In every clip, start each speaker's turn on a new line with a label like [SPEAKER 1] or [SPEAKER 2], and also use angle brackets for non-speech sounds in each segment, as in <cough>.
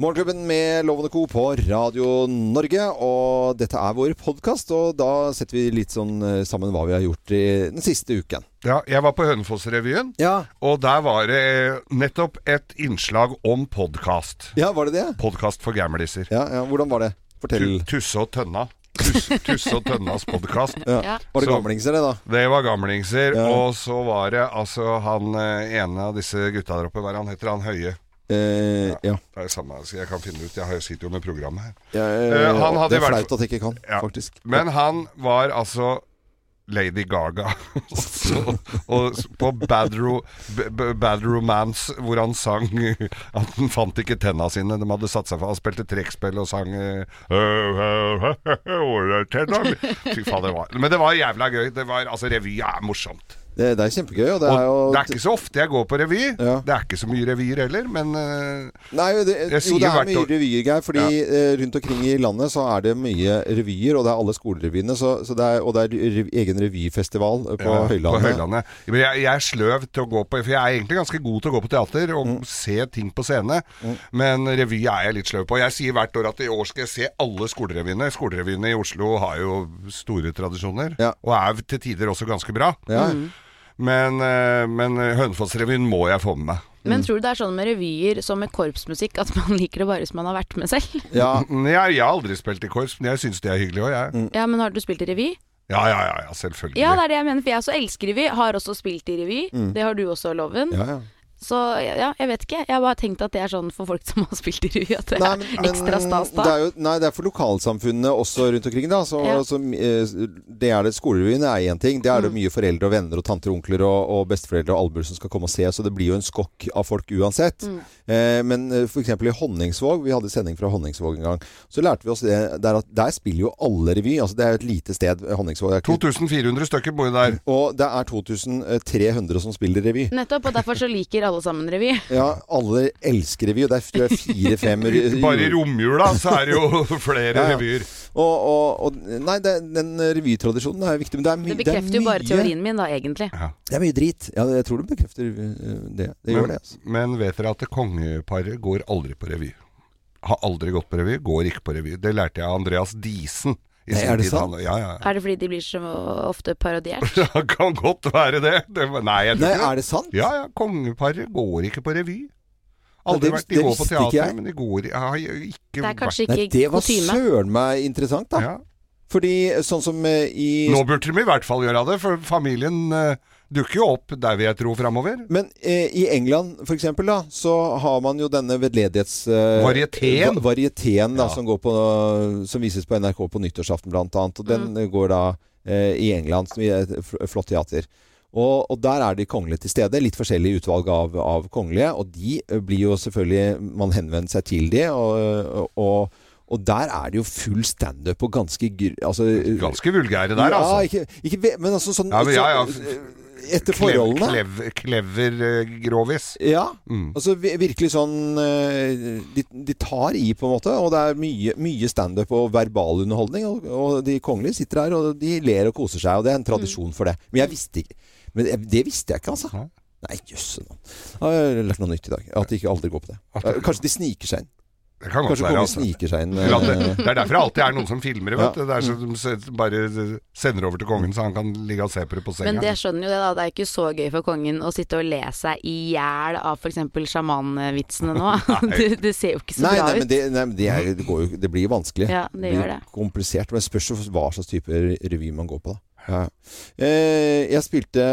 [SPEAKER 1] Morgenklubben med Lovende Co. på Radio Norge. Og dette er vår podkast, og da setter vi litt sånn eh, sammen hva vi har gjort i den siste uken.
[SPEAKER 2] Ja, jeg var på Hønefoss-revyen,
[SPEAKER 1] Ja.
[SPEAKER 2] og der var det eh, nettopp et innslag om podkast.
[SPEAKER 1] Ja, var det det?
[SPEAKER 2] Podkast for gamliser.
[SPEAKER 1] Ja, ja. Hvordan var det? Fortell.
[SPEAKER 2] Tu- Tusse og Tønna.
[SPEAKER 1] <laughs>
[SPEAKER 2] Tus- Tusse og Tønnas podkast.
[SPEAKER 1] Ja. Var det
[SPEAKER 2] Så-
[SPEAKER 1] gamlingser, det, da?
[SPEAKER 2] Det var gamlingser.
[SPEAKER 1] Ja.
[SPEAKER 2] Og så var det altså han eh, ene av disse gutta der oppe, hva er han heter han Høie?
[SPEAKER 1] Eh, ja.
[SPEAKER 2] Det er det samme, så jeg kan finne ut. Jeg har- jeg sitter jo med programmet her.
[SPEAKER 1] Ja,
[SPEAKER 2] Eh, han hadde
[SPEAKER 1] det er
[SPEAKER 2] vært-
[SPEAKER 1] flaut at jeg ikke kan,
[SPEAKER 2] Ja.
[SPEAKER 1] faktisk.
[SPEAKER 2] Men han var altså Lady Gaga <laughs> så, og s- på Bad, Ro, B- B- Bad Romance, hvor han sang <laughs> at han fant ikke tenna sine. De hadde satt seg for Han spilte trekkspill og sang eh, «Hvor er tenna mi?» Fy faen, det var Men det var jævla gøy. Det var, altså, revy er morsomt.
[SPEAKER 1] Det, det er kjempegøy, og det er jo
[SPEAKER 2] Og det er ikke så ofte jeg går på revy.
[SPEAKER 1] Ja.
[SPEAKER 2] Det er ikke så mye revyer heller, men eh,
[SPEAKER 1] Nei, det,
[SPEAKER 2] Jeg
[SPEAKER 1] jo,
[SPEAKER 2] sier
[SPEAKER 1] det er
[SPEAKER 2] hvert
[SPEAKER 1] mye
[SPEAKER 2] år-
[SPEAKER 1] revyer, Geir. Fordi
[SPEAKER 2] Ja.
[SPEAKER 1] eh, rundt omkring i landet så er det mye revyer, og det er alle skolerevyene. Så, så det er, og det er rev, egen revyfestival eh, på Høylandet.
[SPEAKER 2] På Høylandet. Men jeg, jeg er sløv til å gå på For jeg er egentlig ganske god til å gå på teater og
[SPEAKER 1] Mm.
[SPEAKER 2] se ting på scene, men revy er jeg litt sløv på. Jeg sier hvert år at i år skal jeg se alle skolerevyene. Skolerevyene i Oslo har jo store tradisjoner,
[SPEAKER 1] Ja.
[SPEAKER 2] og er til tider også ganske bra.
[SPEAKER 1] Ja.
[SPEAKER 2] Men, eh, men Hønefoss-revyen må jeg få med meg.
[SPEAKER 1] Mm.
[SPEAKER 3] Men tror du det er sånn med revyer som med korpsmusikk, at man <laughs> liker det bare hvis man har vært med
[SPEAKER 1] <laughs>
[SPEAKER 3] selv?
[SPEAKER 1] Ja,
[SPEAKER 2] Mm,
[SPEAKER 1] Mm.
[SPEAKER 2] Jeg, jeg har aldri spilt i korps, men jeg syns det er hyggelig òg, jeg.
[SPEAKER 3] Ja, men har du spilt i revy?
[SPEAKER 2] Ja, ja, ja, ja, selvfølgelig.
[SPEAKER 3] Ja, det er det jeg mener, for jeg også elsker revy. Har også spilt i revy. Det har du også, Loven.
[SPEAKER 1] Mm. ja, ja.
[SPEAKER 3] Så ja, jeg vet ikke. Jeg har bare tenkt at det er sånn for folk som har <laughs> spilt i revy, at det
[SPEAKER 1] Nei,
[SPEAKER 3] er
[SPEAKER 1] men, men
[SPEAKER 3] ekstra stas da.
[SPEAKER 1] Det er jo, nei, det er for lokalsamfunnene også rundt omkring. Da. Så,
[SPEAKER 3] Ja.
[SPEAKER 1] så, eh, det er det, skolerevyen er én ting. Det er det
[SPEAKER 3] Mm.
[SPEAKER 1] mye foreldre og venner og tanter og onkler og, og besteforeldre og albuer som skal komme og se. Så det blir jo en skokk av folk uansett.
[SPEAKER 3] Mm.
[SPEAKER 1] Eh, men eh, for eksempel i Honningsvåg, vi hadde sending fra Honningsvåg en gang, så lærte vi oss det der at der spiller jo alle revy. Altså, det er jo et lite sted, eh, Honningsvåg. Det er ikke-
[SPEAKER 2] 2400 stykker bor jo der.
[SPEAKER 1] Og det er 2300 som spiller revy.
[SPEAKER 3] Nettopp, og derfor så liker alle sammen revy.
[SPEAKER 1] <laughs> Ja, alle elsker revy, og det er- tror jeg fire-fem
[SPEAKER 2] <laughs> Bare i romjula så er det jo <laughs> flere
[SPEAKER 1] Ja, ja.
[SPEAKER 2] revyer.
[SPEAKER 1] Og, og, og nei, det, den revytradisjonen er jo viktig, men det er, my,
[SPEAKER 3] Det
[SPEAKER 1] det er
[SPEAKER 3] bekrefter jo bare
[SPEAKER 1] mye-
[SPEAKER 3] teorien min, da, egentlig.
[SPEAKER 1] Det er mye drit. Ja, jeg tror det bekrefter øh, det. Det gjør det. altså.
[SPEAKER 2] Men vet dere at det kongeparet går aldri på revy? Har aldri gått på revy, går ikke på revy. Det lærte jeg av Andreas Diesen. i
[SPEAKER 1] Nei,
[SPEAKER 2] sin
[SPEAKER 1] er det
[SPEAKER 2] tid.
[SPEAKER 1] sant?
[SPEAKER 2] Han- Ja, ja. <laughs> ja.
[SPEAKER 3] Er det fordi de blir så ofte parodiert?
[SPEAKER 2] Det kan godt være det. det var- nei, jeg tror
[SPEAKER 1] Nei,
[SPEAKER 2] ikke det.
[SPEAKER 1] er det sant?
[SPEAKER 2] Ja, ja. Kongeparet går ikke på revy. Aldri
[SPEAKER 1] det vis-
[SPEAKER 2] vært. De
[SPEAKER 1] det
[SPEAKER 2] går på
[SPEAKER 1] visste ikke
[SPEAKER 2] teater,
[SPEAKER 1] jeg.
[SPEAKER 2] men de går i- har jo ikke
[SPEAKER 3] Det er
[SPEAKER 2] vært
[SPEAKER 3] kanskje
[SPEAKER 1] Nei,
[SPEAKER 3] ikke
[SPEAKER 1] det var
[SPEAKER 3] kutyme.
[SPEAKER 1] søren meg interessant, da.
[SPEAKER 2] ja.
[SPEAKER 1] Fordi sånn som øh, i
[SPEAKER 2] Nå burde de i hvert fall gjøre det, for familien eh, dukker jo opp der, vil jeg tro, framover.
[SPEAKER 1] Men eh, i England for eksempel, da, så har man jo denne veldedighets... Eh,
[SPEAKER 2] Varieteen.
[SPEAKER 1] va- varieteen da,
[SPEAKER 2] Ja.
[SPEAKER 1] som, går på, som vises på NRK på nyttårsaften blant annet. Og den eh, går da eh, i England, som er et fl- flott teater. Og, og der er de kongelige til stede. Litt forskjellig utvalg av, av kongelige. Og de eh, blir jo selvfølgelig Man henvender seg til de, og, og, og der er det jo full standup og ganske gr- altså,
[SPEAKER 2] Ganske vulgære der, altså.
[SPEAKER 1] Ja, ikke, ikke, ve- men altså sånn
[SPEAKER 2] Ja, men ja, ja.
[SPEAKER 1] så- Etter
[SPEAKER 2] Klev,
[SPEAKER 1] forholdene.
[SPEAKER 2] klev, klever eh, grovis. Mm.
[SPEAKER 1] Ja. Altså vi- virkelig sånn eh, de, de tar i, på en måte. Og det er mye, mye standup og verbal underholdning. Og, og de kongelige sitter her, og de ler og koser seg. Og det er en
[SPEAKER 2] Mm.
[SPEAKER 1] tradisjon for det. Men jeg visste ikke Men jeg, det visste jeg ikke, altså.
[SPEAKER 2] Nei.
[SPEAKER 1] Nei, jøsse navn. Jeg har lært noe nytt i dag. At de ikke aldri går på det.
[SPEAKER 2] At det-
[SPEAKER 1] Kanskje de sniker seg inn.
[SPEAKER 2] Det kan godt
[SPEAKER 1] Kanskje
[SPEAKER 2] være.
[SPEAKER 1] kongen
[SPEAKER 2] Altså.
[SPEAKER 1] sniker seg inn.
[SPEAKER 2] For at
[SPEAKER 1] eh,
[SPEAKER 2] det, det er derfor det alltid er noen som filmer det, vet
[SPEAKER 1] Ja.
[SPEAKER 2] du. Det er så de s- bare sender over til kongen, så han kan ligge og se på det på senga.
[SPEAKER 3] Men det skjønner jo det, da. Det er ikke så gøy for kongen å sitte og le seg i hjel av f.eks. sjamanvitsene
[SPEAKER 1] <laughs>
[SPEAKER 3] nå. det, det ser jo ikke så
[SPEAKER 1] Nei,
[SPEAKER 3] bra
[SPEAKER 1] nei, men,
[SPEAKER 3] ut.
[SPEAKER 1] det, nei, men det, er, det, går jo, det blir vanskelig.
[SPEAKER 3] Ja, det
[SPEAKER 1] blir
[SPEAKER 3] gjør det.
[SPEAKER 1] komplisert. Men det spørs jo hva slags type revy man går på, da. Ja. Eh, jeg spilte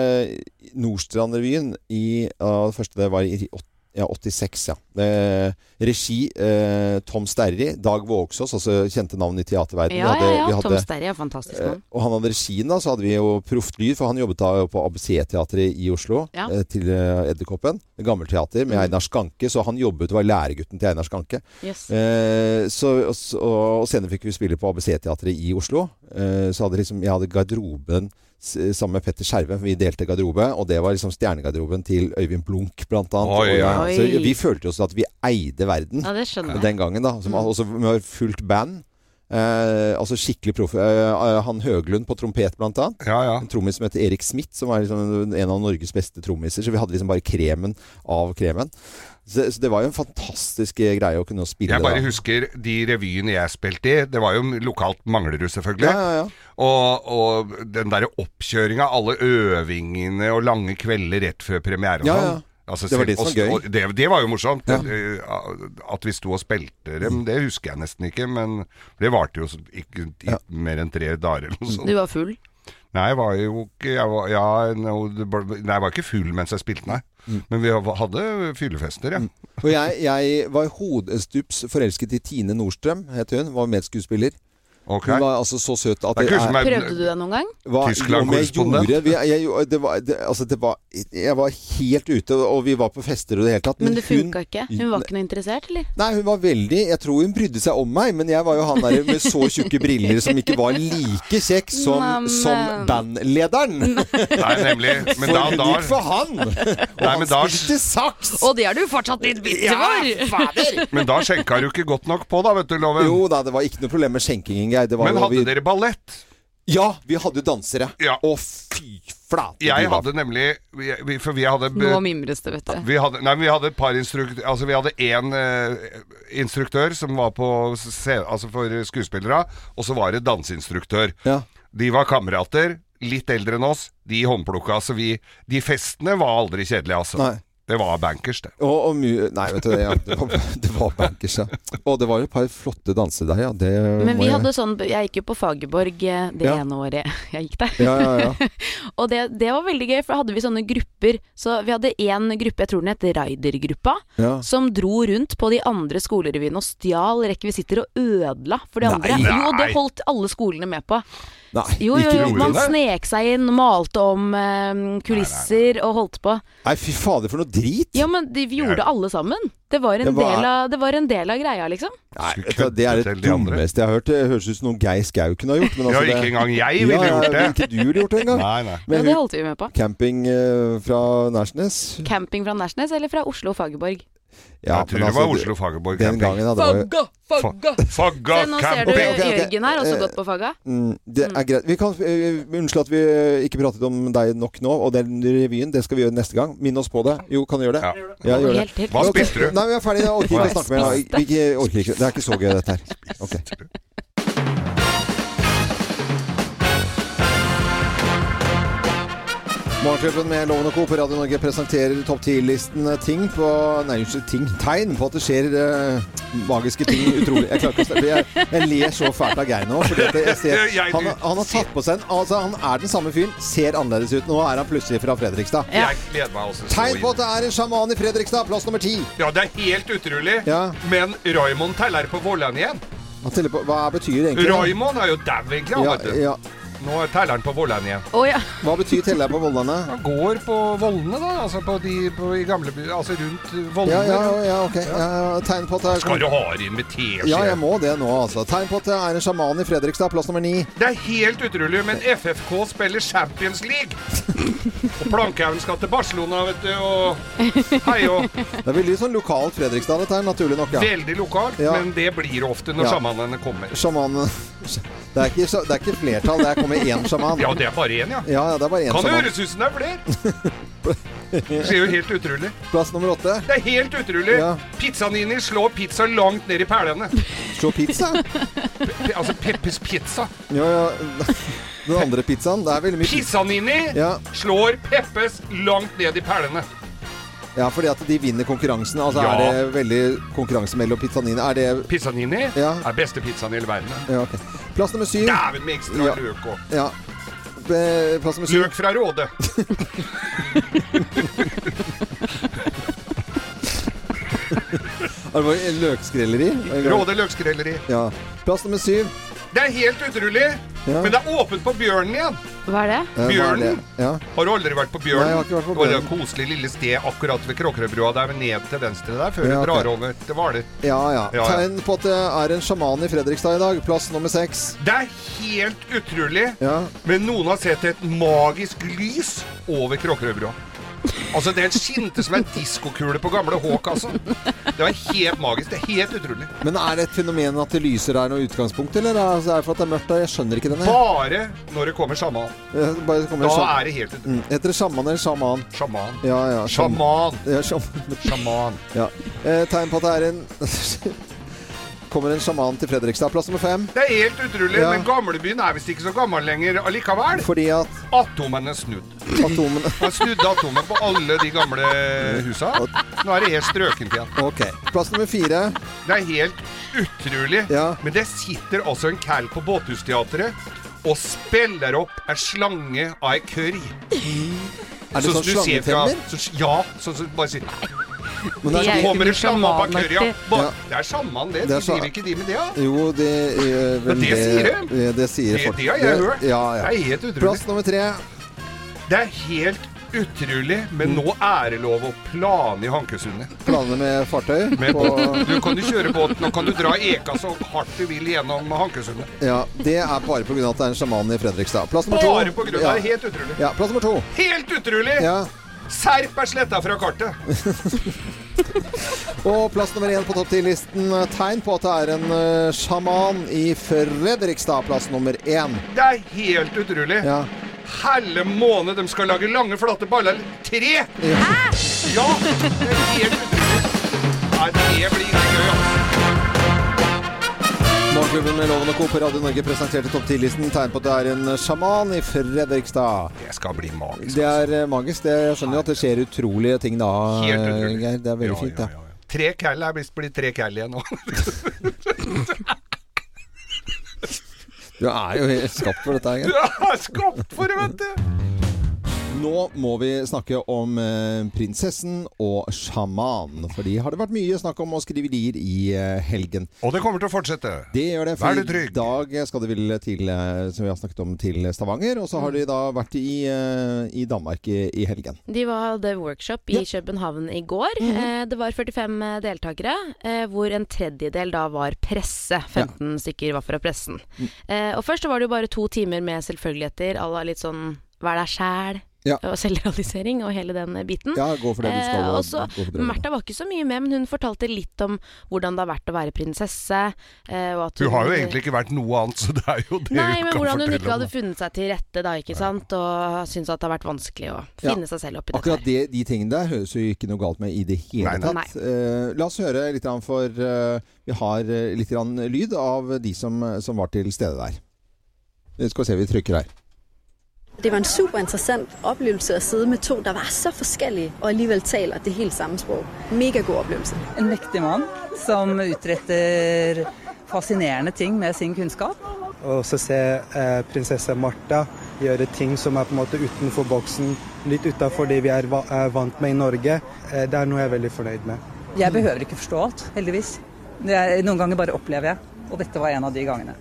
[SPEAKER 1] Nordstrand-revyen i ja, Det første det var i åt- ja, 86, ja. Eh, regi eh, Tom Sterri. Dag Vågsås, altså kjente navn i teaterverdenen.
[SPEAKER 3] Ja,
[SPEAKER 1] Vi
[SPEAKER 3] ja,
[SPEAKER 1] hadde-
[SPEAKER 3] ja.
[SPEAKER 1] vi hadde-
[SPEAKER 3] Tom Sterry er fantastisk
[SPEAKER 1] Eh,
[SPEAKER 3] mann.
[SPEAKER 1] Og han hadde regien, da, så hadde vi jo Proft Lyd, for han jobbet da jo på ABC-teatret i Oslo.
[SPEAKER 3] Ja. Mm.
[SPEAKER 1] eh, Til eh, Edderkoppen. Gammelteater med Einar Skanke, så han jobbet var læregutten til Einar Skanke.
[SPEAKER 3] Yes.
[SPEAKER 1] Eh, så, og, så- og senere fikk vi spille på ABC-teatret i Oslo. Eh, så hadde liksom, jeg hadde garderoben s- sammen med Petter Skjerven, for vi delte garderobe. Og det var liksom stjernegarderoben til Øyvind Blunk, blant annet.
[SPEAKER 2] Oi,
[SPEAKER 1] og,
[SPEAKER 2] ja.
[SPEAKER 1] Så
[SPEAKER 3] Oi.
[SPEAKER 1] vi følte jo sånn at vi eide verden
[SPEAKER 3] Ja, det skjønner jeg.
[SPEAKER 1] den gangen, da. Som,
[SPEAKER 2] Mm.
[SPEAKER 1] Også med fullt band. Eh, altså skikkelig proff. Eh, han Høglund på trompet, blant annet.
[SPEAKER 2] Ja, ja.
[SPEAKER 1] En trommis som heter Erik Smith, som er liksom en av Norges beste trommiser. Så vi hadde liksom bare kremen av kremen. Så, så det var jo en fantastisk eh, greie å kunne spille.
[SPEAKER 2] Jeg bare
[SPEAKER 1] da.
[SPEAKER 2] husker de revyene jeg spilte i. Det var jo lokalt Manglerud, selvfølgelig.
[SPEAKER 1] ja, ja, ja.
[SPEAKER 2] Og, og den derre oppkjøringa, alle øvingene og lange kvelder rett før premiere og
[SPEAKER 1] Ja,
[SPEAKER 2] sånn.
[SPEAKER 1] ja.
[SPEAKER 2] Altså,
[SPEAKER 1] Det
[SPEAKER 2] selv-
[SPEAKER 1] var det som
[SPEAKER 2] og-
[SPEAKER 1] var gøy.
[SPEAKER 2] og Det, det var jo morsomt. Eh, At vi sto og spilte dem, det husker jeg nesten ikke. Men det varte jo så- ikke i,
[SPEAKER 1] Ja.
[SPEAKER 2] mer enn tre dager eller noe sånt.
[SPEAKER 3] Du var full.
[SPEAKER 2] Nei, jeg var jo ikke jeg var, ja, no, det var- nei, jeg var ikke full mens jeg spilte, nei.
[SPEAKER 1] Mm.
[SPEAKER 2] Men vi hadde fyllefester, ja.
[SPEAKER 1] Og jeg, jeg var hodestups forelsket i Tine Nordstrøm, het hun. Var medskuespiller.
[SPEAKER 2] Ok.
[SPEAKER 1] Hun var altså så søt at
[SPEAKER 2] Det er kult som er-
[SPEAKER 3] Prøvde du deg noen gang?
[SPEAKER 1] hva,
[SPEAKER 2] Tyskland
[SPEAKER 1] om jeg
[SPEAKER 2] korrespondent.
[SPEAKER 1] gjorde- vi- jeg, jeg, det var, det, altså det var, jeg var helt ute, og vi var på fester og det hele tatt.
[SPEAKER 3] Men det
[SPEAKER 1] hun-
[SPEAKER 3] funka ikke? Hun var ikke noe interessert, eller?
[SPEAKER 1] Nei, hun var veldig Jeg tror hun brydde seg om meg, men jeg var jo han der med så tjukke briller som ikke var like kjekk som,
[SPEAKER 3] Nei,
[SPEAKER 1] som
[SPEAKER 3] men-
[SPEAKER 1] bandlederen.
[SPEAKER 2] Nei, nemlig. Men
[SPEAKER 1] For
[SPEAKER 2] da,
[SPEAKER 1] hun gikk
[SPEAKER 2] da,
[SPEAKER 1] for han! Og
[SPEAKER 2] Nei,
[SPEAKER 1] han
[SPEAKER 2] men da-
[SPEAKER 1] spilte saks!
[SPEAKER 3] Og det er du fortsatt litt bitter for!
[SPEAKER 2] men da skjenka du ikke godt nok på, da, vet du, Loven.
[SPEAKER 1] Jo da, det var ikke noe problem med skjenkingen, Geir. Det var
[SPEAKER 2] Men
[SPEAKER 1] jo
[SPEAKER 2] hadde
[SPEAKER 1] vi...
[SPEAKER 2] dere ballett?
[SPEAKER 1] Ja, vi hadde jo dansere.
[SPEAKER 2] Ja.
[SPEAKER 1] Å, fy flate! de
[SPEAKER 2] Jeg
[SPEAKER 1] var-
[SPEAKER 2] hadde nemlig vi- vi- For vi hadde b-
[SPEAKER 3] Nå mimres det, vet du.
[SPEAKER 2] vi hadde, nei, men vi hadde et par instruktører Altså vi hadde én eh, instruktør som var på se, Altså for skuespillere, og så var det danseinstruktør.
[SPEAKER 1] Ja.
[SPEAKER 2] De var kamerater, litt eldre enn oss. De håndplukka. Så vi De festene var aldri kjedelige, altså.
[SPEAKER 1] Nei.
[SPEAKER 2] Det var bankers, det.
[SPEAKER 1] Og, og mu... Nei, vet du det. Ja, det, var, <laughs> det var bankers, ja. Og det var jo et par flotte danser der, ja. Det
[SPEAKER 3] Men
[SPEAKER 1] må
[SPEAKER 3] vi
[SPEAKER 1] jeg-
[SPEAKER 3] hadde sånn Jeg gikk jo på Fagerborg eh, det
[SPEAKER 1] Ja.
[SPEAKER 3] ene året <laughs> jeg gikk der.
[SPEAKER 1] ja, ja, ja.
[SPEAKER 3] <laughs> Og det, det var veldig gøy, for da hadde vi sånne grupper. Så vi hadde én gruppe, jeg tror den het Raidergruppa,
[SPEAKER 1] ja.
[SPEAKER 3] som dro rundt på de andre skolerevyene og stjal rekvisitter og ødela for de andre.
[SPEAKER 2] Nei.
[SPEAKER 3] Jo, det holdt alle skolene med på.
[SPEAKER 1] Nei,
[SPEAKER 3] Jo, jo,
[SPEAKER 1] ikke
[SPEAKER 3] jo.
[SPEAKER 2] gjorde
[SPEAKER 3] Man
[SPEAKER 2] det.
[SPEAKER 3] snek seg inn, malte om eh, kulisser og holdt på.
[SPEAKER 1] Nei, fy fader, for noe drit!
[SPEAKER 3] Ja, men de vi gjorde alle sammen. Det var en,
[SPEAKER 1] Det var-
[SPEAKER 3] del, av, det var en del av greia, liksom.
[SPEAKER 1] Nei,
[SPEAKER 2] Skulle
[SPEAKER 1] vet du hva, det er
[SPEAKER 2] kutte
[SPEAKER 1] det
[SPEAKER 2] til de andre.
[SPEAKER 1] dummeste jeg har hørt. Det høres ut som noe Geir Skau kunne ha gjort. Men
[SPEAKER 2] Ja,
[SPEAKER 1] altså
[SPEAKER 2] ikke
[SPEAKER 1] det-
[SPEAKER 2] engang jeg
[SPEAKER 1] Ja,
[SPEAKER 2] ville
[SPEAKER 1] ja,
[SPEAKER 2] gjort det.
[SPEAKER 1] ville Ikke du ville gjort det engang.
[SPEAKER 2] Nei, nei.
[SPEAKER 3] Ja,
[SPEAKER 1] Men
[SPEAKER 3] det holdt vi med på.
[SPEAKER 1] camping eh, fra Nærsnes
[SPEAKER 3] Camping fra Nærsnes eller fra Oslo Fagerborg?
[SPEAKER 1] Ja,
[SPEAKER 2] jeg tror
[SPEAKER 1] men
[SPEAKER 2] det
[SPEAKER 1] altså,
[SPEAKER 2] var Oslo Fagerborg camping.
[SPEAKER 1] Den gangen, da. Det, var, jo-
[SPEAKER 2] Fagga
[SPEAKER 3] Se, nå ser
[SPEAKER 2] camping!
[SPEAKER 3] du
[SPEAKER 1] Ok, ok, ok.
[SPEAKER 3] Jørgen her, også
[SPEAKER 1] Eh,
[SPEAKER 3] gått på Fagga.
[SPEAKER 1] mm, det er greit. Vi kan, eh, unnskyld at vi ikke pratet om deg nok nå, og den revyen. Det skal vi gjøre neste gang. Minn oss på det. Jo, kan du gjøre det?
[SPEAKER 2] Ja.
[SPEAKER 1] Ja, gjør det.
[SPEAKER 3] Helt, helt.
[SPEAKER 2] Hva
[SPEAKER 1] Ok,
[SPEAKER 2] spiste du?
[SPEAKER 1] Nei, vi er ferdig. Jeg orker ikke å snakke mer. Vi- Vi vi orker ikke. Det er ikke så gøy, dette her. Ok. Morgenklubben med Loven og Co. på Radio Norge presenterer topp 10-listen ting på Nei, unnskyld, ting, tegn på at det skjer eh, magiske ting. Utrolig. Jeg klarer ikke å snakke. Jeg, jeg ler så fælt av Geir nå. Fordi at jeg
[SPEAKER 2] <laughs>
[SPEAKER 1] ser,
[SPEAKER 2] Jeg-
[SPEAKER 1] han, han har tatt på seg en Altså, han er den samme fyren. Ser annerledes ut. Nå er han plutselig fra Fredrikstad.
[SPEAKER 2] Jeg gleder meg også. så
[SPEAKER 1] Tegn på
[SPEAKER 2] inn.
[SPEAKER 1] at det er en sjaman i Fredrikstad. Plass nummer ti.
[SPEAKER 2] Ja, det er helt utrolig.
[SPEAKER 1] Ja.
[SPEAKER 2] Men Raymond teller på Våler'n igjen.
[SPEAKER 1] Han teller på Hva betyr egentlig det?
[SPEAKER 2] Raymond er jo dau, egentlig. han,
[SPEAKER 1] Ja,
[SPEAKER 2] vet du.
[SPEAKER 1] ja.
[SPEAKER 2] Nå teller han på Våler'n igjen.
[SPEAKER 3] Å ja.
[SPEAKER 1] Hva betyr teller på Vollane?
[SPEAKER 2] Han går på vollene, da. Altså på de på, i gamleby Altså rundt
[SPEAKER 1] Ja,
[SPEAKER 2] vollene.
[SPEAKER 1] ja, ja, ok. Ja, tegn på at det
[SPEAKER 2] Skal
[SPEAKER 1] er
[SPEAKER 2] du ha det inn med teskje?
[SPEAKER 1] Ja, jeg må det nå, altså. Tegn på at det er en sjaman i Fredrikstad. Plass nummer ni.
[SPEAKER 2] Det er helt utrolig, men FFK spiller Champions
[SPEAKER 1] <laughs>
[SPEAKER 2] League! og Plankhaugen skal til Barcelona, vet du, og hei og
[SPEAKER 1] Det er veldig sånn lokalt Fredrikstad, dette her, naturlig nok. <laughs> ja.
[SPEAKER 2] Veldig lokalt,
[SPEAKER 1] Ja.
[SPEAKER 2] men det blir det ofte når
[SPEAKER 1] Ja.
[SPEAKER 2] sjamanene kommer.
[SPEAKER 1] Sjamanen det er, ikke, det er ikke flertall, det er kommet én sjaman.
[SPEAKER 2] Ja, det er bare én, ja.
[SPEAKER 1] Ja, ja, det er bare én
[SPEAKER 2] Kan det
[SPEAKER 1] <laughs> sjaman.
[SPEAKER 2] høres ut som det er flere? Det ser jo helt utrolig.
[SPEAKER 1] Plass nummer åtte.
[SPEAKER 2] Det er helt utrolig.
[SPEAKER 1] Ja.
[SPEAKER 2] Pizzanini slår pizza langt ned i pælene.
[SPEAKER 1] Slå pizza.
[SPEAKER 2] Pe- Altså Peppes pizza.
[SPEAKER 1] Ja, ja. <laughs> Den andre pizzaen. Det er veldig mye pizza.
[SPEAKER 2] Pizzanini
[SPEAKER 1] Ja.
[SPEAKER 2] slår Peppes langt ned i pælene.
[SPEAKER 1] Ja, fordi at de vinner konkurransen. Altså
[SPEAKER 2] Ja.
[SPEAKER 1] er det veldig konkurranse mellom pizzaniene. Er det
[SPEAKER 2] Pizzanini
[SPEAKER 1] Ja.
[SPEAKER 2] er beste pizzaen i hele verden.
[SPEAKER 1] Ja, ok. Plass nummer syv.
[SPEAKER 2] Dæven med ekstra
[SPEAKER 1] Ja.
[SPEAKER 2] løk og
[SPEAKER 1] Ja. Be- Plass nummer syv.
[SPEAKER 2] Løk fra Råde.
[SPEAKER 1] <laughs> Er det bare Løkskrelleri.
[SPEAKER 2] Råde løkskrelleri.
[SPEAKER 1] Ja. Plass nummer syv.
[SPEAKER 2] Det er helt utrolig,
[SPEAKER 1] Ja.
[SPEAKER 2] men det er åpent på Bjørnen igjen.
[SPEAKER 3] Hva er det?
[SPEAKER 1] Eh, hva er
[SPEAKER 2] Bjørnen.
[SPEAKER 1] det? Ja.
[SPEAKER 2] Har du aldri vært på
[SPEAKER 1] Nei, jeg
[SPEAKER 2] Bjørnen?
[SPEAKER 1] har ikke vært på
[SPEAKER 2] Det var det
[SPEAKER 1] Bjørnen.
[SPEAKER 2] koselige lille sted akkurat ved Kråkerødbrua der men ned til venstre der, før
[SPEAKER 1] Ja,
[SPEAKER 2] du
[SPEAKER 1] ok.
[SPEAKER 2] drar over til Hvaler.
[SPEAKER 1] Ja, ja.
[SPEAKER 2] Ja, ja.
[SPEAKER 1] Tegn på at det er en sjaman i Fredrikstad i dag. Plass nummer seks.
[SPEAKER 2] Det er helt utrolig,
[SPEAKER 1] Ja.
[SPEAKER 2] men noen har sett et magisk lys over Kråkerødbrua. Altså, det skinte som en diskokule på gamle Håk, altså. Det var helt magisk. Det er helt utrolig.
[SPEAKER 1] Men er det et fenomen at det lyser er noe utgangspunkt, eller er det for at det er mørkt der? Jeg skjønner ikke denne.
[SPEAKER 2] Bare når det kommer sjaman.
[SPEAKER 1] Eh, Bare kommer
[SPEAKER 2] Da
[SPEAKER 1] en sjam-
[SPEAKER 2] er det helt utrolig.
[SPEAKER 1] Mm, Heter det sjaman eller sjaman?
[SPEAKER 2] Sjaman.
[SPEAKER 1] Ja, ja. sjam-
[SPEAKER 2] Sjaman.
[SPEAKER 1] Ja, sjam-
[SPEAKER 2] Sjaman.
[SPEAKER 1] ja. Eh, tegn på at det er en <laughs> Kommer en sjaman til Fredrikstad. Plass nummer fem.
[SPEAKER 2] Det er helt utrolig,
[SPEAKER 1] Ja.
[SPEAKER 2] men gamlebyen er visst ikke så gammel lenger allikevel.
[SPEAKER 1] Fordi at
[SPEAKER 2] Atomene er snudd.
[SPEAKER 1] atomene
[SPEAKER 2] Man snudde atomen på alle de gamle husa. Nå er det helt strøkent igjen.
[SPEAKER 1] Ok. Plass nummer fire.
[SPEAKER 2] Det er helt utrolig.
[SPEAKER 1] Ja.
[SPEAKER 2] Men det sitter altså en kall på Båthusteatret og spiller opp ei slange av ei kørr.
[SPEAKER 1] Er det
[SPEAKER 2] Sånn
[SPEAKER 1] sånn
[SPEAKER 2] som du ser fra-
[SPEAKER 1] slangetenner?
[SPEAKER 2] så- Ja. Sånn som bare sier
[SPEAKER 1] Men det
[SPEAKER 3] De
[SPEAKER 1] er,
[SPEAKER 3] er-
[SPEAKER 2] Kommer det sjaman bak
[SPEAKER 3] sjamanaktig.
[SPEAKER 2] kørja? Ba-
[SPEAKER 1] Ja.
[SPEAKER 2] Det er sjaman, det.
[SPEAKER 1] Det er
[SPEAKER 2] De
[SPEAKER 1] sja-
[SPEAKER 2] driver ikke de med det, da?
[SPEAKER 1] jo, det eh, vel,
[SPEAKER 2] det sier de.
[SPEAKER 1] det, det sier
[SPEAKER 2] Det,
[SPEAKER 1] folk.
[SPEAKER 2] det har jeg hørt.
[SPEAKER 1] Ja,
[SPEAKER 2] Det
[SPEAKER 1] ja.
[SPEAKER 2] er helt utrolig.
[SPEAKER 1] Plass nummer tre.
[SPEAKER 2] Det er helt utrolig, men
[SPEAKER 1] Mm.
[SPEAKER 2] nå er det lov å plane i Hankesundet.
[SPEAKER 1] Planer med fartøy.
[SPEAKER 2] <laughs> Med
[SPEAKER 1] På,
[SPEAKER 2] båten. Du kan jo kjøre båten, og kan du dra eka så hardt du vil gjennom Hankesundet.
[SPEAKER 1] ja, det er bare pga. at det er en sjaman i Fredrikstad. Plass nummer to.
[SPEAKER 2] Bare på grunn av det.
[SPEAKER 1] ja.
[SPEAKER 2] Helt utrolig.
[SPEAKER 1] ja, Plass nummer to.
[SPEAKER 2] Helt utrolig!
[SPEAKER 1] Ja.
[SPEAKER 2] Serp er sletta fra kartet.
[SPEAKER 1] Og plass nummer én på topp ti-listen. eh, Tegn på at det er en eh, sjaman i Fredrikstad. Plass nummer én.
[SPEAKER 2] Det er helt utrolig.
[SPEAKER 1] Ja.
[SPEAKER 2] Helle måne, de skal lage lange, flate baller. Tre!
[SPEAKER 1] Ja.
[SPEAKER 2] Ja! Det er helt utrolig. Nei, det blir ikke gøy, altså.
[SPEAKER 1] Morgenklubben med Loven og Co. på Radio Norge presenterte topp ti-listen. Tegn på at det er en eh, sjaman i Fredrikstad.
[SPEAKER 2] Det skal bli magisk. altså.
[SPEAKER 1] Det er eh, magisk. Det, jeg skjønner jo at det skjer utrolige ting da, eh,
[SPEAKER 2] Helt utrolig.
[SPEAKER 1] Geir. Det er veldig fint, det.
[SPEAKER 2] ja, ja. Tre kall er visst blitt tre kall igjen nå.
[SPEAKER 1] Du er jo helt skapt for
[SPEAKER 2] <laughs>
[SPEAKER 1] dette, Geir.
[SPEAKER 2] Du er skapt for det, vet du!
[SPEAKER 1] Nå må vi snakke om eh, prinsessen og sjaman. Fordi har det vært mye snakk om å skrive lier i eh, helgen.
[SPEAKER 2] Og det kommer til å fortsette.
[SPEAKER 1] Det gjør det,
[SPEAKER 2] Vær du
[SPEAKER 1] for i
[SPEAKER 2] trygg.
[SPEAKER 1] dag skal det vel til, eh, som vi har snakket om, til Stavanger. Og så
[SPEAKER 3] Mm.
[SPEAKER 1] har de da vært i, eh, i Danmark i, i helgen.
[SPEAKER 3] De var- hadde workshop i København i går.
[SPEAKER 1] Mhm.
[SPEAKER 3] eh, det var 45 deltakere, eh, hvor en tredjedel da var presse. 15 stykker var fra pressen. Eh, og først så var det jo bare to timer med selvfølgeligheter à la litt sånn vær deg sjæl
[SPEAKER 1] Ja.
[SPEAKER 3] og selvrealisering og hele den eh, biten.
[SPEAKER 1] Ja, gå for det du skal.
[SPEAKER 3] Eh,
[SPEAKER 1] og
[SPEAKER 3] og så
[SPEAKER 1] gå for det du-
[SPEAKER 3] Märtha var ikke så mye med, men hun fortalte litt om hvordan det har vært å være prinsesse. Eh, og at
[SPEAKER 2] Du har jo egentlig ikke vært noe annet, så det er jo det
[SPEAKER 3] Nei,
[SPEAKER 2] hun
[SPEAKER 3] men
[SPEAKER 2] kan
[SPEAKER 3] hvordan hun
[SPEAKER 2] fortelle
[SPEAKER 3] ikke
[SPEAKER 2] om,
[SPEAKER 3] hadde funnet seg til rette da, ikke sant. Og syntes at det har vært vanskelig å
[SPEAKER 1] Ja.
[SPEAKER 3] finne seg selv oppi dette.
[SPEAKER 1] Akkurat det, de tingene der høres jo ikke noe galt med i det hele
[SPEAKER 2] Nei, nei.
[SPEAKER 1] tatt. Eh, la oss høre litt grann for eh, Vi har eh, litt grann lyd av de som, som var til stede der. Eh, Skal vi se, vi trykker her.
[SPEAKER 4] Det var en super interessant oplevelse at sidde med to, der var så forskellige, og alligevel taler det helt samme sprog. Mega god oplevelse.
[SPEAKER 5] En mektig mann som utretter fascinerende ting med sin kunnskap.
[SPEAKER 6] Og så se eh, prinsesse Martha gjøre ting som er på en måte utenfor boksen, litt utafor det vi er, va er vant med i Norge, eh, det er noe jeg er veldig fornøyd med.
[SPEAKER 5] Jeg behøver ikke forstå alt, heldigvis. Det er, noen ganger bare opplever jeg, og dette var en av de gangene.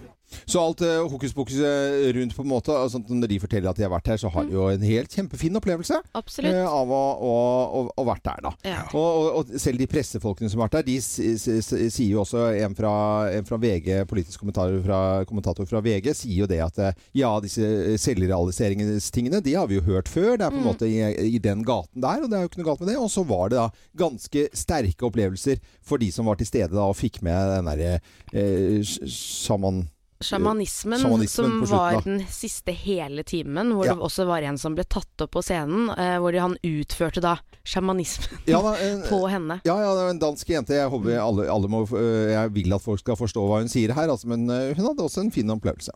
[SPEAKER 1] Så alt eh, hokus pokus eh, rundt, på en måte. og sånt, når de forteller at de har vært her, så har de jo en helt kjempefin opplevelse
[SPEAKER 3] Mm. Absolutt.
[SPEAKER 1] eh, av å, å, å, å vært der, da.
[SPEAKER 3] Ja.
[SPEAKER 1] Og, og, og selv de pressefolkene som har vært der, de s- s- s- sier jo også En fra, en fra VG, politisk kommentator fra, kommentator fra VG, sier jo det at eh, ja, disse selvrealiseringstingene, de har vi jo hørt før. Det er på
[SPEAKER 3] Mm.
[SPEAKER 1] en måte i, i den gaten der, og det er jo ikke noe galt med det. Og så var det da ganske sterke opplevelser for de som var til stede da og fikk med den derre eh, sj- sjaman...
[SPEAKER 3] Sjamanismen,
[SPEAKER 1] Sjamanismen
[SPEAKER 3] som
[SPEAKER 1] på slutten, da.
[SPEAKER 3] var den siste hele timen, hvor
[SPEAKER 1] Ja.
[SPEAKER 3] det også var en som ble tatt opp på scenen, eh, hvor de- han utførte da sjamanismen
[SPEAKER 1] Ja, da, en-
[SPEAKER 3] <laughs> på henne.
[SPEAKER 1] Ja, ja, det er en dansk jente. Jeg, håper alle, alle må, øh, jeg vil at folk skal forstå hva hun sier her, altså, men øh, hun hadde også en fin opplevelse.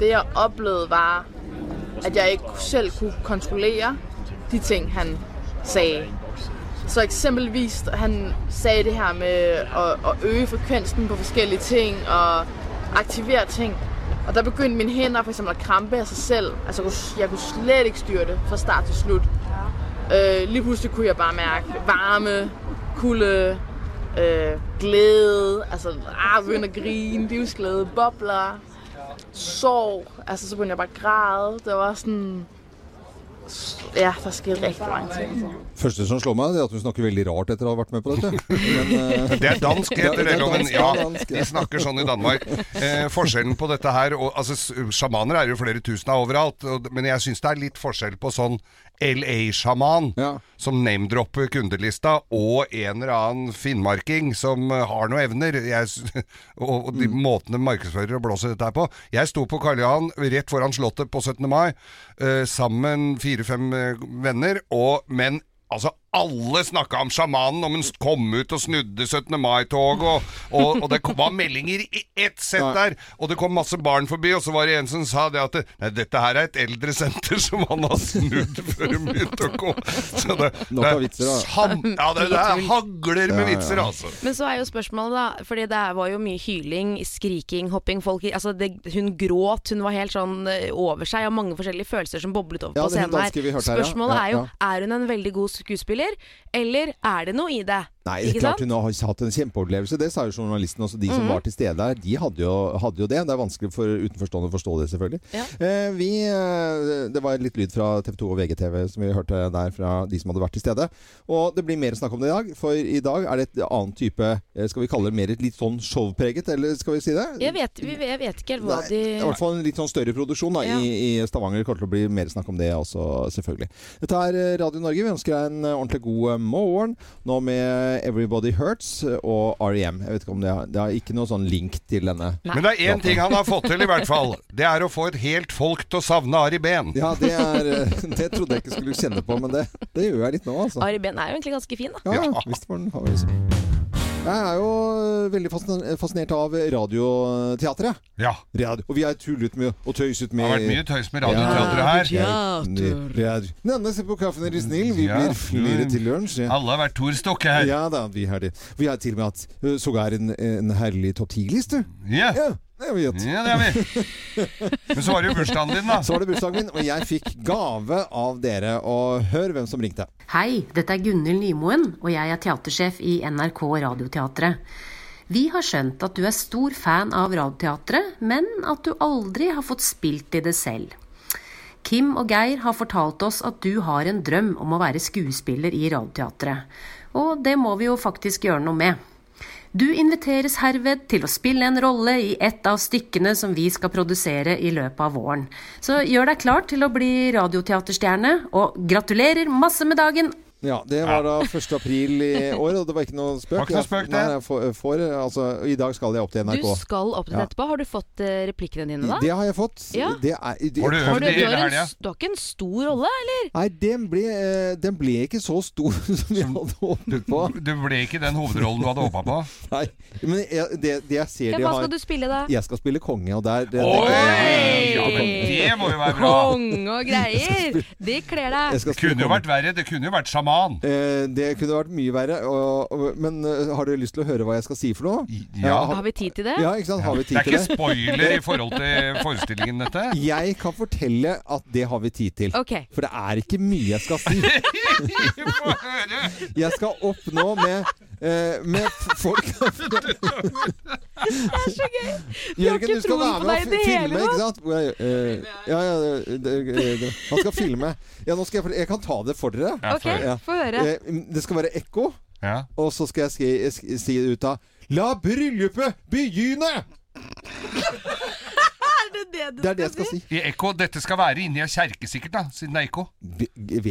[SPEAKER 7] Det jeg oplevede var, at jeg ikke selv kunne kontrollere de ting, han sagde. Så eksempelvis, han sagde det her med at, at øge frekvensen på forskellige ting og aktivere ting. Og der begyndte mine hænder for eksempel at krampe af sig selv. Altså jeg kunne- jeg kunne slet ikke styre det fra start til slut. Øh, lige pludselig kunne jeg bare mærke varme, kulde, øh, glæde, altså ah, begynde at grine, livsglæde, bobler, sorg. Altså så begyndte jeg bare at græde. Det var sådan... Ja, der skete rigtig mange ting.
[SPEAKER 1] første som slår meg, det er at hun snakker veldig rart etter å ha vært med på dette. eh,
[SPEAKER 2] <laughs> Det er dansk, heter det, loven. Ja, de
[SPEAKER 1] dansk,
[SPEAKER 2] snakker sånn i Danmark. Eh, forskjellen på dette her og, altså, s- Sjamaner er jo flere tusen av overalt, og, men jeg syns det er litt forskjell på sånn LA-sjaman, som name-dropper kundelista, og en eller annen finnmarking som eh, har noen evner. Jeg, s- <laughs> og, og de måtene markedsfører og blåser dette her på. Jeg sto på Karl Johan rett foran Slottet på 17. mai, eh, sammen fire-fem eh, venner, og men Altså, alle snakka om sjamanen, om hun kom ut og snudde 17. mai-tog, og, og, og det kom- var meldinger i ett sett der. Og det kom masse barn forbi, og så var det en som sa det at det- Nei, dette her er et eldresenter som han har snudd før hun begynte å komme. <laughs> Så det,
[SPEAKER 1] Nok
[SPEAKER 2] det
[SPEAKER 1] av vitser, da.
[SPEAKER 2] Sam, ja, det, det er hagler
[SPEAKER 1] Ja,
[SPEAKER 2] med
[SPEAKER 1] ja.
[SPEAKER 2] vitser, altså.
[SPEAKER 3] Men så er jo spørsmålet, da, fordi det her var jo mye hyling, skriking, hopping folk, i- altså det, Hun gråt, hun var helt sånn eh, over seg, og mange forskjellige følelser som boblet over
[SPEAKER 1] Ja,
[SPEAKER 3] på
[SPEAKER 1] det er hun
[SPEAKER 3] scenen her.
[SPEAKER 1] danske vi hørte her, ja.
[SPEAKER 3] Spørsmålet
[SPEAKER 1] Ja,
[SPEAKER 3] er jo, er hun en veldig god skuespiller, eller er det noe i det?
[SPEAKER 1] Nei, det er
[SPEAKER 3] Ikke
[SPEAKER 1] klart
[SPEAKER 3] sant?
[SPEAKER 1] hun har hatt en kjempeopplevelse. Det sa jo journalisten også. De som
[SPEAKER 3] Mhm.
[SPEAKER 1] var til stede der, de hadde jo, hadde jo det. Det er vanskelig for utenforstående å forstå det, selvfølgelig. Eh, vi, eh, det var litt lyd fra TV 2 og VGTV som vi hørte der fra de som hadde vært til stede. Og det blir mer snakk om det i dag, for i dag er det et annet type eh, Skal vi kalle det mer et litt sånn showpreget, eller skal vi si det?
[SPEAKER 3] Jeg vet, vi- jeg vet ikke helt hva
[SPEAKER 1] Nei, I
[SPEAKER 3] de
[SPEAKER 1] hvert fall en litt sånn større produksjon da,
[SPEAKER 3] Ja.
[SPEAKER 1] i, i Stavanger. Det kommer til å bli mer snakk om det også, selvfølgelig. Dette er eh, Radio Norge. Vi ønsker deg en eh, ordentlig god eh, morgen. Nå med 'Everybody Hurts' eh, og REM. Jeg vet ikke om det er, det er ikke noe sånn link til denne.
[SPEAKER 2] Men det er én ting han har fått til, i hvert fall. Det er å få et helt folk til å savne Ari Behn.
[SPEAKER 1] Ja, det, er, eh, det trodde jeg ikke skulle kjenne på, men det, det gjør jeg litt nå, altså.
[SPEAKER 3] Ari Behn er jo egentlig ganske fin, da.
[SPEAKER 1] Ja, ja. Visst var den har vi det. Jeg er jo eh, veldig fascin- fascinert av radioteatret.
[SPEAKER 2] Ja.
[SPEAKER 1] Radio. Og vi har tullet med og tøyset med
[SPEAKER 2] Det har vært mye tøys med radioteatret her.
[SPEAKER 1] Radioteater. Nenne seg på kaffen, er de snill. Vi
[SPEAKER 2] Ja. mm.
[SPEAKER 1] blir flere til lunsj.
[SPEAKER 2] Alle har vært Tor Stokke her.
[SPEAKER 1] Ja da, vi har det. Vi har til og med hatt eh, sågar en, en herlig topp ti-liste.
[SPEAKER 2] Ja.
[SPEAKER 1] det har vi hatt.
[SPEAKER 2] Ja, det har vi. Men så var det jo bursdagen din, da.
[SPEAKER 1] Så var det bursdagen min, og jeg fikk gave av dere. Og hør hvem som ringte.
[SPEAKER 8] Hei, dette er Gunhild Nymoen, og jeg er teatersjef i NRK Radioteatret. Vi har skjønt at du er stor fan av Radioteatret, men at du aldri har fått spilt i det selv. Kim og Geir har fortalt oss at du har en drøm om å være skuespiller i Radioteatret. Og det må vi jo faktisk gjøre noe med. Du inviteres herved til å spille en rolle i et av stykkene som vi skal produsere i løpet av våren. Så gjør deg klar til å bli radioteaterstjerne, og gratulerer masse med dagen!
[SPEAKER 1] Ja, Det var da 1. april i år, og det var ikke noe spøk.
[SPEAKER 2] Var ikke noe spøk, det.
[SPEAKER 1] Nei, jeg får, får, altså, I dag skal jeg opp til NRK.
[SPEAKER 3] Du skal opp til
[SPEAKER 1] Ja.
[SPEAKER 3] etterpå. Har du fått eh, replikkene dine, da?
[SPEAKER 1] Det har jeg fått.
[SPEAKER 3] Ja.
[SPEAKER 1] Det er, det,
[SPEAKER 3] Har du, har du, har en, s- du har ikke en stor rolle, eller?
[SPEAKER 1] Nei, den ble, eh, den ble ikke så stor som jeg hadde håpet på.
[SPEAKER 2] Du ble ikke den hovedrollen du hadde håpa på?
[SPEAKER 1] Nei, men jeg, det, det jeg ser
[SPEAKER 3] Ja,
[SPEAKER 1] de
[SPEAKER 3] hva
[SPEAKER 1] har
[SPEAKER 3] skal du spille, da?
[SPEAKER 1] Jeg skal spille konge, og der det,
[SPEAKER 2] Oi! Ja, men det må jo være bra.
[SPEAKER 3] Konge
[SPEAKER 1] <laughs>
[SPEAKER 3] og greier! Det kler deg.
[SPEAKER 2] Det kunne jo vært verre. Det kunne jo vært sjaman.
[SPEAKER 1] Eh, det kunne vært mye verre. Og, og, men eh, har dere lyst til å høre hva jeg skal si for noe?
[SPEAKER 2] ja.
[SPEAKER 3] Har vi tid til det?
[SPEAKER 1] Ja, ikke sant? Har vi
[SPEAKER 2] Det
[SPEAKER 1] tid
[SPEAKER 2] er
[SPEAKER 1] til
[SPEAKER 2] ikke
[SPEAKER 1] det?
[SPEAKER 2] spoiler i forhold til forestillingen, dette.
[SPEAKER 1] Jeg kan fortelle at det har vi tid til.
[SPEAKER 2] Ok.
[SPEAKER 1] For det er ikke mye jeg skal si. Jeg skal opp nå med, eh, med f- folk
[SPEAKER 3] Det er så gøy! Vi
[SPEAKER 1] Jørgen,
[SPEAKER 3] har ikke
[SPEAKER 1] du skal
[SPEAKER 3] troen
[SPEAKER 1] være
[SPEAKER 3] på
[SPEAKER 1] med og
[SPEAKER 3] deg i
[SPEAKER 1] fi-
[SPEAKER 3] det
[SPEAKER 1] filme,
[SPEAKER 3] hele
[SPEAKER 1] ikke
[SPEAKER 3] tatt.
[SPEAKER 1] sant? Hvor jeg, eh, ja, ja, det, det- det, han skal filme. Ja, nå skal jeg, for- jeg kan ta det for dere.
[SPEAKER 3] Ja, få Ok, høre. få høre.
[SPEAKER 1] Eh, Det skal være ekko, og så skal jeg si, sk- si det ut av La bryllupet begynne!
[SPEAKER 3] Er det det
[SPEAKER 1] <laughs>
[SPEAKER 3] du
[SPEAKER 1] Det er det jeg skal si.
[SPEAKER 2] I Ekko, Dette skal være inni ei kjerke, sikkert, da, siden det er Ekko.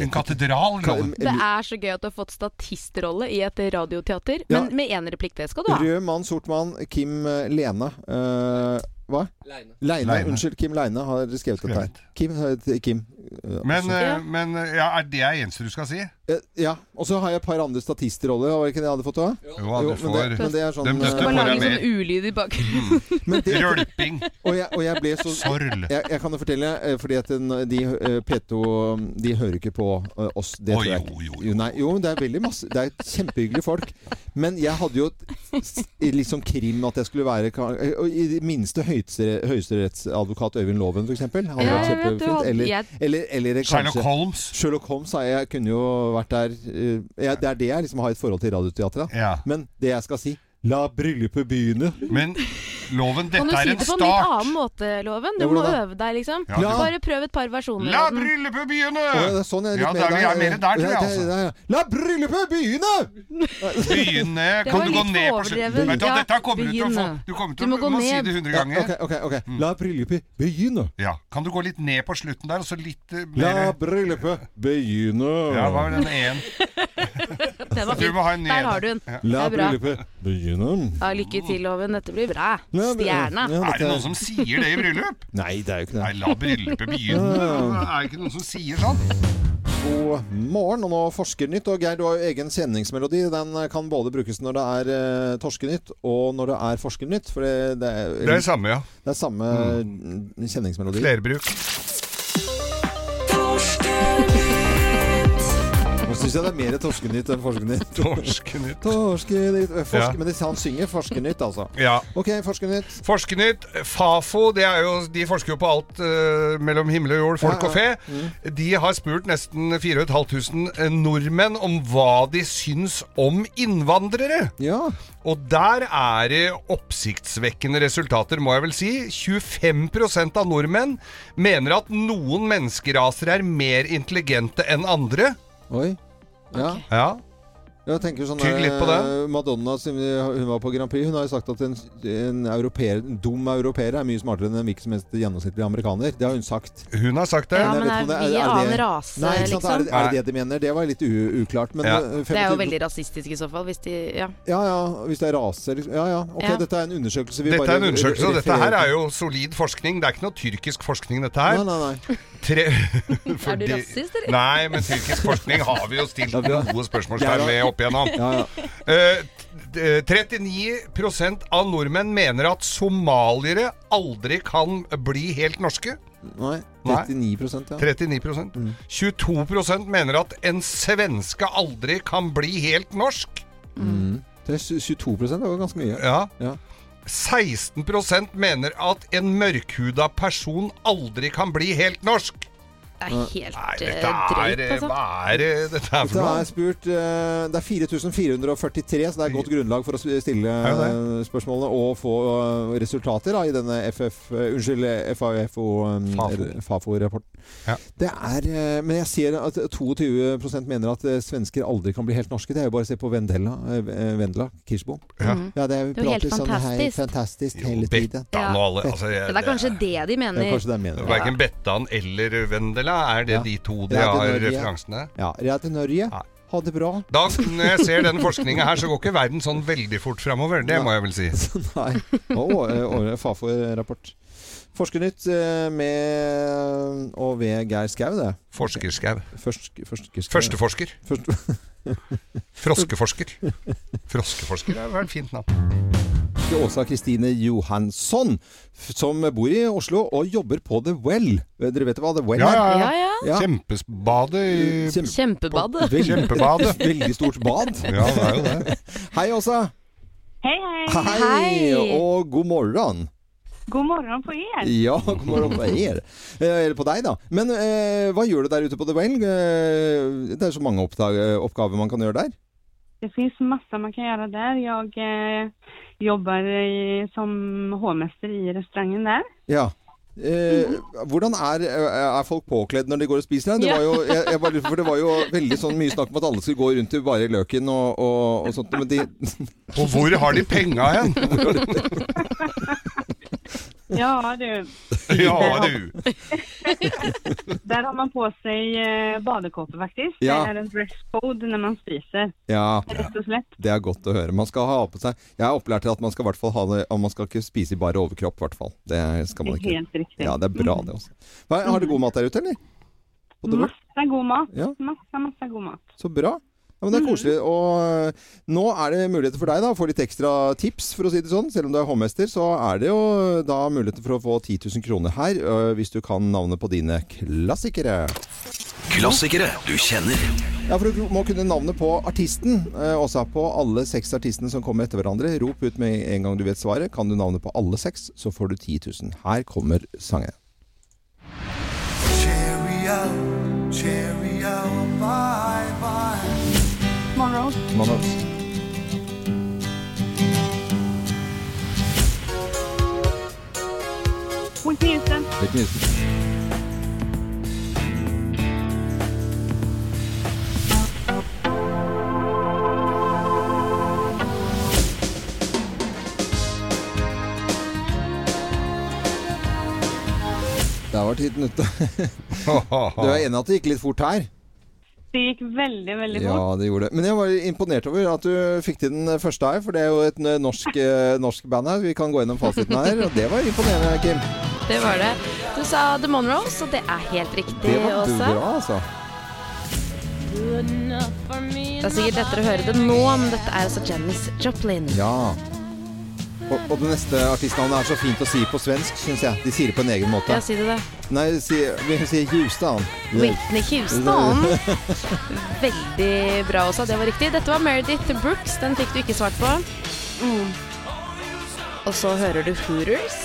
[SPEAKER 1] En
[SPEAKER 2] katedral. Loven.
[SPEAKER 3] Det er så gøy at du har fått statistrolle i et radioteater,
[SPEAKER 1] Ja.
[SPEAKER 3] men med én replikk, det skal du ha.
[SPEAKER 1] Rød mann, sort mann, Kim eh, Lene. Eh, Hva?
[SPEAKER 9] Leine.
[SPEAKER 2] Leine.
[SPEAKER 1] Unnskyld, Kim Leine har skrevet dette her. Kim, eh, Kim eh,
[SPEAKER 2] Men,
[SPEAKER 1] altså.
[SPEAKER 2] eh, men eh, ja, er det eneste du skal si?
[SPEAKER 1] Eh, Ja, og så har jeg et par andre statistroller. Var det ikke det jeg hadde fått òg?
[SPEAKER 2] Jo, du får-
[SPEAKER 1] men det er sånn
[SPEAKER 2] Dem-
[SPEAKER 1] eh,
[SPEAKER 2] dette får jeg med.
[SPEAKER 3] ulyd i bakgrunnen.
[SPEAKER 1] Mm. men det-
[SPEAKER 2] Rølping.
[SPEAKER 1] Og jeg, og jeg ble så <laughs>
[SPEAKER 2] Sorl.
[SPEAKER 1] Jeg, jeg kan jo fortelle, eh, fordi at den, de eh, P2 De hører ikke på eh, oss. Det
[SPEAKER 2] Å,
[SPEAKER 1] tror jeg
[SPEAKER 2] jo,
[SPEAKER 1] ikke. Jo, nei, jo, det er veldig masse Det er kjempehyggelige folk. Men jeg hadde jo et s- litt sånn krim at jeg skulle være ka- eh, og I det minste høyeste- høyesterettsadvokat Øyvind Loven, f.eks.
[SPEAKER 3] Ja, jeg vet, du hadde-
[SPEAKER 1] Eller,
[SPEAKER 3] jeg-
[SPEAKER 1] eller, eller kanskje
[SPEAKER 2] Sherlock Holmes.
[SPEAKER 1] Sherlock Holmes, ja, jeg kunne jo vært der eh, jeg, Det er det jeg liksom har et forhold til radioteatret. da. Men det jeg skal si La bryllupet begynne.
[SPEAKER 2] Men loven,
[SPEAKER 3] Kan du si det på en litt annen måte, Loven?
[SPEAKER 1] Ja,
[SPEAKER 3] Du må
[SPEAKER 1] hvordan da?
[SPEAKER 3] øve deg, liksom.
[SPEAKER 1] Ja, du-
[SPEAKER 3] Bare prøv et par versjoner.
[SPEAKER 2] La
[SPEAKER 3] av den.
[SPEAKER 2] bryllupet begynne!
[SPEAKER 1] Å, det er sånn jeg er litt
[SPEAKER 2] Ja,
[SPEAKER 1] mer
[SPEAKER 2] da er vi-
[SPEAKER 1] der,
[SPEAKER 2] er mer
[SPEAKER 1] ja.
[SPEAKER 2] der, tror jeg,
[SPEAKER 1] Ja, det-
[SPEAKER 2] altså.
[SPEAKER 1] det er- La bryllupet
[SPEAKER 3] <laughs>
[SPEAKER 1] begynne!
[SPEAKER 2] Begynne.
[SPEAKER 1] Det
[SPEAKER 2] eh, Kan
[SPEAKER 1] var
[SPEAKER 2] du gå
[SPEAKER 1] litt
[SPEAKER 2] ned på slutten?
[SPEAKER 1] overdrevet.
[SPEAKER 2] Vet du, hva,
[SPEAKER 1] Ja,
[SPEAKER 2] dette kommer du til å få
[SPEAKER 1] begynne.
[SPEAKER 2] Du kommer
[SPEAKER 1] Du
[SPEAKER 2] til
[SPEAKER 1] må
[SPEAKER 2] å
[SPEAKER 1] gå
[SPEAKER 2] må si
[SPEAKER 1] ned.
[SPEAKER 2] det 100
[SPEAKER 1] Ja,
[SPEAKER 2] ganger. Mm.
[SPEAKER 1] ok, ok, ok. La bryllupet begynne.
[SPEAKER 2] Ja. Kan du gå litt ned på slutten der, og så litt eh,
[SPEAKER 1] La
[SPEAKER 2] mer
[SPEAKER 1] bryllupet begynne.
[SPEAKER 2] Ja, hva var den én?
[SPEAKER 3] Den var
[SPEAKER 2] Du
[SPEAKER 3] fin.
[SPEAKER 2] må ha en
[SPEAKER 3] Der
[SPEAKER 2] ned.
[SPEAKER 3] har du den.
[SPEAKER 2] Ja.
[SPEAKER 3] Det
[SPEAKER 1] La
[SPEAKER 3] er bra.
[SPEAKER 1] bryllupet begynne.
[SPEAKER 3] Ja, lykke til, Loven. Dette blir bra.
[SPEAKER 1] Ja, det-
[SPEAKER 3] Stjerna.
[SPEAKER 1] ja, dette-
[SPEAKER 2] sier det i bryllup?
[SPEAKER 1] Nei, det er jo ikke det.
[SPEAKER 2] Nei, la bryllupet begynne. Det
[SPEAKER 1] Ja.
[SPEAKER 2] er ikke noen som sier sånn.
[SPEAKER 1] <laughs> God morgen, og nå Forskernytt. Og Geir, du har jo egen kjenningsmelodi. Den kan både brukes når det er eh, Torskenytt, og når det er Forskernytt. For det, det er
[SPEAKER 2] Det er det samme, ja. Mm.
[SPEAKER 1] Det er samme eh, kjenningsmelodi.
[SPEAKER 2] Flerbruk.
[SPEAKER 1] Nå syns jeg det er mer Torskenytt enn Forskernytt.
[SPEAKER 2] <laughs> Torskenytt.
[SPEAKER 1] Torskenytt. Eh, Forsk,
[SPEAKER 2] Ja.
[SPEAKER 1] Men det, han synger Forskernytt, altså.
[SPEAKER 2] Ja.
[SPEAKER 1] Ok, Forskernytt.
[SPEAKER 2] Forskernytt, Fafo, det er jo, de forsker jo på alt eh, mellom himmel og jord, folk
[SPEAKER 1] Ja, Mm. ja.
[SPEAKER 2] og fe. De har spurt nesten 4500 eh, nordmenn om hva de syns om innvandrere. Og der er det oppsiktsvekkende resultater, må jeg vel si. 25 av nordmenn mener at noen menneskeraser er mer intelligente enn andre.
[SPEAKER 1] Oi. Ja.
[SPEAKER 2] Ja.
[SPEAKER 1] Jeg tenker sånn
[SPEAKER 2] Tygg litt på det.
[SPEAKER 1] eh, Madonna, siden vi- hun var på Grand Prix, hun har jo sagt at en, en, europeer, en dum europeer er mye smartere enn en hvilken som helst gjennomsnittlig amerikaner. Det har hun sagt.
[SPEAKER 2] Hun har sagt det.
[SPEAKER 3] Ja,
[SPEAKER 1] jeg
[SPEAKER 3] men
[SPEAKER 1] vet
[SPEAKER 3] er
[SPEAKER 1] ikke om
[SPEAKER 3] vi
[SPEAKER 1] det-
[SPEAKER 3] annen rase,
[SPEAKER 1] Nei, ikke sant? Er det, er
[SPEAKER 3] liksom?
[SPEAKER 1] det det de mener? Det var litt u uklart. Men
[SPEAKER 2] Ja.
[SPEAKER 1] eh,
[SPEAKER 3] Det er
[SPEAKER 1] 25
[SPEAKER 3] jo veldig rasistisk i så fall, hvis de Ja.
[SPEAKER 1] Ja ja, hvis det er raser liksom. Ja ja. Ok,
[SPEAKER 3] Ja.
[SPEAKER 1] dette er en undersøkelse. Vi
[SPEAKER 2] Dette
[SPEAKER 1] bare
[SPEAKER 2] er en undersøkelse, og dette
[SPEAKER 1] refererer
[SPEAKER 2] her
[SPEAKER 1] til.
[SPEAKER 2] er jo solid forskning. Det er ikke noe tyrkisk forskning, dette her.
[SPEAKER 1] Nei, nei, nei.
[SPEAKER 2] Tre...
[SPEAKER 3] <laughs> Er du rasist, eller?
[SPEAKER 2] Nei, men tyrkisk forskning har vi jo stilt gode spørsmålstegn ved opp igjennom.
[SPEAKER 1] Ja, ja.
[SPEAKER 2] Eh, t- eh, 39 av nordmenn mener at somaliere aldri kan bli helt norske.
[SPEAKER 1] Nei,
[SPEAKER 2] Nei.
[SPEAKER 1] 39 ja.
[SPEAKER 2] 39 22 mener at en svenske aldri kan bli helt norsk.
[SPEAKER 1] Mm. Det er 22 det var ganske mye.
[SPEAKER 2] Ja.
[SPEAKER 1] Ja.
[SPEAKER 2] 16 mener at en mørkhuda person aldri kan bli helt norsk.
[SPEAKER 3] Det er helt
[SPEAKER 2] Nei,
[SPEAKER 3] eh,
[SPEAKER 2] dette er,
[SPEAKER 3] drøyt, altså.
[SPEAKER 2] Hva er det dette er for
[SPEAKER 1] Det
[SPEAKER 2] noe?
[SPEAKER 1] er spurt eh, Det er 4443, så det er godt grunnlag for å sp- stille eh, spørsmålene og få eh, resultater da, i denne FF, eh, unnskyld, um, FAFO-rapporten. Det er eh, Men jeg ser at 22 mener at eh, svensker aldri kan bli helt norske. Det er jo bare å se på Vendela, eh, eh, Vendela Kirsbo.
[SPEAKER 2] Ja.
[SPEAKER 1] det er,
[SPEAKER 3] Mhm. Det er jo helt
[SPEAKER 1] sånn her
[SPEAKER 3] fantastisk.
[SPEAKER 1] fantastisk hele tiden.
[SPEAKER 2] Bettan og alle altså, jeg,
[SPEAKER 3] Men det er kanskje det de mener.
[SPEAKER 1] Det er kanskje det de mener.
[SPEAKER 2] det- Verken Bettan eller Vendela, er det
[SPEAKER 1] Ja.
[SPEAKER 2] de to de
[SPEAKER 1] Reate
[SPEAKER 2] har
[SPEAKER 1] Norge.
[SPEAKER 2] referansene?
[SPEAKER 1] Ja. Rea til Norge. Ha det bra.
[SPEAKER 2] Da, når jeg ser den forskninga her, så går ikke verden sånn veldig fort framover. Det må jeg
[SPEAKER 1] <laughs>
[SPEAKER 2] vel si.
[SPEAKER 1] Nei. Og årets Fafo-rapport. Forskernytt eh, med og ved Geir Skau, det.
[SPEAKER 2] Forskerskau.
[SPEAKER 1] Først, førstekerskau.
[SPEAKER 2] Førsteforsker.
[SPEAKER 1] Først, <laughs>
[SPEAKER 2] Froskeforsker. Froskeforsker er vel et fint navn.
[SPEAKER 1] til Åsa Kristine Johansson, f- som bor i Oslo og jobber på The Well. Dere vet hva The Well
[SPEAKER 2] Ja,
[SPEAKER 1] er?
[SPEAKER 2] ja, ja. Kjempebadet i
[SPEAKER 1] Kjempe-
[SPEAKER 3] Kjempebadet.
[SPEAKER 1] Vel-
[SPEAKER 2] Kjempebadet.
[SPEAKER 1] <laughs> Veldig stort bad.
[SPEAKER 2] Ja, det er jo det.
[SPEAKER 1] Hei, Åsa.
[SPEAKER 10] Hei, hei.
[SPEAKER 1] og god morgen.
[SPEAKER 10] God morgon på er.
[SPEAKER 1] <laughs> Ja, god morgen på er. Eh, Eller på deg, da. Men eh, hva gjør du der ute på The Well? Eh, det er så mange oppdag oppgaver man kan gjøre der.
[SPEAKER 10] Det finns massa man kan göra där. Jag eh, jobbar i, som hovmästare i restaurangen
[SPEAKER 1] <laughs>
[SPEAKER 10] där.
[SPEAKER 1] Ja. Eh, Hvordan er, eh, er folk påkledd når de går og spiser her? Det
[SPEAKER 10] Ja.
[SPEAKER 1] var jo, jeg, jeg bare, lurer på, for det var jo veldig sånn mye snakk om at alle skulle gå rundt i bare løken og, og, og sånt.
[SPEAKER 2] <laughs>
[SPEAKER 1] Sånn, Men de <laughs>
[SPEAKER 2] Og hvor har de penga hen?
[SPEAKER 10] Ja du.
[SPEAKER 2] Ja, du.
[SPEAKER 10] <laughs> Där har man på sig eh, badekåpor faktiskt.
[SPEAKER 1] Ja.
[SPEAKER 10] Det är en dresscode när man spiser.
[SPEAKER 1] Ja,
[SPEAKER 10] Rett og slett.
[SPEAKER 1] det er godt å høre. Man skal ha på seg Jeg er opplært til at man skal i hvert fall ha det og Man skal ikke spise i bare overkropp, i hvert fall. Det skal man ikke.
[SPEAKER 10] Helt riktig. Mhm.
[SPEAKER 1] Ja, det er bra, det også. Hva, har dere god mat der ute, eller? På Dover?
[SPEAKER 10] Masse god mat.
[SPEAKER 1] Ja.
[SPEAKER 10] Masse, masse god mat.
[SPEAKER 1] Så bra. Ja, men Det er koselig. Og øh, nå er det muligheter for deg da, å få litt ekstra tips, for å si det sånn. Selv om du er hovmester, så er det jo eh, da muligheter for å få 10 000 kroner her, øh, hvis du kan navnet på dine klassikere.
[SPEAKER 11] Klassikere du kjenner.
[SPEAKER 1] Ja, for Du må kunne navnet på artisten, øh, også på alle seks artistene som kommer etter hverandre. Rop ut med en gang du vet svaret. Kan du navnet på alle seks, så får du 10 000. Her kommer sangen.
[SPEAKER 12] Cheerio, cheerio, bye bye.
[SPEAKER 10] Morrow.
[SPEAKER 1] Man har-
[SPEAKER 10] Whitney Houston.
[SPEAKER 1] Whitney Houston. Der var tiden ute. <laughs> Du er enig at det gikk litt fort her?
[SPEAKER 10] Det gikk veldig, veldig fort.
[SPEAKER 1] Ja, det gjorde det. Men jeg var imponert over at du fikk til den første her, for det er jo et eh,
[SPEAKER 3] <laughs>
[SPEAKER 1] norsk, eh, norsk band her. Vi kan gå gjennom fasiten her, og det var imponerende, Kim.
[SPEAKER 3] Det var det. Du sa The Monroes, og det er helt riktig
[SPEAKER 1] Det var
[SPEAKER 3] også.
[SPEAKER 1] bra, altså.
[SPEAKER 3] Det er sikkert lettere å høre det nå, men dette er altså Janis Joplin.
[SPEAKER 1] Ja. Og, og det neste artistnavnet er så fint å si på svensk, syns jeg. De sier det på en egen måte.
[SPEAKER 3] Ja, si det, da.
[SPEAKER 1] Nei, si, vi sier Houston.
[SPEAKER 3] Whitney Houston. Veldig bra også, det var riktig. Dette var Meredith Brooks, den fikk du ikke svart på. Mm. Og så hører du Hooters.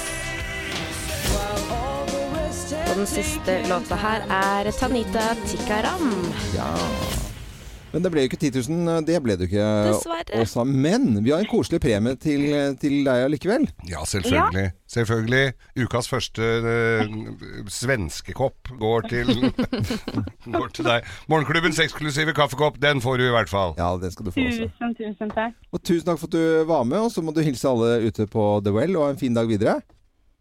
[SPEAKER 3] Og den siste låta her er Tanita Tikaram.
[SPEAKER 1] <laughs> Ja. Men det ble jo ikke 10 000. Det ble det jo ikke. eh,
[SPEAKER 3] Dessverre.
[SPEAKER 1] Åsa. Men vi har en koselig premie til, eh, til deg allikevel.
[SPEAKER 2] Ja, selvfølgelig. Selvfølgelig. Ukas første eh, svenskekopp går til, <laughs> går til deg. Morgenklubbens eksklusive kaffekopp, den får du i hvert fall.
[SPEAKER 1] Ja, den skal du
[SPEAKER 10] Tusen, tusen takk.
[SPEAKER 1] Og tusen takk for at du var med, og så må du hilse alle ute på The Well, og ha en fin dag videre.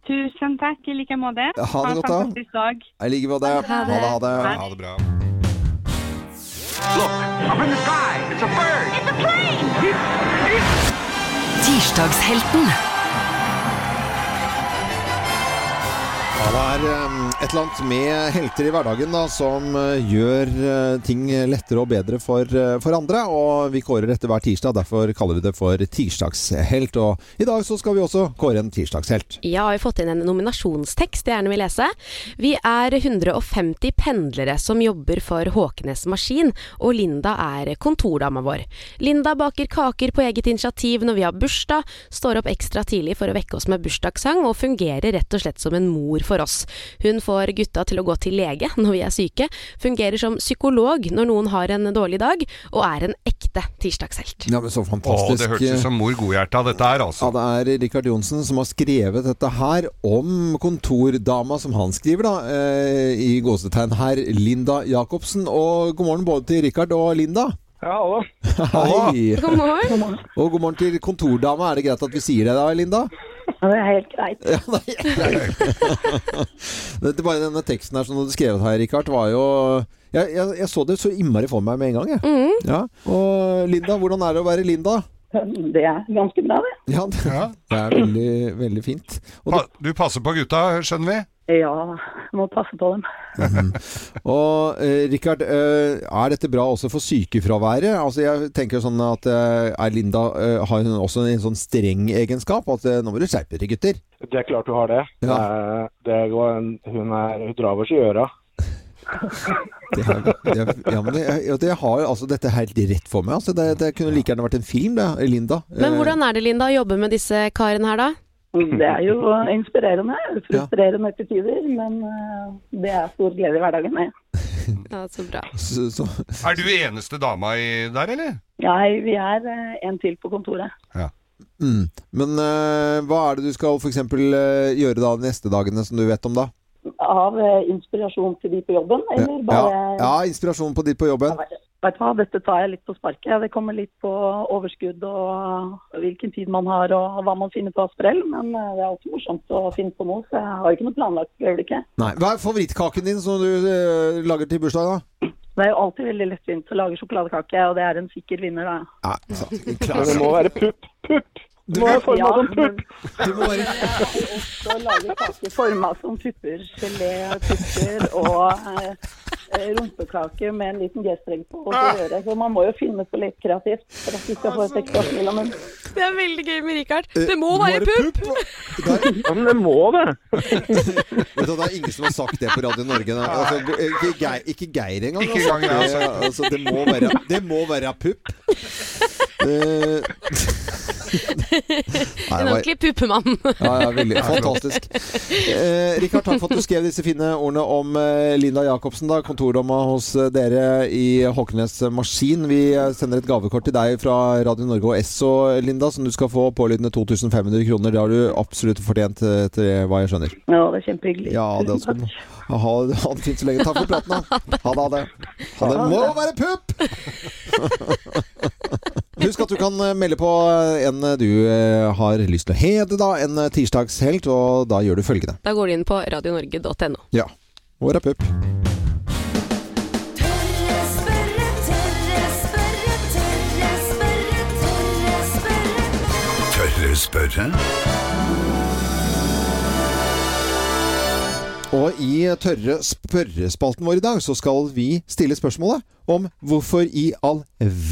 [SPEAKER 10] Tusen takk i like måte.
[SPEAKER 1] det
[SPEAKER 10] Ha en
[SPEAKER 1] godt, da.
[SPEAKER 10] fantastisk dag.
[SPEAKER 1] Jeg ligger med deg.
[SPEAKER 10] Ha det.
[SPEAKER 1] Ha det.
[SPEAKER 10] Ha det. Ha
[SPEAKER 2] det bra.
[SPEAKER 12] Up in the sky, it's a bird. It's a plane.
[SPEAKER 8] Tirsdagshelten.
[SPEAKER 1] Ja, det er eh, et eller annet med helter i hverdagen da, som eh, gjør eh, ting lettere og bedre for, eh, for andre. Og vi kårer dette hver tirsdag, derfor kaller vi det for tirsdagshelt. Og i dag så skal vi også kåre en tirsdagshelt.
[SPEAKER 3] Ja, vi har fått inn en nominasjonstekst jeg gjerne vil lese. Vi er 150 pendlere som jobber for Håkenes Maskin, og Linda er kontordama vår. Linda baker kaker på eget initiativ når vi har bursdag, står opp ekstra tidlig for å vekke oss med bursdagssang, og fungerer rett og slett som en mor for oss. Hun får gutta til å gå til lege når vi er syke, fungerer som psykolog når noen har en dårlig dag, og er en ekte tirsdagshelt.
[SPEAKER 1] Ja, men så
[SPEAKER 2] Å,
[SPEAKER 1] fantastisk.
[SPEAKER 2] det hørtes ut som mor Godhjerta, dette her, altså.
[SPEAKER 1] Ja, det er Rikard Johnsen som har skrevet dette her om kontordama, som han skriver, da, eh, i gåsetegn her, Linda Jacobsen. Og god morgen både til Rikard og Linda.
[SPEAKER 13] Ja, hallo.
[SPEAKER 1] Hei.
[SPEAKER 13] God morgen. God
[SPEAKER 1] Og god morgen til kontordama. Er det greit at vi sier det da, Linda?
[SPEAKER 13] Det er helt greit.
[SPEAKER 1] Ja, <laughs> det er helt greit. Dette bare denne teksten her som du hadde skrevet her, Rikard, var jo jeg, jeg, jeg så det så innmari for meg med en gang, jeg. Ja. Og Linda, hvordan er det å være Linda?
[SPEAKER 13] Det er ganske bra, det.
[SPEAKER 1] Ja, det, det er veldig, veldig fint.
[SPEAKER 2] Pa, du passer på gutta, skjønner vi?
[SPEAKER 13] Ja, må passe på dem.
[SPEAKER 1] <laughs> Og eh, Rikard, eh, er dette bra også for sykefraværet? Altså jeg tenker sånn at eh, er Linda eh, har hun også en sånn streng egenskap? At eh, nå må du skjerpe dere, gutter.
[SPEAKER 13] Det er klart du har det.
[SPEAKER 1] Ja.
[SPEAKER 13] Eh, Det går en, hun, er, hun drar oss i øra.
[SPEAKER 1] <laughs> Det er, det er, ja, men jeg, jeg, jeg har altså dette helt rett for meg. Altså, det, det kunne like gjerne vært en film, det, Linda. Eh,
[SPEAKER 3] Men hvordan er det, Linda, å jobbe med disse karene her, da?
[SPEAKER 13] Det er jo inspirerende. Frustrerende til tider, men eh, det er stor glede i hverdagen. det.
[SPEAKER 3] Ja, så bra.
[SPEAKER 2] Er du eneste dama i der, eller?
[SPEAKER 13] Nei, vi er eh, en til på kontoret.
[SPEAKER 1] Mm. Men eh, hva er det du skal f.eks. Uh, gjøre da de neste dagene som du vet om, da?
[SPEAKER 13] Av eh, inspirasjon til de på jobben, eller
[SPEAKER 1] Ja,
[SPEAKER 13] bare
[SPEAKER 1] ja inspirasjon på ditt på jobben.
[SPEAKER 13] Vet du hva, dette tar jeg litt på sparket. Det kommer litt på overskudd og hvilken tid man har og hva man finner på av sprell. Men eh, det er alltid morsomt å finne på noe, så jeg har ikke noe planlagt for øyeblikket.
[SPEAKER 1] Nei. Hva er favorittkaken din som du eh, lager til bursdag, da?
[SPEAKER 13] Det er jo alltid veldig lettvint å lage sjokoladekake, og det er en sikker vinner,
[SPEAKER 1] <laughs>
[SPEAKER 13] da.
[SPEAKER 1] Nei, sa- klar.
[SPEAKER 14] Det må være pupp. Pupp! Det må være forma som pupp.
[SPEAKER 13] <laughs> Også lage kake forma som pupper. Gelé, pupper og eh, eh, rumpekake med en liten G-streng på. Og
[SPEAKER 14] Ah.
[SPEAKER 13] så røre. Så man må jo finne på litt kreativt for at vi skal få et ekstra smil om munnen.
[SPEAKER 3] Det er veldig gøy med Richard.
[SPEAKER 1] Eh,
[SPEAKER 3] Det må være pupp!
[SPEAKER 14] Ja, men det må det.
[SPEAKER 1] <laughs> Vet du, det er ingen som har sagt det på Radio Norge. Nei. Altså, ikke, Geir, ikke Geir engang.
[SPEAKER 2] Ikke engang,
[SPEAKER 1] det,
[SPEAKER 2] ja, altså.
[SPEAKER 1] altså, det må være, det må være <laughs> pupp. Eh, Nei,
[SPEAKER 3] En
[SPEAKER 1] det var-
[SPEAKER 3] ordentlig puppemann.
[SPEAKER 1] ja, <laughs> ja, veldig fantastisk. Eh, Rikard, takk for at du skrev disse fine ordene om eh, Linda Jacobsen, da, kontordama hos eh, dere i Håknes Maskin. Vi eh, sender et gavekort til deg fra Radio Norge og Esso, Linda, som du skal få pålydende 2500 kroner. Det har du absolutt fortjent, eh, etter hva jeg skjønner.
[SPEAKER 13] Ja, det er kjempehyggelig.
[SPEAKER 1] Ja, det skal du ha, ha det fint så lenge. Takk for praten, da. Ha det, ha det. Ha det.
[SPEAKER 3] <laughs>
[SPEAKER 1] Må være pupp! Husk at du kan eh, melde på en eh, du eh, har lyst til å hede, da. En eh, tirsdagshelt, og da gjør du følgende.
[SPEAKER 3] <laughs> Da går de inn på radionorge.no.
[SPEAKER 1] Ja. Og rapp opp.
[SPEAKER 11] Tørre spørre?
[SPEAKER 1] Og i tørre spørrespalten vår i dag så skal vi stille spørsmålet om hvorfor i all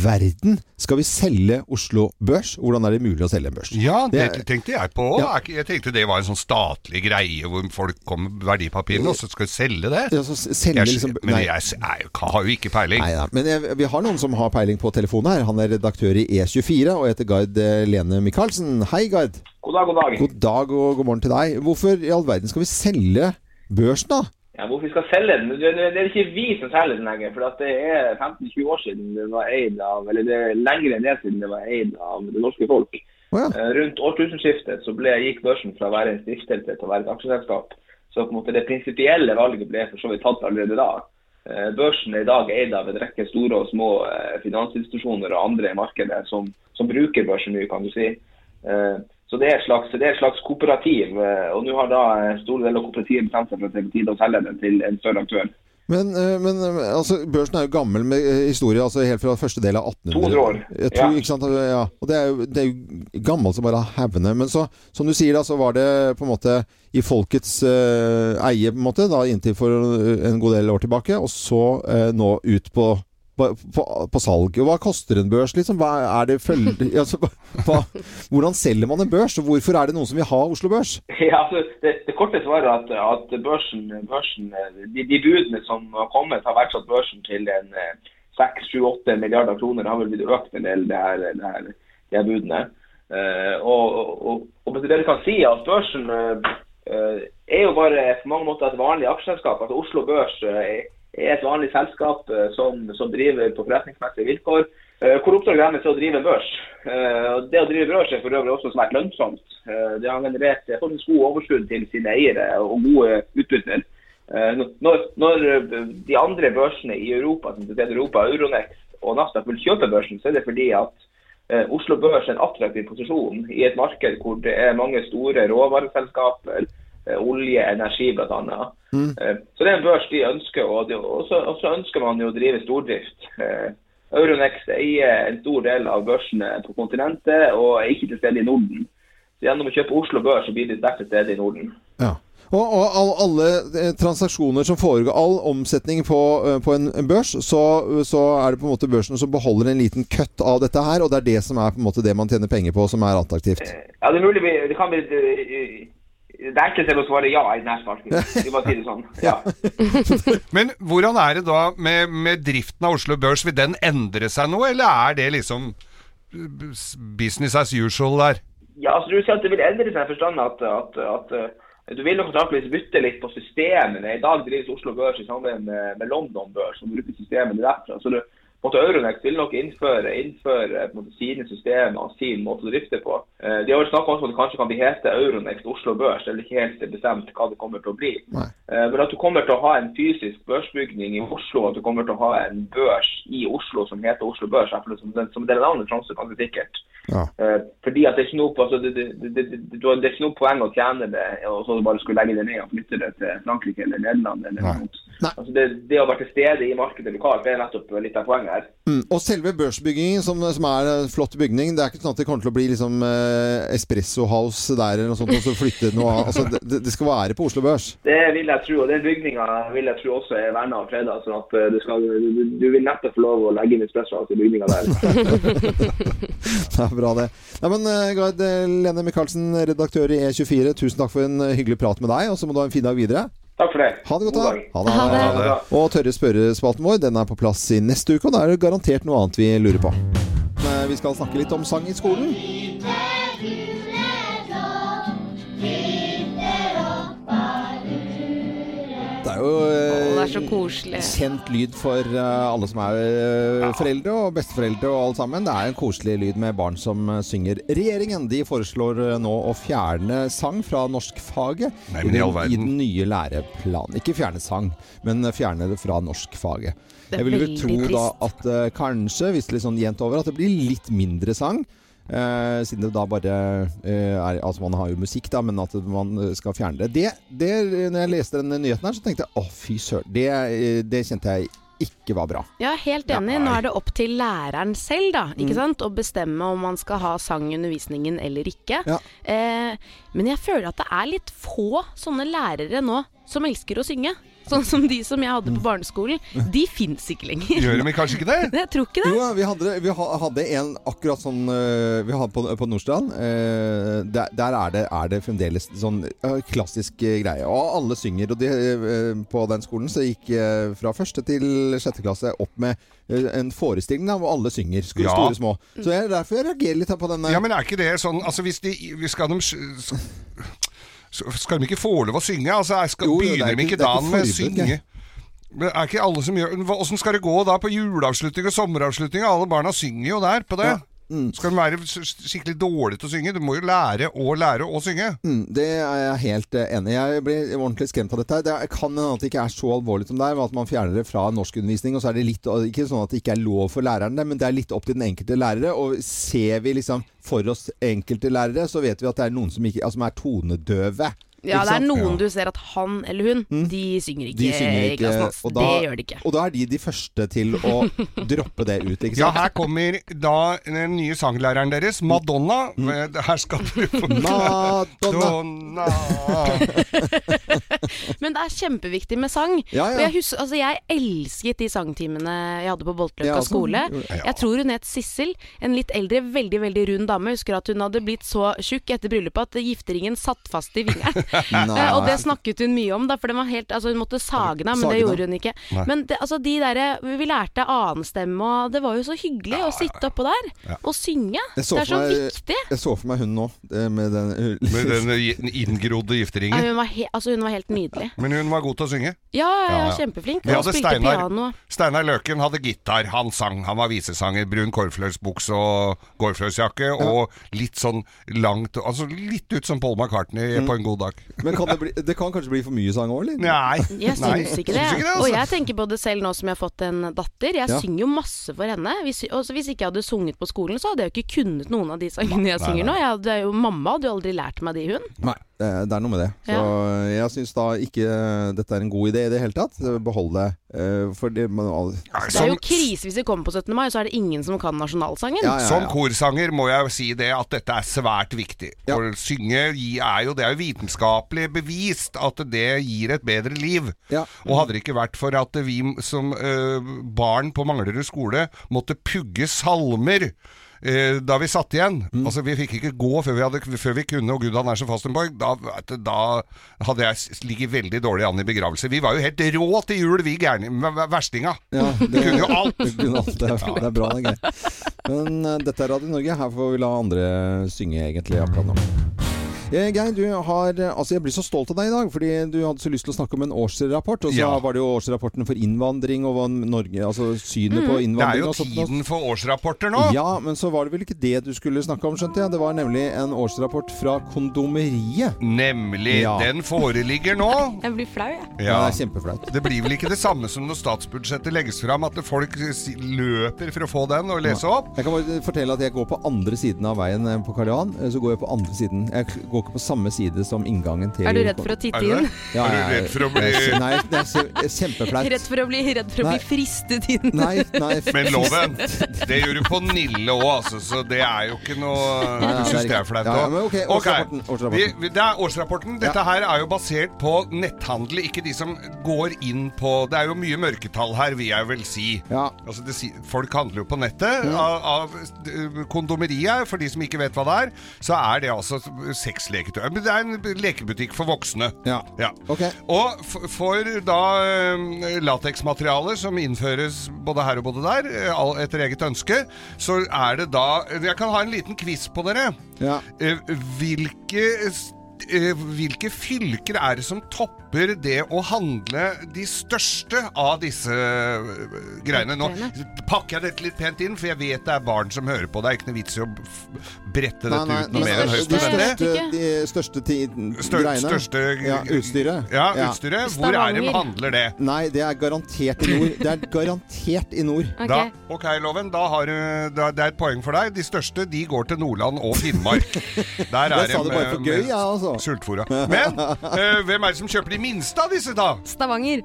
[SPEAKER 1] verden skal vi selge Oslo Børs? Hvordan er det mulig å selge en børs?
[SPEAKER 2] Ja, det
[SPEAKER 1] Det-
[SPEAKER 2] tenkte jeg på. Er ikke- Jeg tenkte det var en sånn statlig greie hvor folk kom med verdipapirene, og så skal vi selge det.
[SPEAKER 1] Ja, så selge
[SPEAKER 2] jeg,
[SPEAKER 1] liksom-
[SPEAKER 2] men
[SPEAKER 1] nei.
[SPEAKER 2] jeg, s- er jo- har jo ikke peiling.
[SPEAKER 1] Nei da. Men jeg, vi har noen som har peiling på telefonen her. Han er redaktør i E24 og heter Gard eh, Lene Michaelsen. Hei, Gard.
[SPEAKER 15] God dag, god dag.
[SPEAKER 1] God dag og god morgen til deg. Hvorfor i all verden skal vi selge børsen, da?
[SPEAKER 15] Ja, hvorfor vi skal selge den? Det, det- det er ikke vi som selger den lenger. For at det er 15-20 år siden det var eid av Eller det er lenger enn det siden det var eid av det norske folk. Eh, Rundt årtusenskiftet så ble, gikk børsen fra å være en stiftelse til å være et aksjeselskap. Så på en måte det prinsipielle valget ble for så vidt tatt allerede da. Eh, Børsen er i dag eid av en rekke store og små eh, finansinstitusjoner og andre i markedet som, som bruker børsen mye, kan du si. Eh, Så det er et slags, det er et slags kooperativ. eh, Og nå har da eh, store deler av kooperativet bestemt seg for at det er på tide å selge den til en større aktør.
[SPEAKER 1] Men, eh, men eh, altså, børsen er jo gammel med eh, historie, altså helt fra første del av 1800.
[SPEAKER 15] 200 år.
[SPEAKER 1] Jeg tror,
[SPEAKER 15] Ja.
[SPEAKER 1] ikke sant? altså, Ja. Og det er, jo, det er jo gammelt som bare hevne. Men så, som du sier, da, så var det på en måte i folkets eh, eie på en måte, da, inntil for eh, en god del år tilbake, og så eh, nå ut på på, på, på salg. Og Hva koster en børs, liksom? Hva er det følge, <laughs> altså, hva, hvordan selger man en børs? Og hvorfor er det noen som vil ha Oslo Børs?
[SPEAKER 15] <laughs> Ja, altså, det, det korte svaret er at, at børsen, børsen eh, de, de budene som har kommet, har vært satt børsen til en eh, 6-7-8 milliarder kroner. Det har vel blitt økt en del, det her, det her, de her budene. Eh, og, og, og, og det vi kan si er at børsen eh, eh, er jo bare på mange måter et vanlig aksjeselskap. Altså Oslo Børs eh, er et vanlig selskap eh, som, som driver på forretningsmessige vilkår. Eh, hvor oppdraget deres er å drive børs. Eh, og det å drive børs er for øvrig også svært lønnsomt. Eh, det har generert eh, forholdsvis gode overskudd til sine eiere og gode utbytter. Eh, når, når eh, de andre børsene i Europa, som til stede i Europa, Euronex og Nasdaq, vil kjøpe børsen, så er det fordi at Eh, Oslo Børs er en attraktiv posisjon i et marked hvor det er mange store råvareselskaper, eh, olje, energi bl.a.
[SPEAKER 1] <laughs>
[SPEAKER 12] Mm.
[SPEAKER 15] Eh, så det er en børs de ønsker, og de- og så og så ønsker man jo å drive stordrift. Eh, Euronext eier en stor del av børsene på kontinentet og er ikke til stede i Norden. Så gjennom å kjøpe Oslo Børs så blir de sterkt til stede i Norden.
[SPEAKER 1] Ja. Og, og all, alle eh, transaksjoner som foregår, all omsetning på, eh, på en, en børs, så, så er det på en måte børsen som beholder en liten køtt av dette her, og det er det som er på en måte det man tjener penger på, som er attraktivt.
[SPEAKER 15] Eh, Ja, det er mulig vi det kan bli Det er ikke til å svare ja i denne sparken. Vi bare sier det sånn.
[SPEAKER 1] <laughs>
[SPEAKER 15] Ja.
[SPEAKER 2] Men hvordan er det da med, med driften av Oslo Børs? Vil den endre seg noe, eller er det liksom eh, business as usual der?
[SPEAKER 15] Ja, altså du sier at det vil endre seg i forstand at, at, at eh, du vil nok antakeligvis bytte litt på systemene. I dag drives Oslo Børs i samarbeid med, med London Børs, som bruker systemene derfra. Så du, på en måte Euronex vil nok innføre, innføre på en måte, sine systemer og sin måte å drifte på. Eh, De har vel snakket om at det kanskje kan bli hete Euronex Oslo Børs. Det er vel ikke helt bestemt hva det kommer til å bli. Eh, Men at du kommer til å ha en fysisk børsbygning i Oslo, at du kommer til å ha en børs i Oslo som heter Oslo Børs, er for det som, som del av navnet Tromsø, ganske sikkert. Eh, Fordi at det er ikke noe, altså, det, det, det, det, det, det er ikke noe poeng å tjene det, og så bare skulle legge det ned og flytte det til Frankrike eller Nederland. eller noe sånt. Altså, det, det å være til stede i markedet lokalt, det er nettopp litt av poenget her.
[SPEAKER 1] Mm. Og selve børsbyggingen, som, som er en flott bygning Det er ikke sånn at det kommer til å bli liksom, eh, Espresso House der eller noe sånt, og så flytte noe av- altså, det, det skal være på Oslo Børs. <laughs>
[SPEAKER 15] Det vil jeg tro, og den bygninga vil jeg tro også er verna og freda. Sånn at eh, du, skal, du, du vil neppe få lov å legge inn espresso i
[SPEAKER 1] <laughs>
[SPEAKER 15] bygninga der.
[SPEAKER 1] Det er bra, det. Nei, men eh, Gard eh, Lene Michaelsen, redaktør i E24, tusen takk for en eh, hyggelig prat med deg, og så må du ha en fin dag videre.
[SPEAKER 15] Takk for det.
[SPEAKER 1] Ha det godt, da. Ha det.
[SPEAKER 15] Ha det.
[SPEAKER 1] Og Tørre spørrespalten vår den er på plass i neste uke, og da er det garantert noe annet vi lurer på. Eh, Vi skal snakke litt om sang i skolen. Det er jo eh,
[SPEAKER 3] Det er så koselig.
[SPEAKER 1] kjent lyd for eh, alle som er eh, foreldre og besteforeldre og alt sammen. Det er en koselig lyd med barn som eh, synger. Regjeringen de foreslår eh, nå å fjerne sang fra norskfaget
[SPEAKER 2] Nei, men i all verden.
[SPEAKER 1] den nye læreplanen. Ikke fjerne sang, men eh, fjerne det fra norskfaget.
[SPEAKER 2] Det er
[SPEAKER 1] Jeg vil vel
[SPEAKER 2] veldig
[SPEAKER 1] tro da at eh, kanskje, hvis det er litt sånn jevnt over, at det blir litt mindre sang. eh, siden det da bare eh, er Altså, man har jo musikk, da, men at man eh, skal fjerne det. det. Det Når jeg leste den nyheten her, så tenkte jeg å, fy søren. Det, eh, det kjente jeg ikke var bra.
[SPEAKER 3] Ja, helt enig. Nå er det opp til læreren selv da, ikke
[SPEAKER 1] Mm.
[SPEAKER 3] sant? å bestemme om man skal ha sang i undervisningen eller ikke. Eh, men jeg føler at det er litt få sånne lærere nå som elsker å synge. Sånn som de som jeg hadde på barneskolen. De fins ikke lenger.
[SPEAKER 2] Gjør de kanskje ikke det?
[SPEAKER 3] <laughs> Jeg tror ikke det.
[SPEAKER 1] Jo, vi hadde, vi ha- hadde en akkurat sånn øh, Vi hadde på, på Nordstrand. øh, der der er, det, er det fremdeles sånn øh, klassisk øh, greie. Og alle synger. Og de, øh, på den skolen så gikk øh, fra første til sjette klasse opp med øh, en forestilling da, hvor alle synger. sk-
[SPEAKER 2] Ja.
[SPEAKER 1] Store og små. Så jeg, derfor jeg reagerer litt her på denne.
[SPEAKER 2] Ja, men er ikke det sånn Altså, hvis de hvis Skal de s- s- så Skal de ikke få lov å synge? Altså, er- skal,
[SPEAKER 1] Jo, jo, det
[SPEAKER 2] begynner
[SPEAKER 1] er
[SPEAKER 2] de ikke
[SPEAKER 1] ikke- det er
[SPEAKER 2] dagen
[SPEAKER 1] ikke
[SPEAKER 2] med å
[SPEAKER 1] forbud,
[SPEAKER 2] synge?
[SPEAKER 1] det.
[SPEAKER 2] Men er ikke alle som gjør Hva- Åssen skal det gå da på juleavslutning og sommeravslutning? Alle barna synger jo der på det.
[SPEAKER 1] mm.
[SPEAKER 2] Skal de være s- s- skikkelig dårlige til å synge? Du må jo lære og lære å synge.
[SPEAKER 1] Mm, det er jeg helt eh, enig i. Jeg blir ordentlig skremt av dette. her. Det er- kan hende at det ikke er så alvorlig som det er, men at man fjerner det fra norskundervisning. Og så er det litt, og ikke sånn at det ikke er lov for lærerne, men det er litt opp til den enkelte lærere. Og ser vi liksom for oss enkelte lærere, så vet vi at det er noen som, ikke, altså, som er tonedøve. Ikke
[SPEAKER 3] Ja, det er
[SPEAKER 1] sant?
[SPEAKER 3] noen du ser at han eller hun, de synger ikke,
[SPEAKER 1] De synger
[SPEAKER 3] i klassen
[SPEAKER 1] ikke,
[SPEAKER 3] hans.
[SPEAKER 1] og da,
[SPEAKER 3] det gjør de ikke.
[SPEAKER 1] Og da er de de første til å
[SPEAKER 3] <laughs>
[SPEAKER 1] droppe det ut. Ikke sant?
[SPEAKER 2] Ja, her kommer da den nye sanglæreren deres, Madonna. Eh, Her skal du få
[SPEAKER 1] Mm. Madonna.
[SPEAKER 3] Men det er kjempeviktig med sang.
[SPEAKER 2] Ja, ja.
[SPEAKER 3] Og jeg, husker, altså, jeg elsket de sangtimene jeg hadde på Boltløkka
[SPEAKER 2] Ja, altså.
[SPEAKER 3] skole.
[SPEAKER 2] Ja.
[SPEAKER 3] Jeg tror hun het Sissel. En litt eldre, veldig veldig rund dame. Jeg Husker at hun hadde blitt så tjukk etter bryllupet at gifteringen satt fast i
[SPEAKER 12] <laughs>
[SPEAKER 3] vingeren. Eh, og det snakket hun mye om, da, for den var helt, altså, hun måtte sage den av, men
[SPEAKER 8] Sage den
[SPEAKER 3] det
[SPEAKER 8] av.
[SPEAKER 3] gjorde hun ikke.
[SPEAKER 8] Nei.
[SPEAKER 3] Men det, altså, de der, vi lærte annenstemme, og det var jo så hyggelig å sitte oppå der
[SPEAKER 1] Ja.
[SPEAKER 3] og synge.
[SPEAKER 1] Jeg
[SPEAKER 3] Det er så
[SPEAKER 1] for meg-
[SPEAKER 3] viktig.
[SPEAKER 1] Jeg så for meg hun nå, eh, med den,
[SPEAKER 2] Med den gi- inngrodde
[SPEAKER 3] Nei,
[SPEAKER 2] gifteringen.
[SPEAKER 3] hun, var he altså, hun var helt nydelig.
[SPEAKER 2] Men hun var god til å synge.
[SPEAKER 3] Ja, ja, ja,
[SPEAKER 2] Ja, ja.
[SPEAKER 3] kjempeflink.
[SPEAKER 2] Vi
[SPEAKER 3] Og
[SPEAKER 2] hadde
[SPEAKER 3] spilte
[SPEAKER 2] Steinar.
[SPEAKER 3] piano.
[SPEAKER 2] Steinar Løken hadde gitar, han sang, han var visesanger, brun korfløysbukse og korfløysjakke, og litt sånn langt, altså litt ut som Paul McCartney på en god dag.
[SPEAKER 1] Mm. Men <laughs> kan det, bli, det kan kanskje bli for mye sang òg, eller?
[SPEAKER 2] Nei.
[SPEAKER 3] Jeg syns ikke det. Og
[SPEAKER 1] altså.
[SPEAKER 3] jeg tenker på det selv nå som jeg har fått en datter. Jeg
[SPEAKER 1] Ja.
[SPEAKER 3] synger jo masse for henne. Hvis, også hvis ikke jeg hadde sunget på skolen, så hadde jeg jo ikke kunnet noen av de sangene jeg
[SPEAKER 1] Nei,
[SPEAKER 3] synger
[SPEAKER 1] nei.
[SPEAKER 3] nå. Jeg hadde jo, mamma hadde jo aldri lært meg de, hun.
[SPEAKER 1] Nei, det er- det er noe med det. Så jeg syns da ikke eh, dette er en god idé i det hele tatt. Behold det. eh, For det man, al-
[SPEAKER 3] Det er jo
[SPEAKER 1] sånn-
[SPEAKER 3] krise hvis vi kommer på 17. mai, så er det ingen som kan nasjonalsangen.
[SPEAKER 2] Som korsanger må jeg jo si det at dette er svært viktig. For Å synge gi- er jo, det er jo vitenskapelig bevist at det gir et bedre liv. Og hadde det ikke vært for at vi som øh, barn på Manglerud skole måtte pugge salmer øh, da vi satt igjen
[SPEAKER 1] Mm.
[SPEAKER 2] Altså, vi fikk ikke gå før vi, hadde, før vi kunne, og Gud han er så Fastenborg. Da, vet du, da hadde jeg s- ligget veldig dårlig an i begravelse. Vi var jo helt rå til jul, vi gærne v- verstinga.
[SPEAKER 1] Ja,
[SPEAKER 2] Vi kunne jo alt.
[SPEAKER 1] Du kunne alt. <laughs> Det, er, det er bra, det er greit. Men eh, dette er Radio Norge. Her får vi la andre synge, egentlig, akkurat nå. Eh, Geir, du har Altså, jeg blir så stolt av deg i dag, fordi du hadde så lyst til å snakke om en årsrapport. Og så
[SPEAKER 2] Ja.
[SPEAKER 1] var det jo årsrapporten for innvandring og hva Norge Altså synet
[SPEAKER 2] Mm. Det
[SPEAKER 1] på
[SPEAKER 2] er
[SPEAKER 1] innvandring
[SPEAKER 2] jo
[SPEAKER 1] og sånt.
[SPEAKER 2] tiden for årsrapporter nå.
[SPEAKER 1] Ja, men så var det vel ikke det du skulle snakke om, skjønte jeg. Det var nemlig en årsrapport fra kondomeriet.
[SPEAKER 2] Nemlig.
[SPEAKER 1] Ja.
[SPEAKER 2] Den foreligger nå.
[SPEAKER 16] Jeg blir flau, jeg.
[SPEAKER 1] Ja, det er kjempeflaut.
[SPEAKER 2] Det blir vel ikke det samme som når statsbudsjettet legges fram, at folk si- løper for å få den og lese opp?
[SPEAKER 1] Jeg kan bare fortelle at jeg går på andre siden av veien eh, på Karl Johan. eh, Så går jeg på andre siden. Jeg kl- går ikke på samme side som inngangen til
[SPEAKER 3] Er du redd for å titte
[SPEAKER 1] Er du det?
[SPEAKER 3] inn?
[SPEAKER 1] Ja,
[SPEAKER 2] Er du
[SPEAKER 1] jeg-
[SPEAKER 2] redd for å bli-
[SPEAKER 1] jeg- Nei, det er kje- kjempeflaut.
[SPEAKER 3] Redd for å bli, redd for å
[SPEAKER 1] Nei.
[SPEAKER 3] bli fristet inn.
[SPEAKER 1] Nei, nei.
[SPEAKER 2] <laughs> Men
[SPEAKER 1] <laughs>
[SPEAKER 2] loven, det gjør du på Nille òg, altså, så det er jo ikke noe
[SPEAKER 1] Nei, nei,
[SPEAKER 2] Du
[SPEAKER 1] det er
[SPEAKER 2] syns det
[SPEAKER 1] ikke-
[SPEAKER 2] er flaut
[SPEAKER 1] Ja, ja,
[SPEAKER 2] òg?
[SPEAKER 1] men ok, årsrapporten, årsrapporten.
[SPEAKER 2] Vi, vi, det er årsrapporten. Dette her er jo basert på netthandel, ikke de som går inn på Det er jo mye mørketall her, vil jeg vel si. Altså, det, si- folk handler jo på nettet. Av, av eh, kondomeriet, for de som ikke vet hva det er, så er det altså sexleketøy. Men Det er en lekebutikk for voksne.
[SPEAKER 1] Ja.
[SPEAKER 2] Ja. Og f- for da eh, lateksmaterialer som innføres både her og både der, eh, all- etter eget ønske, så er det da Jeg kan ha en liten quiz på dere.
[SPEAKER 1] Ja.
[SPEAKER 2] Eh, Hvilke s- eh, hvilke fylker er det som topper det å handle de største av disse eh, greiene? Nå pakker jeg dette litt pent inn, for jeg vet det er barn som hører på. Det er ikke noe vits i å f- brette dette ut noe mer enn høyst
[SPEAKER 1] de
[SPEAKER 2] nødvendig.
[SPEAKER 1] største, de største ti,
[SPEAKER 2] Stør-
[SPEAKER 1] greiene.
[SPEAKER 2] største
[SPEAKER 1] ja, utstyret.
[SPEAKER 2] Ja, utstyret. Hvor er de
[SPEAKER 1] Stavanger.
[SPEAKER 2] handler det?
[SPEAKER 1] Nei, det er garantert i nord. Det er garantert i nord.
[SPEAKER 2] Da, ok, Loven, da har du, da, det er et poeng for deg. De største de går til Nordland og
[SPEAKER 1] <laughs>
[SPEAKER 2] Finnmark. Der er
[SPEAKER 1] Jeg sa det bare for gøy, jeg, altså.
[SPEAKER 2] Sultfora. Men eh, hvem er det som kjøper de minste av disse, da?
[SPEAKER 3] Stavanger.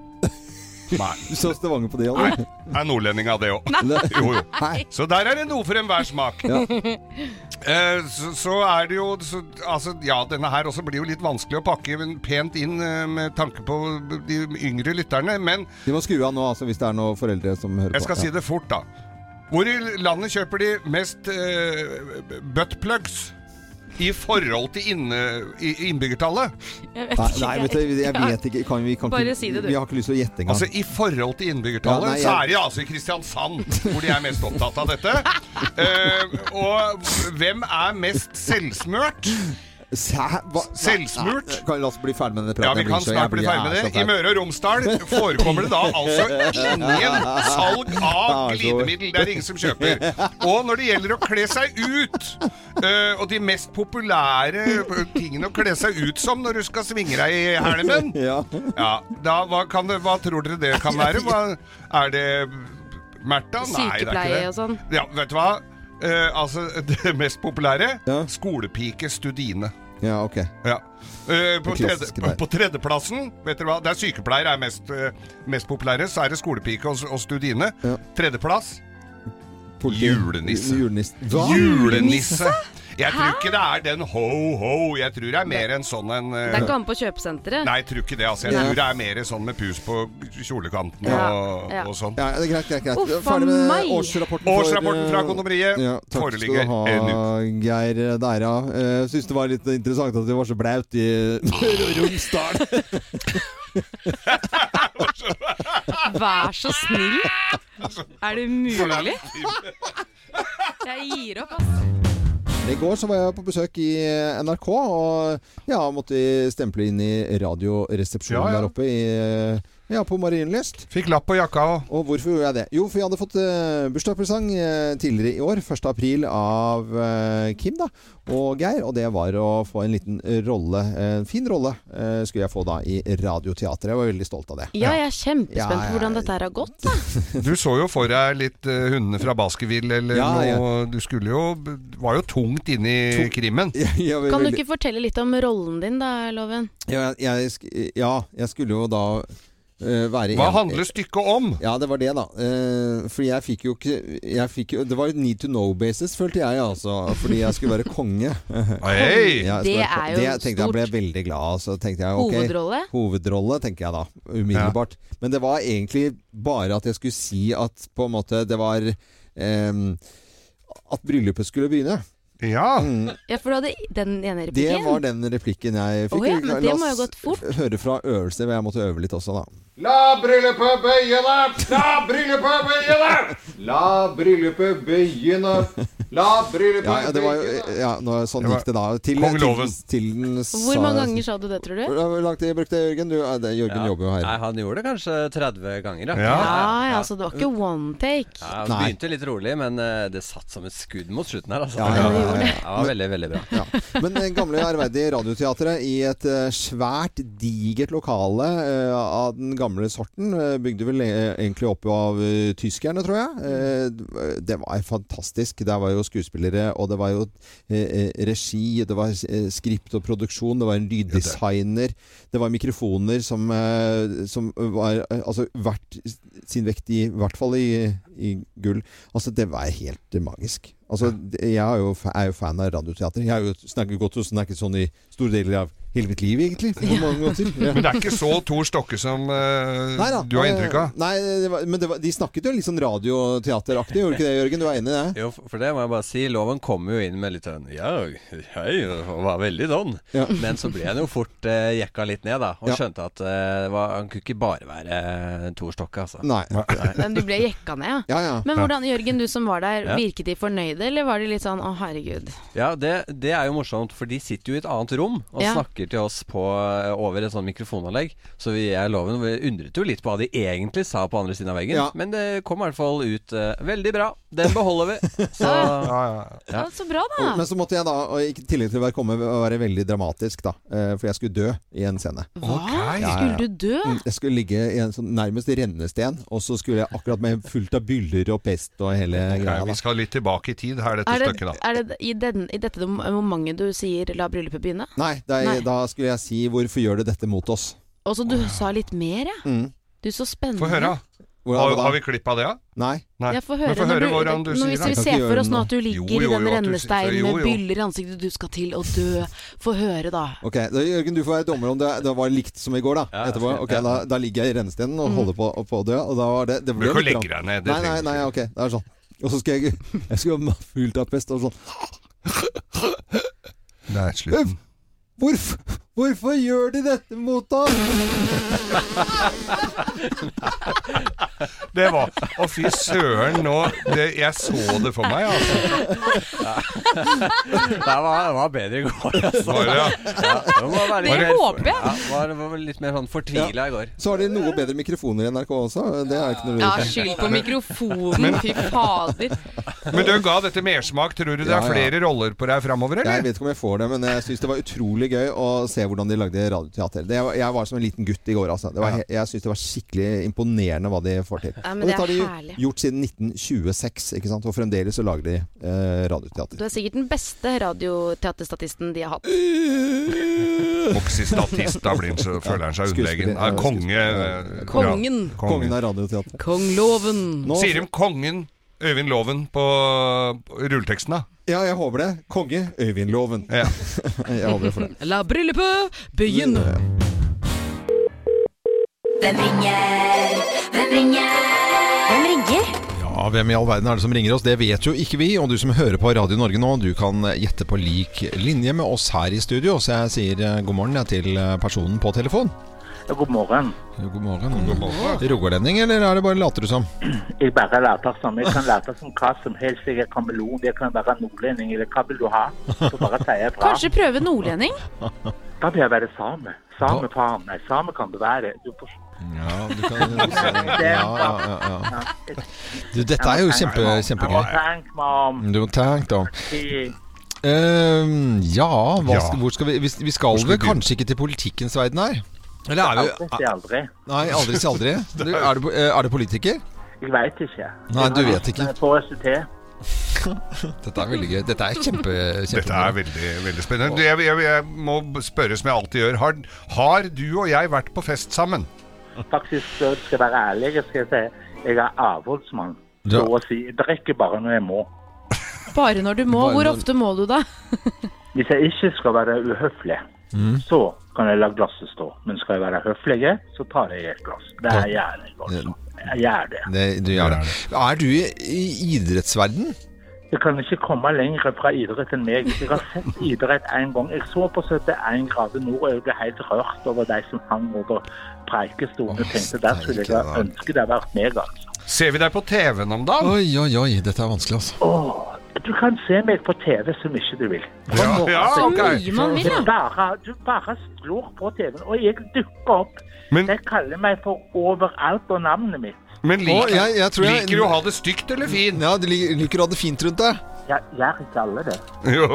[SPEAKER 2] Nei.
[SPEAKER 1] Du <laughs> så Stavanger på det,
[SPEAKER 2] Nei, er nordlending av det òg.
[SPEAKER 3] Nei.
[SPEAKER 2] Jo, jo. Så der er det noe for enhver smak. Eh, så, så er det jo så, altså, Ja, denne her også blir jo litt vanskelig å pakke men pent inn eh, med tanke på de yngre lytterne, men
[SPEAKER 1] De må skru av nå, altså, hvis det er noen foreldre som hører
[SPEAKER 2] jeg
[SPEAKER 1] på.
[SPEAKER 2] skal si det fort, da. Hvor i landet kjøper de mest eh, buttplugs i forhold til inne, i- innbyggertallet?
[SPEAKER 3] Jeg
[SPEAKER 1] Nei, nei, vet du, jeg vet ikke. Kan, vi, kan
[SPEAKER 2] Bare
[SPEAKER 1] ikke
[SPEAKER 2] si det, du.
[SPEAKER 1] Vi har ikke lyst til å gjette engang.
[SPEAKER 2] Altså, I forhold til innbyggertallet
[SPEAKER 1] Ja, nei, jeg-
[SPEAKER 2] så er de altså i Kristiansand, hvor de er mest opptatt av
[SPEAKER 1] <laughs>
[SPEAKER 2] dette. Eh, og hvem er mest selvsmurt?
[SPEAKER 1] Sæ- hva- nei,
[SPEAKER 2] Selvsmurt?
[SPEAKER 1] nei, Kan la oss bli ferdig med denne
[SPEAKER 2] Ja,
[SPEAKER 1] praten.
[SPEAKER 2] vi
[SPEAKER 1] Jeg blir
[SPEAKER 2] kan
[SPEAKER 1] så- jeg
[SPEAKER 2] snart bli
[SPEAKER 1] blir-
[SPEAKER 2] ferdig med
[SPEAKER 1] jeg er
[SPEAKER 2] det.
[SPEAKER 1] så
[SPEAKER 2] I Møre og Romsdal <laughs> forekommer det da altså
[SPEAKER 1] <laughs>
[SPEAKER 2] ingen salg av glidemiddel. Det er ingen som kjøper. Og når det gjelder å kle seg ut, eh, og de mest populære tingene å kle seg ut som når du skal svinge deg i
[SPEAKER 3] <laughs>
[SPEAKER 2] helmen
[SPEAKER 1] Ja.
[SPEAKER 2] da, hva, kan det, hva tror dere det kan være? Hva, er det Märtha? Nei, det er ikke det.
[SPEAKER 3] Sykepleie og sånn.
[SPEAKER 2] Ja, vet du hva? Eh, altså, <laughs> det mest populære skolepike Studine.
[SPEAKER 1] Ja, ok.
[SPEAKER 2] Ja. Eh, på,
[SPEAKER 1] Det klassiske
[SPEAKER 2] tredje,
[SPEAKER 1] der.
[SPEAKER 2] på tredjeplassen, vet dere hva, der sykepleiere er mest, eh, mest populære, så er det skolepike og, og studine. Tredjeplass Julenisse.
[SPEAKER 1] Julenisse.
[SPEAKER 2] julenisse. Jeg tror ikke det er den ho-ho, jeg tror det er mer en sånn en
[SPEAKER 3] Det
[SPEAKER 2] eh,
[SPEAKER 3] er ikke han på kjøpesenteret.
[SPEAKER 2] Nei, jeg tror ikke det. altså Jeg
[SPEAKER 3] Nei.
[SPEAKER 2] tror det er mer sånn med pus på kjolekanten
[SPEAKER 3] Ja,
[SPEAKER 2] og,
[SPEAKER 3] ja.
[SPEAKER 2] og sånn.
[SPEAKER 1] Ja, det er greit, greit, greit.
[SPEAKER 3] Uff, faen
[SPEAKER 1] Ferdig med
[SPEAKER 3] meg.
[SPEAKER 1] årsrapporten, eh,
[SPEAKER 2] Årsrapporten fra kondomeriet
[SPEAKER 1] ja, takk
[SPEAKER 2] foreligger
[SPEAKER 1] skal du ha, Geir Dæra. Uh, Syns det var litt interessant at det var så blaut i <laughs> Møre og Romsdal.
[SPEAKER 3] Vær så snill! Er det
[SPEAKER 2] <laughs>
[SPEAKER 3] mulig? Jeg gir opp, ass.
[SPEAKER 1] I går så var jeg på besøk i NRK og ja, måtte stemple inn i radioresepsjonen
[SPEAKER 2] Ja, ja.
[SPEAKER 1] der oppe i, ja, på Marienlyst.
[SPEAKER 2] Fikk lapp på jakka òg.
[SPEAKER 1] Og hvorfor gjorde jeg det? Jo, for jeg hadde fått eh, bursdagspresang eh, tidligere i år, 1. april, av eh, Kim da, og Geir. Og det var å få en liten rolle, en fin rolle, eh, skulle jeg få da i Radioteatret. Jeg var veldig stolt av det.
[SPEAKER 3] Ja, jeg er
[SPEAKER 1] Ja,
[SPEAKER 3] kjempespent
[SPEAKER 1] ja,
[SPEAKER 3] på hvordan dette her har gått. Da.
[SPEAKER 2] Du så jo for deg litt eh, hundene fra Baskerville eller
[SPEAKER 1] Ja, ja.
[SPEAKER 2] noe. Du skulle jo Var jo tungt inne i krimmen.
[SPEAKER 3] Kan du ikke fortelle litt om rollen din, da, Loven?
[SPEAKER 1] Ja, jeg, jeg, sk- ja, jeg skulle jo da eh, være
[SPEAKER 2] Hva handler stykket om?
[SPEAKER 1] Ja, det var det, da. Eh, fordi jeg fikk jo ikke jeg fikk jo, Det var et need to know-basis, følte jeg, altså. Fordi jeg skulle være konge.
[SPEAKER 2] <laughs> Hei!
[SPEAKER 1] Ja, jeg skulle
[SPEAKER 3] Det
[SPEAKER 1] være kon-
[SPEAKER 3] er jo
[SPEAKER 1] det tenkte jeg ble veldig glad av. Så tenkte jeg ok
[SPEAKER 3] Hovedrolle?
[SPEAKER 1] Hovedrolle, tenker jeg da. Umiddelbart. Men det var egentlig bare at jeg skulle si at på en måte det var ehm, At bryllupet skulle begynne. Mm.
[SPEAKER 2] Ja!
[SPEAKER 3] Ja, for du hadde den ene
[SPEAKER 1] Det
[SPEAKER 3] replikken.
[SPEAKER 1] var den replikken jeg fikk.
[SPEAKER 3] Å ja, men
[SPEAKER 1] La-
[SPEAKER 3] det
[SPEAKER 1] la
[SPEAKER 3] må jo
[SPEAKER 1] oss
[SPEAKER 3] ha gått fort.
[SPEAKER 1] Høre fra øvelse, men jeg måtte øve litt også, da.
[SPEAKER 12] La bryllupet begynne! La bryllupet begynne!
[SPEAKER 1] La bryllupet begynne.
[SPEAKER 9] La bryllupet
[SPEAKER 1] <laughs> Ja, ja, det var jo, ja nå, sånn gikk det da. Til,
[SPEAKER 9] Kong
[SPEAKER 1] til, til den
[SPEAKER 3] Hvor mange ganger sa du det, tror du?
[SPEAKER 1] Hvor lang tid brukte Jørgen? Du, eh, det- Jørgen jobber jo her.
[SPEAKER 17] Nei, han gjorde det kanskje 30 ganger,
[SPEAKER 3] Ja, ja, så det var ikke one take.
[SPEAKER 17] Ja, det
[SPEAKER 1] Nei.
[SPEAKER 17] begynte litt rolig, men eh, det satt som et skudd mot slutten her. Altså.
[SPEAKER 1] Ja, ja, ja, ja.
[SPEAKER 17] Det var veldig, veldig bra.
[SPEAKER 1] Men det gamle ærverdige Radioteatret i et eh, svært digert lokale eh, av den gamle sorten. eh, Bygde vel eh, egentlig opp av eh, tyskerne, tror jeg. Eh, det var fantastisk. Der var jo skuespillere, og det var jo eh, eh, regi, det var eh, skript og produksjon, det var en lyddesigner, det var mikrofoner som, eh, som var eh, Altså hvert sin vekt i i hvert fall i, i gull. Altså, det var helt eh, magisk. Altså, det- jeg er jo, fa- er jo fan av radioteater. Jeg har jo snakket godt og snakket sånn i store deler av hele mitt liv, egentlig. På mange måter. Ja.
[SPEAKER 2] <laughs> Men det er ikke så Tor Stokke som eh,
[SPEAKER 1] Nei da,
[SPEAKER 2] du har
[SPEAKER 1] eh,
[SPEAKER 2] inntrykk av?
[SPEAKER 1] Nei, det var, men det var, de snakket jo litt sånn radioteateraktig, gjorde de ikke det, Jørgen? Du var enig i det?
[SPEAKER 17] Jo, for det må jeg bare si. Loven kom jo inn med litt sånn Ja, hei, og var veldig don.
[SPEAKER 1] Ja.
[SPEAKER 17] Men så ble han jo fort eh, jekka litt ned, da. Og
[SPEAKER 1] Ja.
[SPEAKER 17] skjønte at eh, det var, han kunne ikke bare være eh, Tor Stokke, altså.
[SPEAKER 1] Nei.
[SPEAKER 3] Men du ble jekka ned, ja.
[SPEAKER 17] Ja, ja.
[SPEAKER 3] Men hvordan, Jørgen, du som var der,
[SPEAKER 17] Ja.
[SPEAKER 3] virket de fornøyde, eller var de litt sånn å herregud?
[SPEAKER 17] Ja, det, det er jo morsomt, for de sitter jo i et annet rom og
[SPEAKER 3] Ja.
[SPEAKER 17] snakker til oss på, eh, over et sånt mikrofonanlegg. Så vi jeg loven vi undret jo litt på hva de egentlig sa på andre siden av veggen.
[SPEAKER 1] Ja.
[SPEAKER 17] Men det kom i hvert fall ut eh, veldig bra. Den beholder vi. Så,
[SPEAKER 3] Ja, så bra, da.
[SPEAKER 1] Og- Men så måtte jeg da, og i tillegg til å være, komme, være veldig dramatisk, da, eh, for jeg skulle dø i en scene.
[SPEAKER 3] Hva? Skulle du dø?
[SPEAKER 1] Mm, Jeg skulle ligge i en sånn nærmest rennesten, og så skulle jeg akkurat med fullt av byller og pest og hele
[SPEAKER 2] Nei,
[SPEAKER 1] greia.
[SPEAKER 2] vi skal litt tilbake i tid her, dette
[SPEAKER 3] Er det,
[SPEAKER 2] stykket, da.
[SPEAKER 3] er det i, den, i dette dom- momentet du sier 'la bryllupet begynne'?
[SPEAKER 1] Nei, da,
[SPEAKER 3] Nei.
[SPEAKER 1] da skulle jeg si 'hvorfor gjør du dette mot oss'? Mm.
[SPEAKER 3] Og så du sa litt mer, ja. Du, så spennende.
[SPEAKER 2] Få høre, da. Har, har vi klipp av det, da?
[SPEAKER 1] Nei.
[SPEAKER 3] Ja, få høre,
[SPEAKER 2] Men få
[SPEAKER 3] når
[SPEAKER 2] høre
[SPEAKER 3] du-
[SPEAKER 2] hvordan du
[SPEAKER 3] nå,
[SPEAKER 2] sier det.
[SPEAKER 3] Hvis vi
[SPEAKER 2] Jeg kan
[SPEAKER 3] ser
[SPEAKER 2] ikke
[SPEAKER 3] for
[SPEAKER 2] gjøre
[SPEAKER 3] oss nå at du
[SPEAKER 2] noe.
[SPEAKER 3] ligger
[SPEAKER 2] Jo, jo,
[SPEAKER 3] i den
[SPEAKER 2] jo, at du sier-
[SPEAKER 3] rennesteinen
[SPEAKER 2] jo,
[SPEAKER 3] med
[SPEAKER 2] jo.
[SPEAKER 3] byller i ansiktet, du skal til å dø. Få høre, da.
[SPEAKER 1] Ok, da, Jørgen, du får være dommer om det, det var likt som i går, da. Etterpå, ok, da, da ligger jeg i rennestenen
[SPEAKER 3] Mhm.
[SPEAKER 1] og holder på, på å dø. Og da var det, det
[SPEAKER 2] Du
[SPEAKER 1] ble
[SPEAKER 2] kan
[SPEAKER 1] litt
[SPEAKER 2] legge
[SPEAKER 1] rart.
[SPEAKER 2] deg ned, det
[SPEAKER 1] Nei, nei,
[SPEAKER 2] trenger du
[SPEAKER 1] nei, ok, det er sånn. Og så skal jeg <laughs> Jeg skal være fullt av pest og sånn.
[SPEAKER 2] Det er slutten.
[SPEAKER 1] Hvorfor, hvorfor gjør de dette mot oss?
[SPEAKER 2] Det var Å, fy søren, nå det, Jeg så det for meg, altså.
[SPEAKER 17] det, var, det var bedre i går, altså.
[SPEAKER 2] Var det, <laughs> ja?
[SPEAKER 17] det må være litt
[SPEAKER 1] Det
[SPEAKER 17] mer-
[SPEAKER 1] håper jeg.
[SPEAKER 17] Ja, var, var litt mer sånn fortvila i går.
[SPEAKER 1] Så har de noe bedre mikrofoner i NRK også. Det er ikke noe
[SPEAKER 3] Ja,
[SPEAKER 1] lurt.
[SPEAKER 3] skyld på mikrofonen, fy fader.
[SPEAKER 2] Men du ga dette mersmak. Tror du det
[SPEAKER 1] Ja,
[SPEAKER 2] er
[SPEAKER 1] ja.
[SPEAKER 2] flere roller på deg framover,
[SPEAKER 1] Jeg
[SPEAKER 2] eller?
[SPEAKER 1] vet ikke om jeg får det, men jeg syns det var utrolig gøy å se hvordan de lagde radioteater. Det, var- jeg var som en liten gutt i går, altså. Det var, he- Jeg syns det var skikkelig imponerende hva de får til.
[SPEAKER 3] Ja, men
[SPEAKER 1] og
[SPEAKER 3] det
[SPEAKER 1] dette har
[SPEAKER 3] er
[SPEAKER 1] de jo
[SPEAKER 3] herlig.
[SPEAKER 1] gjort siden 1926, ikke sant? og fremdeles så lager de eh, radioteater.
[SPEAKER 3] Du er sikkert den beste radioteaterstatisten de har hatt.
[SPEAKER 2] Oxystatist, da blir han så, føler han seg underlegen. Ja, konge. eh,
[SPEAKER 3] Kongen.
[SPEAKER 2] ja,
[SPEAKER 1] Kongen av radioteater.
[SPEAKER 3] <laughs> Kongloven.
[SPEAKER 2] Sier de kongen Øyvind Loven på på rulleteksten, da?
[SPEAKER 1] Ja, jeg håper det. Konge Øyvindloven.
[SPEAKER 2] Ja.
[SPEAKER 1] <laughs> jeg håper det for det.
[SPEAKER 3] La bryllupet begynne!
[SPEAKER 12] Hvem ringer? Hvem ringer? Hvem ringer?
[SPEAKER 18] Ja, Hvem i all verden er det som ringer oss? Det vet jo ikke vi. Og du som hører på Radio Norge nå, du kan gjette på lik linje med oss her i studio. Så jeg sier eh, god morgen jeg, til eh, personen på telefon.
[SPEAKER 14] God morgen.
[SPEAKER 18] God morgen. Rogalending, eller er det bare later du som?
[SPEAKER 14] Jeg bare later som. Jeg kan late som hva som helst. Jeg er kameleon. Jeg kan være nordlending. Eller hva vil du ha? Så bare sier jeg fra.
[SPEAKER 3] Kanskje prøve nordlending?
[SPEAKER 14] Da vil jeg være same. Same faen. Nei, same kan du være. Du får...
[SPEAKER 18] Ja, du kan <laughs> Ja, ja, ja, ja. Du, dette er jo kjempe, kjempegøy.
[SPEAKER 14] Tenk meg om.
[SPEAKER 18] Du må tenke, da.
[SPEAKER 14] Tid.
[SPEAKER 18] Eh, ja, hva,
[SPEAKER 14] Ja.
[SPEAKER 18] skal- hvor skal vi Vi, vi skal vel kanskje ikke til politikkens verden her? Eller er vi
[SPEAKER 14] Aldri si aldri.
[SPEAKER 18] Nei, aldri si
[SPEAKER 14] <laughs>
[SPEAKER 18] aldri. Du, er, du, eh, er du politiker?
[SPEAKER 14] Jeg vet ikke.
[SPEAKER 18] Nei, du vet ikke.
[SPEAKER 14] Jeg får ikke til.
[SPEAKER 18] Dette er veldig gøy. Dette er kjempe,
[SPEAKER 2] Dette er veldig, veldig spennende. Det, jeg, jeg, jeg må spørre som jeg alltid gjør. Har, har du og jeg vært på fest sammen?
[SPEAKER 14] Faktisk, så skal jeg være ærlig, jeg skal si jeg er avholdsmann. Så å si. Jeg drikker bare når jeg må.
[SPEAKER 3] Bare når du må.
[SPEAKER 14] Bare
[SPEAKER 3] Hvor
[SPEAKER 14] når-
[SPEAKER 3] ofte må du, da?
[SPEAKER 14] Hvis jeg ikke skal være uhøflig, så kan jeg la glasset stå. Men skal jeg være høflig, så tar jeg et glass. Det er gjerne.
[SPEAKER 18] Eh,
[SPEAKER 14] Jeg gjør det.
[SPEAKER 18] Det, du gjør det. Er du i i idrettsverden?
[SPEAKER 14] Jeg kan ikke komme lenger fra idrett enn meg. Jeg har sett idrett én gang. Jeg så på 71 grader nord, og jeg ble helt rørt over de som hang over preikestolen. Jeg tenkte der skulle jeg ønske det hadde vært meg. altså.
[SPEAKER 2] Ser vi deg på TV-en om dagen?
[SPEAKER 18] Oi, oi, oi. Dette er vanskelig, altså.
[SPEAKER 14] Åh, Du kan se meg på TV så mye du vil. På
[SPEAKER 2] Ja,
[SPEAKER 14] morgenen.
[SPEAKER 2] ja,
[SPEAKER 17] Altså-
[SPEAKER 2] ok. Så mye man vil, ja.
[SPEAKER 14] Du Bare, du bare slår på TV-en, og jeg dukker opp. jeg kaller meg for overalt og navnet mitt.
[SPEAKER 2] Men liker,
[SPEAKER 14] Å, jeg- jeg tror
[SPEAKER 2] liker
[SPEAKER 14] jeg-
[SPEAKER 2] du å ha det stygt eller fint?
[SPEAKER 1] Ja, du liker å ha det fint rundt deg.
[SPEAKER 14] Jeg gjør ikke alle det.
[SPEAKER 2] Jo,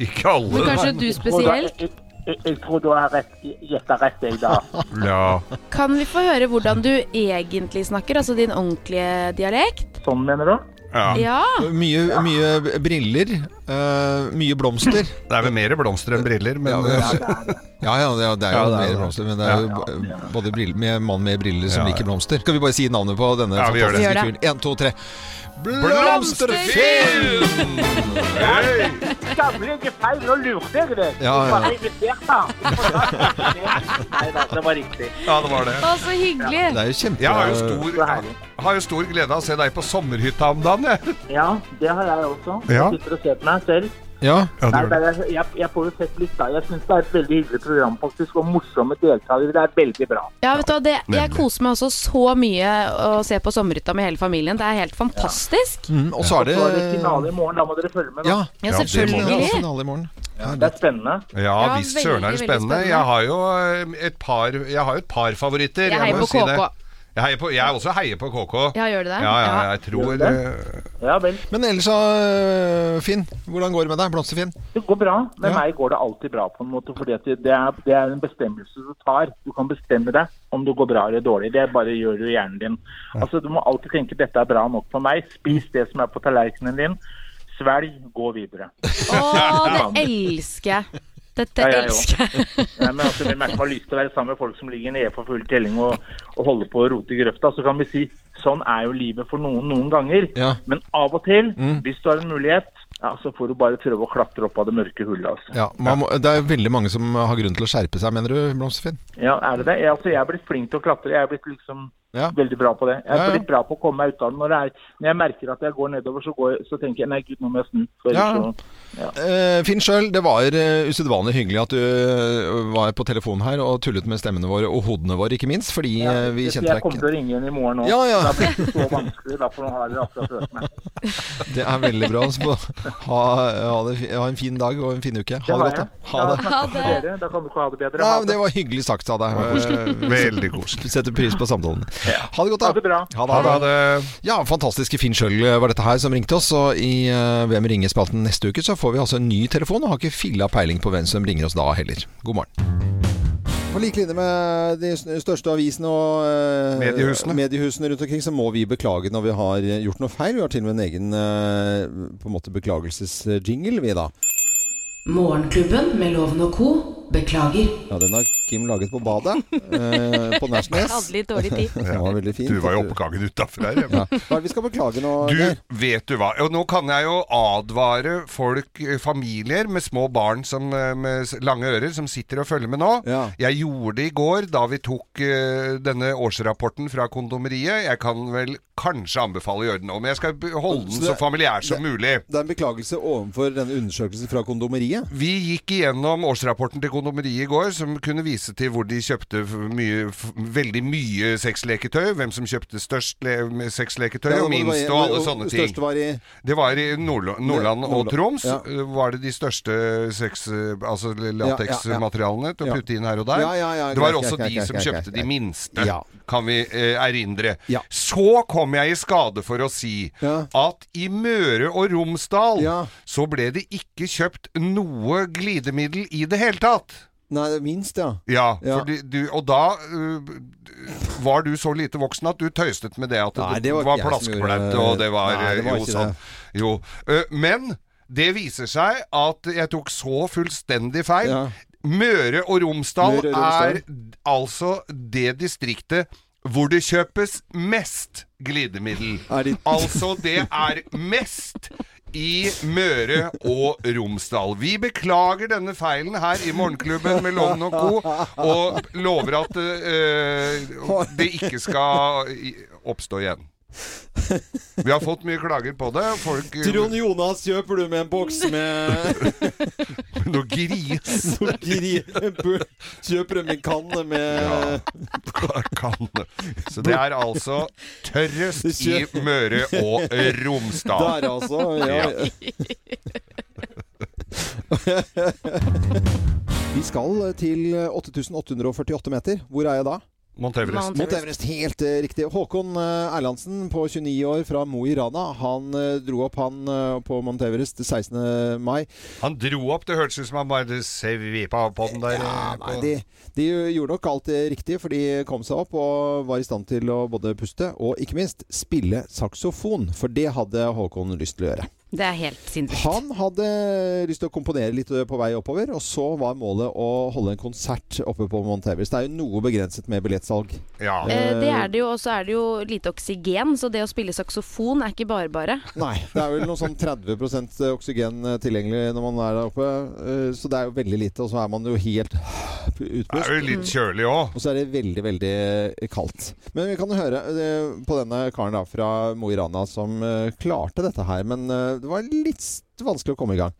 [SPEAKER 2] ikke alle.
[SPEAKER 14] Jeg tror da- Jeg, jeg, jeg tror du har rett- gjetta rett,
[SPEAKER 2] <laughs>
[SPEAKER 14] jeg, da.
[SPEAKER 2] Ja.
[SPEAKER 3] Kan vi få høre hvordan du egentlig snakker, altså din ordentlige dialekt?
[SPEAKER 14] Sånn mener du?
[SPEAKER 2] Ja.
[SPEAKER 3] Ja.
[SPEAKER 1] Mye, mye briller. eh, mye <laughs> blomster.
[SPEAKER 2] Det er vel mer blomster enn briller, men
[SPEAKER 1] Ja, ja, det er, det er
[SPEAKER 2] Ja,
[SPEAKER 1] jo
[SPEAKER 2] det er
[SPEAKER 1] mer
[SPEAKER 2] det.
[SPEAKER 1] blomster, men det er jo b- både briller, med mann med briller som
[SPEAKER 2] Ja, ja.
[SPEAKER 1] liker blomster. Skal vi bare si navnet på denne
[SPEAKER 2] Ja, vi gjør det.
[SPEAKER 1] fantastiske
[SPEAKER 2] Gjør
[SPEAKER 1] fyren? Én, to, tre.
[SPEAKER 2] Blomsterfinn!
[SPEAKER 14] Skamlige feil, nå lurte jeg deg.
[SPEAKER 1] Ja, ja.
[SPEAKER 14] Jeg bare inviterte. Nei da, det var riktig.
[SPEAKER 2] Ja, det var det.
[SPEAKER 3] Å, så hyggelig.
[SPEAKER 1] Det er jo kjempe...
[SPEAKER 2] Jeg har jo stor, har jo stor glede av å se deg på sommerhytta om dagen, jeg.
[SPEAKER 14] Ja, det har jeg også.
[SPEAKER 2] Ja.
[SPEAKER 14] Jeg sitter og ser på meg selv.
[SPEAKER 1] Ja.
[SPEAKER 14] Nei, nei, jeg, jeg, jeg får jo sett litt da. Jeg syns det er et veldig hyggelig program, faktisk, og morsomme deltakere. Det er veldig bra.
[SPEAKER 3] Ja, vet du, hva, det, jeg
[SPEAKER 14] Nemlig.
[SPEAKER 3] koser meg også så mye å se på Sommerhytta med hele familien. Det er helt fantastisk.
[SPEAKER 1] Mm, og så er det
[SPEAKER 14] Så er det finale i morgen, da må dere følge med. Da.
[SPEAKER 3] Ja, Ja, det må vi. selvfølgelig.
[SPEAKER 1] Ja, finale i morgen.
[SPEAKER 14] det er spennende.
[SPEAKER 2] Ja,
[SPEAKER 14] Ja,
[SPEAKER 2] visst søren er
[SPEAKER 14] veldig,
[SPEAKER 2] det
[SPEAKER 14] veldig
[SPEAKER 2] spennende.
[SPEAKER 14] spennende.
[SPEAKER 2] Jeg har jo eh, et par, jeg har jo et par favoritter.
[SPEAKER 3] Jeg heier
[SPEAKER 2] må jo
[SPEAKER 3] på
[SPEAKER 2] si det.
[SPEAKER 3] KK.
[SPEAKER 2] Jeg, heier på, jeg er også heier på KK.
[SPEAKER 3] Ja, gjør du det?
[SPEAKER 2] Ja, ja, jeg
[SPEAKER 14] Gjør
[SPEAKER 2] tror
[SPEAKER 14] du det?
[SPEAKER 2] eh,
[SPEAKER 14] Ja vel.
[SPEAKER 1] Men ellers, eh, Finn. Hvordan går det med deg? Blomsterfinn?
[SPEAKER 14] Det går bra. Med
[SPEAKER 1] Ja.
[SPEAKER 14] meg går det alltid bra, på en måte. For det, det, er, det er en bestemmelse du tar. Du kan bestemme deg om det går bra eller dårlig. Det bare gjør du i hjernen din. Altså, Du må alltid tenke dette er bra nok for meg. Spis det som er på tallerkenen din. Svelg, gå videre. <laughs>
[SPEAKER 3] Å, det elsker jeg. Dette
[SPEAKER 14] Ja, jeg
[SPEAKER 3] elsker jeg.
[SPEAKER 14] også. <laughs> Nei, men altså, Hvem er det som har lyst til å være sammen med folk som ligger nede for full telling og, og holder på å rote i grøfta? Så kan vi si sånn er jo livet for noen noen ganger. Men av og til,
[SPEAKER 1] Mm.
[SPEAKER 14] hvis du har en mulighet, ja, så får du bare prøve å klatre opp av det mørke hullet. altså.
[SPEAKER 1] Ja, man må, det er veldig mange som har grunn til å skjerpe seg, mener du, Blomsterfinn?
[SPEAKER 14] Ja, er det det? Jeg, altså, jeg er blitt flink til å klatre. Jeg er blitt liksom veldig bra på det. Jeg er
[SPEAKER 1] Ja, ja.
[SPEAKER 14] blitt bra på å komme meg ut av det. Når, det er, når jeg merker at jeg går nedover, så, går jeg, så tenker jeg nei, gud, nå må jeg snu. For
[SPEAKER 1] Ja.
[SPEAKER 14] ellers så-
[SPEAKER 1] Eh, Finn sjøl, det var eh, usedvanlig hyggelig at du eh, var på telefonen her og tullet med stemmene våre, og hodene våre, ikke minst, fordi eh, vi
[SPEAKER 14] Så
[SPEAKER 1] kjente
[SPEAKER 14] jeg
[SPEAKER 1] deg
[SPEAKER 14] kommer til å ringe igjen i morgen nå.
[SPEAKER 1] Ja, ja.
[SPEAKER 14] Da blir det så vanskelig, da, for nå har dere akkurat hørt meg.
[SPEAKER 1] <laughs> Det er veldig bra. altså. Så ha, ha, det, fi- ha en fin dag og en fin uke. Ha det godt, da. Ha det.
[SPEAKER 14] det. Da kan du ikke ha det bedre.
[SPEAKER 1] Ja, men det var hyggelig sagt av deg.
[SPEAKER 2] Veldig koselig.
[SPEAKER 1] Setter pris på samtalen. Ha det godt, da.
[SPEAKER 14] Ha det bra.
[SPEAKER 2] Ha
[SPEAKER 1] Ja, fantastiske Finn Schjøll eh, var dette her som ringte oss. Og i eh, Hvem ringer-spalten neste uke så får vi altså en ny telefon, og har ikke filla peiling på hvem som ringer oss da heller. God morgen. På like linje med de s- største avisene og eh,
[SPEAKER 2] Mediehusene.
[SPEAKER 1] mediehusene rundt omkring, så må vi beklage når vi har eh, gjort noe feil. Vi har til og med en egen eh, på en måte beklagelsesjingle, vi da.
[SPEAKER 19] Morgenklubben med Loven og co. beklager.
[SPEAKER 1] Ja, den har Kim laget på badet eh, på Nærsnes.
[SPEAKER 19] <laughs> Hadde litt dårlig tid.
[SPEAKER 1] Den var veldig fin.
[SPEAKER 2] Du var jo oppgangen utafor her.
[SPEAKER 1] Ja. Hva er det vi skal beklage nå?
[SPEAKER 2] Du,
[SPEAKER 1] Geir?
[SPEAKER 2] <laughs> vet du hva. Og nå kan jeg jo advare folk, eh, familier med små barn som, eh, med s- lange ører, som sitter og følger med nå. Jeg gjorde det i går da vi tok eh, denne årsrapporten fra kondomeriet. Jeg kan vel kanskje anbefale å gjøre det nå, men jeg skal b- holde den så familiær som
[SPEAKER 1] det-
[SPEAKER 2] mulig.
[SPEAKER 1] Det er en beklagelse overfor denne undersøkelsen fra kondomeriet.
[SPEAKER 2] Vi gikk igjennom årsrapporten til kondomeriet i går, som kunne vise til hvor de kjøpte f- mye, f- veldig mye sexleketøy, hvem som kjøpte størst le med sexleketøy,
[SPEAKER 1] Ja,
[SPEAKER 2] og
[SPEAKER 1] hvor det var-
[SPEAKER 2] minst, og alle
[SPEAKER 1] og
[SPEAKER 2] sånne ting.
[SPEAKER 1] størst var i-
[SPEAKER 2] Det var i Nordlo- Nordland og
[SPEAKER 1] Nordland,
[SPEAKER 2] Troms,
[SPEAKER 1] ja.
[SPEAKER 2] eh, var det de største sex... eh, Altså
[SPEAKER 1] ja.
[SPEAKER 2] lateksmaterialene til
[SPEAKER 1] Ja.
[SPEAKER 2] å putte inn her og der.
[SPEAKER 1] Ja, ja, ja,
[SPEAKER 2] det var
[SPEAKER 1] greit,
[SPEAKER 2] også
[SPEAKER 1] greit,
[SPEAKER 2] de
[SPEAKER 1] greit,
[SPEAKER 2] som
[SPEAKER 1] greit,
[SPEAKER 2] kjøpte
[SPEAKER 1] greit,
[SPEAKER 2] de
[SPEAKER 1] greit.
[SPEAKER 2] minste,
[SPEAKER 1] Ja.
[SPEAKER 2] kan vi eh, erindre. Så kom jeg i skade for å si at i Møre og Romsdal så ble det ikke kjøpt noe glidemiddel i det hele tatt.
[SPEAKER 1] Nei, det er minst, ja.
[SPEAKER 2] Ja,
[SPEAKER 17] <laughs>
[SPEAKER 2] fordi du, og da øh, var du så lite voksen at du tøyset med det at
[SPEAKER 1] Nei,
[SPEAKER 2] det,
[SPEAKER 1] det var
[SPEAKER 2] var
[SPEAKER 1] ikke jeg som
[SPEAKER 2] plaskblaut,
[SPEAKER 1] gjorde-
[SPEAKER 2] og det var,
[SPEAKER 1] Nei, det var
[SPEAKER 2] øh, jo
[SPEAKER 1] ikke
[SPEAKER 2] sånn.
[SPEAKER 1] det.
[SPEAKER 2] Jo. Øh, men det viser seg at jeg tok så fullstendig feil.
[SPEAKER 1] Ja.
[SPEAKER 2] Møre og Romsdal
[SPEAKER 1] Møre og Romsdal.
[SPEAKER 2] er d- altså det distriktet hvor det kjøpes mest glidemiddel. Altså, det er mest i Møre og Romsdal. Vi beklager denne feilen her i Morgenklubben med Loven og eh, Co. Og lover at øh, det ikke skal i- oppstå igjen. Vi har fått mye klager på det. Folk eh,
[SPEAKER 1] Trond Jonas, kjøper du med en boks
[SPEAKER 2] <laughs>
[SPEAKER 1] med
[SPEAKER 2] Noe gris.
[SPEAKER 1] <laughs> Noe gris. Kjøper du med en kanne med
[SPEAKER 2] <laughs> Kanne. Så det er altså tørrest i Møre
[SPEAKER 1] <laughs>
[SPEAKER 2] og Romsdal.
[SPEAKER 1] Der altså, ja. <laughs> Vi skal til 8848 meter. Hvor er jeg da?
[SPEAKER 2] Mount Everest.
[SPEAKER 1] Mount Everest, Helt eh, riktig. Håkon eh, Erlandsen på 29 år fra Mo i Rana. Han eh, dro opp han eh, på Mount Everest 16. mai.
[SPEAKER 2] Han dro opp, det hørtes ut som han bare sveipa på den der. eh,
[SPEAKER 1] Nei,
[SPEAKER 2] på-
[SPEAKER 1] de, de gjorde nok alt eh, riktig, for de kom seg opp og var i stand til å både puste og ikke minst spille saksofon. For det hadde Håkon lyst til å gjøre.
[SPEAKER 3] Det er helt sinnssykt.
[SPEAKER 1] Han hadde lyst til å komponere litt eh, på vei oppover, og så var målet å holde en konsert oppe på Mount Everest. Det er jo noe begrenset med billettsalg.
[SPEAKER 3] Eh, det er det jo, og så er det jo lite oksygen, så det å spille saksofon er ikke bare
[SPEAKER 2] <laughs>
[SPEAKER 3] bare.
[SPEAKER 1] Eh, Nei, det er vel noe sånn 30 oksygen eh, tilgjengelig når man er der oppe. eh, Så det er jo veldig lite, og så er man jo helt utpust.
[SPEAKER 2] Det er jo litt kjølig òg.
[SPEAKER 1] Og så er det veldig, veldig eh, kaldt. Men vi kan jo høre eh, på denne karen da fra Mo i Rana som eh, klarte dette her, men eh, det var litt s- vanskelig å komme i gang.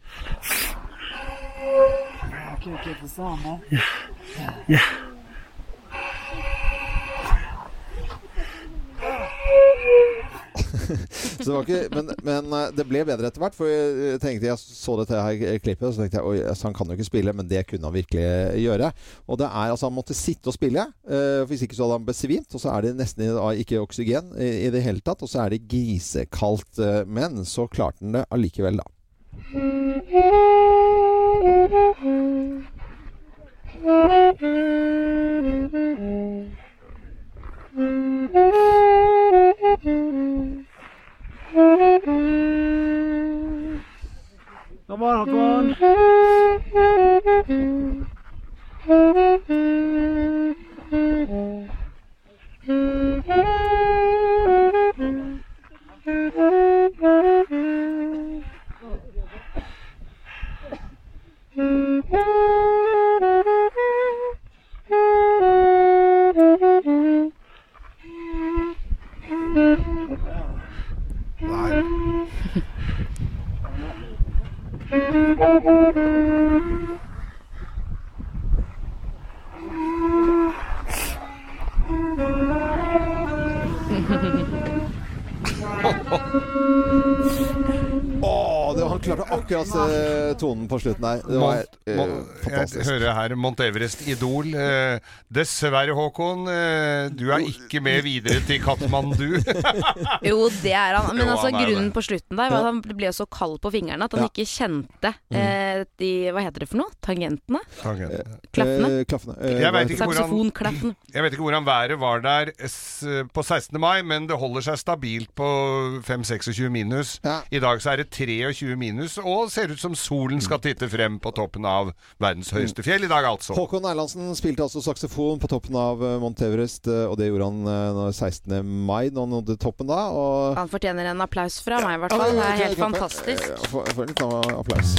[SPEAKER 1] <laughs> Så det var ikke, men, men eh, det ble bedre etter hvert. For jeg tenkte jeg så dette her klippet, og så tenkte jeg oi, altså, han kan jo ikke spille, men det kunne han virkelig gjøre. Og det er altså han måtte sitte og spille, eh, hvis ikke så hadde han besvimt. Og så er det nesten i- da ikke oksygen i, i det hele tatt, og så er det grisekaldt. eh, Men så klarte han det allikevel, da.
[SPEAKER 12] Kom on, Håkon.
[SPEAKER 1] Å, det, han klarte akkurat eh, tonen på slutten der. Det var
[SPEAKER 2] Mount-
[SPEAKER 1] eh,
[SPEAKER 2] Mount- Jeg
[SPEAKER 1] fantastisk.
[SPEAKER 2] hører her Mount Everest-idol. Eh, dessverre, Håkon, eh, du er ikke med videre til Katmandu.
[SPEAKER 1] <laughs>
[SPEAKER 3] Jo, det er han. Men
[SPEAKER 2] Jo,
[SPEAKER 3] altså,
[SPEAKER 2] han er det.
[SPEAKER 3] grunnen på slutten der var at han ble så kald på fingrene at
[SPEAKER 2] Ja.
[SPEAKER 3] han
[SPEAKER 2] Mm.
[SPEAKER 3] ikke kjente eh, de Hva heter det for noe? Tangentene?
[SPEAKER 1] Klaffene. klaffene. Eh,
[SPEAKER 2] Jeg
[SPEAKER 1] hva
[SPEAKER 2] vet ikke
[SPEAKER 1] heter det?
[SPEAKER 2] hvordan-
[SPEAKER 3] Saksofonklaffen.
[SPEAKER 2] Jeg vet ikke hvordan været var der s- på 16. mai, men det holder seg stabilt på 5-26 minus. I dag så er det 23 minus, og ser ut som solen skal titte frem på toppen av verdens høyeste fjell i dag, altså.
[SPEAKER 1] Håkon Erlandsen spilte altså saksofon på toppen av eh, Mount Everest, eh, og det gjorde han eh, når- 16. mai, når han nådde toppen da. Og
[SPEAKER 3] Han fortjener en applaus fra meg, i hvert fall. Det er helt fantastisk.
[SPEAKER 1] Jeg får- jeg får en liten applaus.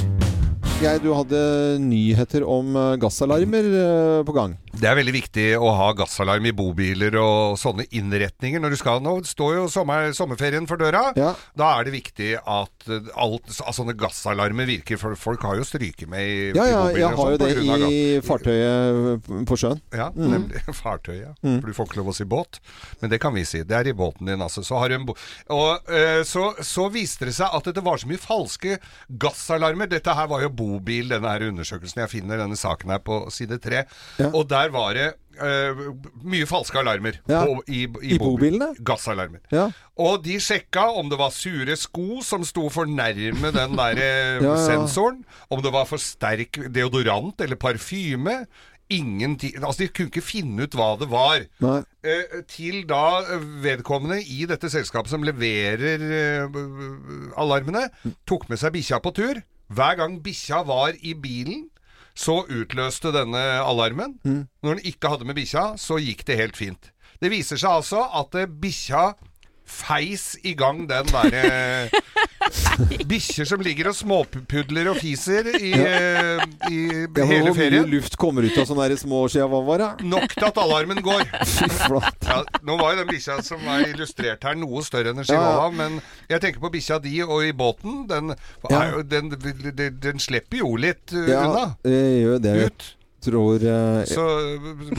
[SPEAKER 1] Geir, du hadde nyheter om eh, gassalarmer eh, på gang.
[SPEAKER 2] Det er veldig viktig å ha gassalarm i bobiler og sånne innretninger når du skal. Nå står jo sommer, sommerferien for døra. Da er det viktig at eh, alt, at sånne gassalarmer virker, for folk har jo stryke med i,
[SPEAKER 1] Ja, ja,
[SPEAKER 2] i bobiler.
[SPEAKER 1] jeg
[SPEAKER 2] og
[SPEAKER 1] har jo
[SPEAKER 2] sånn på
[SPEAKER 1] det
[SPEAKER 2] grunn av gass.
[SPEAKER 1] i fartøyet eh, på sjøen.
[SPEAKER 2] Ja,
[SPEAKER 1] Mm.
[SPEAKER 2] nemlig <laughs> fartøy, ja.
[SPEAKER 1] Mm.
[SPEAKER 2] For du får ikke lov å si båt, men det kan vi si. Det er i båten din, altså. Så, har du en bo og, eh, så, så viste det seg at det var så mye falske gassalarmer. Dette her var jo bobil, denne her undersøkelsen. Jeg finner denne saken her på side tre. Og der var det eh, mye falske alarmer
[SPEAKER 1] Ja.
[SPEAKER 2] på, i,
[SPEAKER 1] I bobilene?
[SPEAKER 2] Gassalarmer.
[SPEAKER 1] Ja.
[SPEAKER 2] Og de sjekka om det var sure sko som sto for nærme den der eh,
[SPEAKER 1] <laughs> Ja, ja.
[SPEAKER 2] sensoren, om det var for sterk deodorant eller parfyme. Ingenting Altså, de kunne ikke finne ut hva det var.
[SPEAKER 1] Nei.
[SPEAKER 2] Eh, til da eh, vedkommende i dette selskapet som leverer eh, b- b- alarmene, tok med seg bikkja på tur. Hver gang bikkja var i bilen, så utløste denne alarmen.
[SPEAKER 1] Mm.
[SPEAKER 2] Når den ikke hadde med bikkja, så gikk det helt fint. Det viser seg altså at eh, bikkja feis i gang den derre
[SPEAKER 1] <laughs>
[SPEAKER 2] Bikkjer som ligger og småpudler og fiser i, eh, i
[SPEAKER 1] Ja, men
[SPEAKER 2] hele
[SPEAKER 1] hvor mye
[SPEAKER 2] ferien.
[SPEAKER 1] luft kommer ut av sånne der små skjevavar?
[SPEAKER 2] Nok til at alarmen
[SPEAKER 1] <laughs>
[SPEAKER 2] går.
[SPEAKER 1] flate.
[SPEAKER 2] Ja, nå var jo den bikkja som var illustrert her, noe større enn en chihuahua,
[SPEAKER 1] Ja.
[SPEAKER 2] men jeg tenker på bikkja di og i båten. Den, er jo- den, den, den slipper jo litt uh, unna.
[SPEAKER 1] jeg gjør det. Jeg tror, eh,
[SPEAKER 2] Så,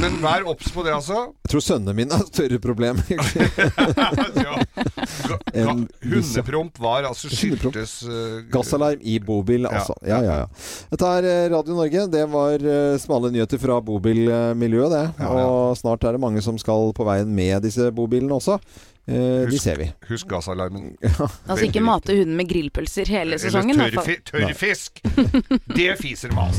[SPEAKER 2] men vær obs på det, altså.
[SPEAKER 1] jeg tror sønnene mine har et større problem. <laughs>
[SPEAKER 2] <laughs>
[SPEAKER 1] egentlig. Enn disse.
[SPEAKER 2] Hundepromp var altså skyldtes uh,
[SPEAKER 1] Gassalarm i bobil, altså. Ja, ja, ja. Dette er eh, Radio Norge. Det var eh, smale nyheter fra bobilmiljøet, det. Og snart er det mange som skal på veien med disse bobilene også. Eh, de ser vi.
[SPEAKER 2] Husk gassalarmen.
[SPEAKER 3] Altså ikke mate hunden med grillpølser hele sesongen. i
[SPEAKER 2] Eller
[SPEAKER 3] hvert fall.
[SPEAKER 2] <laughs> tørrfi- tørrfisk!
[SPEAKER 1] <laughs>
[SPEAKER 2] Det fiser mas.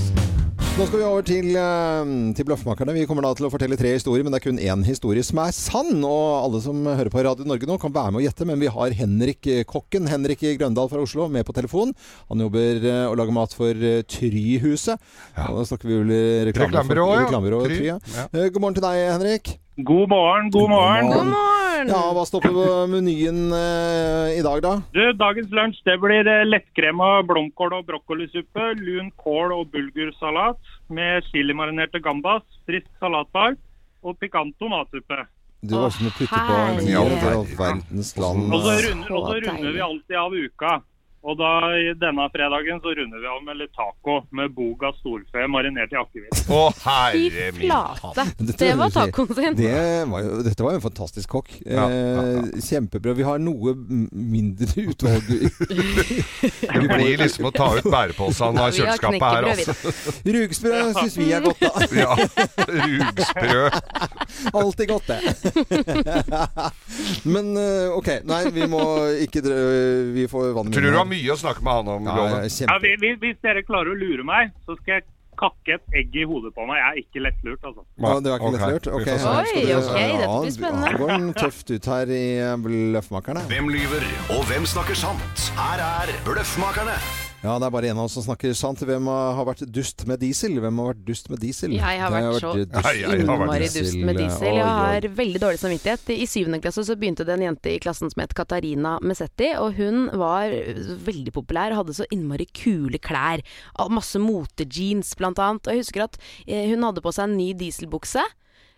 [SPEAKER 1] Nå skal vi over til, eh, til Bløffmakerne. Vi kommer da til å fortelle tre historier, men det er kun én historie som er sann. Og alle som hører på Radio Norge nå, kan være med og gjette, men vi har Henrik eh, Kokken, Henrik Grøndal fra Oslo, med på telefon. Han jobber eh, og lager mat for eh, Tryhuset. Og da snakker vi vel eh, reklame for-
[SPEAKER 20] Reklamebyrået, ja.
[SPEAKER 1] reklamebyrået
[SPEAKER 20] Try,
[SPEAKER 1] Try, ja.
[SPEAKER 20] ja.
[SPEAKER 1] Eh, God morgen til deg, Henrik.
[SPEAKER 20] God morgen, god morgen.
[SPEAKER 1] God Ja, Hva står på menyen eh, i dag, da?
[SPEAKER 20] Du, dagens lunsj det blir eh, lettkrema blomkål og brokkolisuppe, lun kål og bulgursalat med chilimarinerte gambas, frisk salatbar og pikant tomatsuppe.
[SPEAKER 1] Du var som å putte på
[SPEAKER 20] Å,
[SPEAKER 1] en
[SPEAKER 20] herre.
[SPEAKER 1] i all verdens land.
[SPEAKER 20] Og så runder, og så runder vi alltid av uka. Og da i denne fredagen så runder vi av med litt taco med boga storfe marinert i akevitt.
[SPEAKER 2] Å,
[SPEAKER 20] herre min
[SPEAKER 3] flate.
[SPEAKER 1] Dette
[SPEAKER 3] Det var
[SPEAKER 1] høres helt-
[SPEAKER 3] tacoen sin.
[SPEAKER 1] Det var jo, dette var jo en fantastisk kokk. Eh, kjempebra. Vi har noe m- mindre <laughs> utvalg.
[SPEAKER 2] <laughs> Det blir liksom å ta ut bærepåsene av
[SPEAKER 1] Ja, vi har
[SPEAKER 2] kjøleskapet her,
[SPEAKER 1] <laughs> knekkebrød,
[SPEAKER 2] altså.
[SPEAKER 1] Rugsprø syns vi er godt, da.
[SPEAKER 2] <laughs> Ja, rugsprø.
[SPEAKER 1] Alltid godt, det. <laughs> Men eh, OK. Nei, vi må ikke drø- Vi får vann i
[SPEAKER 2] Tror du du har
[SPEAKER 1] munnen.
[SPEAKER 2] mye å snakke med han om,
[SPEAKER 1] Ja,
[SPEAKER 2] Loven?
[SPEAKER 1] ja, kjempe-
[SPEAKER 20] Ja, vi- vi- hvis dere klarer å lure meg, så skal jeg kakke et egg i hodet på meg. Jeg er ikke lettlurt, altså.
[SPEAKER 1] Ja, det var ikke
[SPEAKER 20] Ok,
[SPEAKER 1] lettlurt.
[SPEAKER 20] vi
[SPEAKER 1] Ok,
[SPEAKER 20] får se.
[SPEAKER 1] her skal
[SPEAKER 20] Oi,
[SPEAKER 1] du-
[SPEAKER 20] ok, dette
[SPEAKER 1] Ja,
[SPEAKER 20] blir spennende.
[SPEAKER 1] Det går den tøft ut her i Bløffmakerne.
[SPEAKER 11] Hvem lyver, og hvem snakker sant? Her er Bløffmakerne.
[SPEAKER 1] Ja, det er bare en av oss som snakker sant. Hvem har vært dust med diesel? Hvem har vært dust med diesel?
[SPEAKER 3] Jeg har
[SPEAKER 1] Det
[SPEAKER 3] vært så
[SPEAKER 1] dust-
[SPEAKER 3] innmari
[SPEAKER 1] diesel.
[SPEAKER 3] dust med diesel.
[SPEAKER 1] Oi,
[SPEAKER 3] Jeg
[SPEAKER 1] oi.
[SPEAKER 3] har veldig dårlig samvittighet. I syvende klasse så begynte det en jente i klassen som het Katarina Mesetti, og hun var veldig populær og hadde så innmari kule klær. Og Masse motejeans blant annet. Og jeg husker at eh, hun hadde på seg en ny dieselbukse.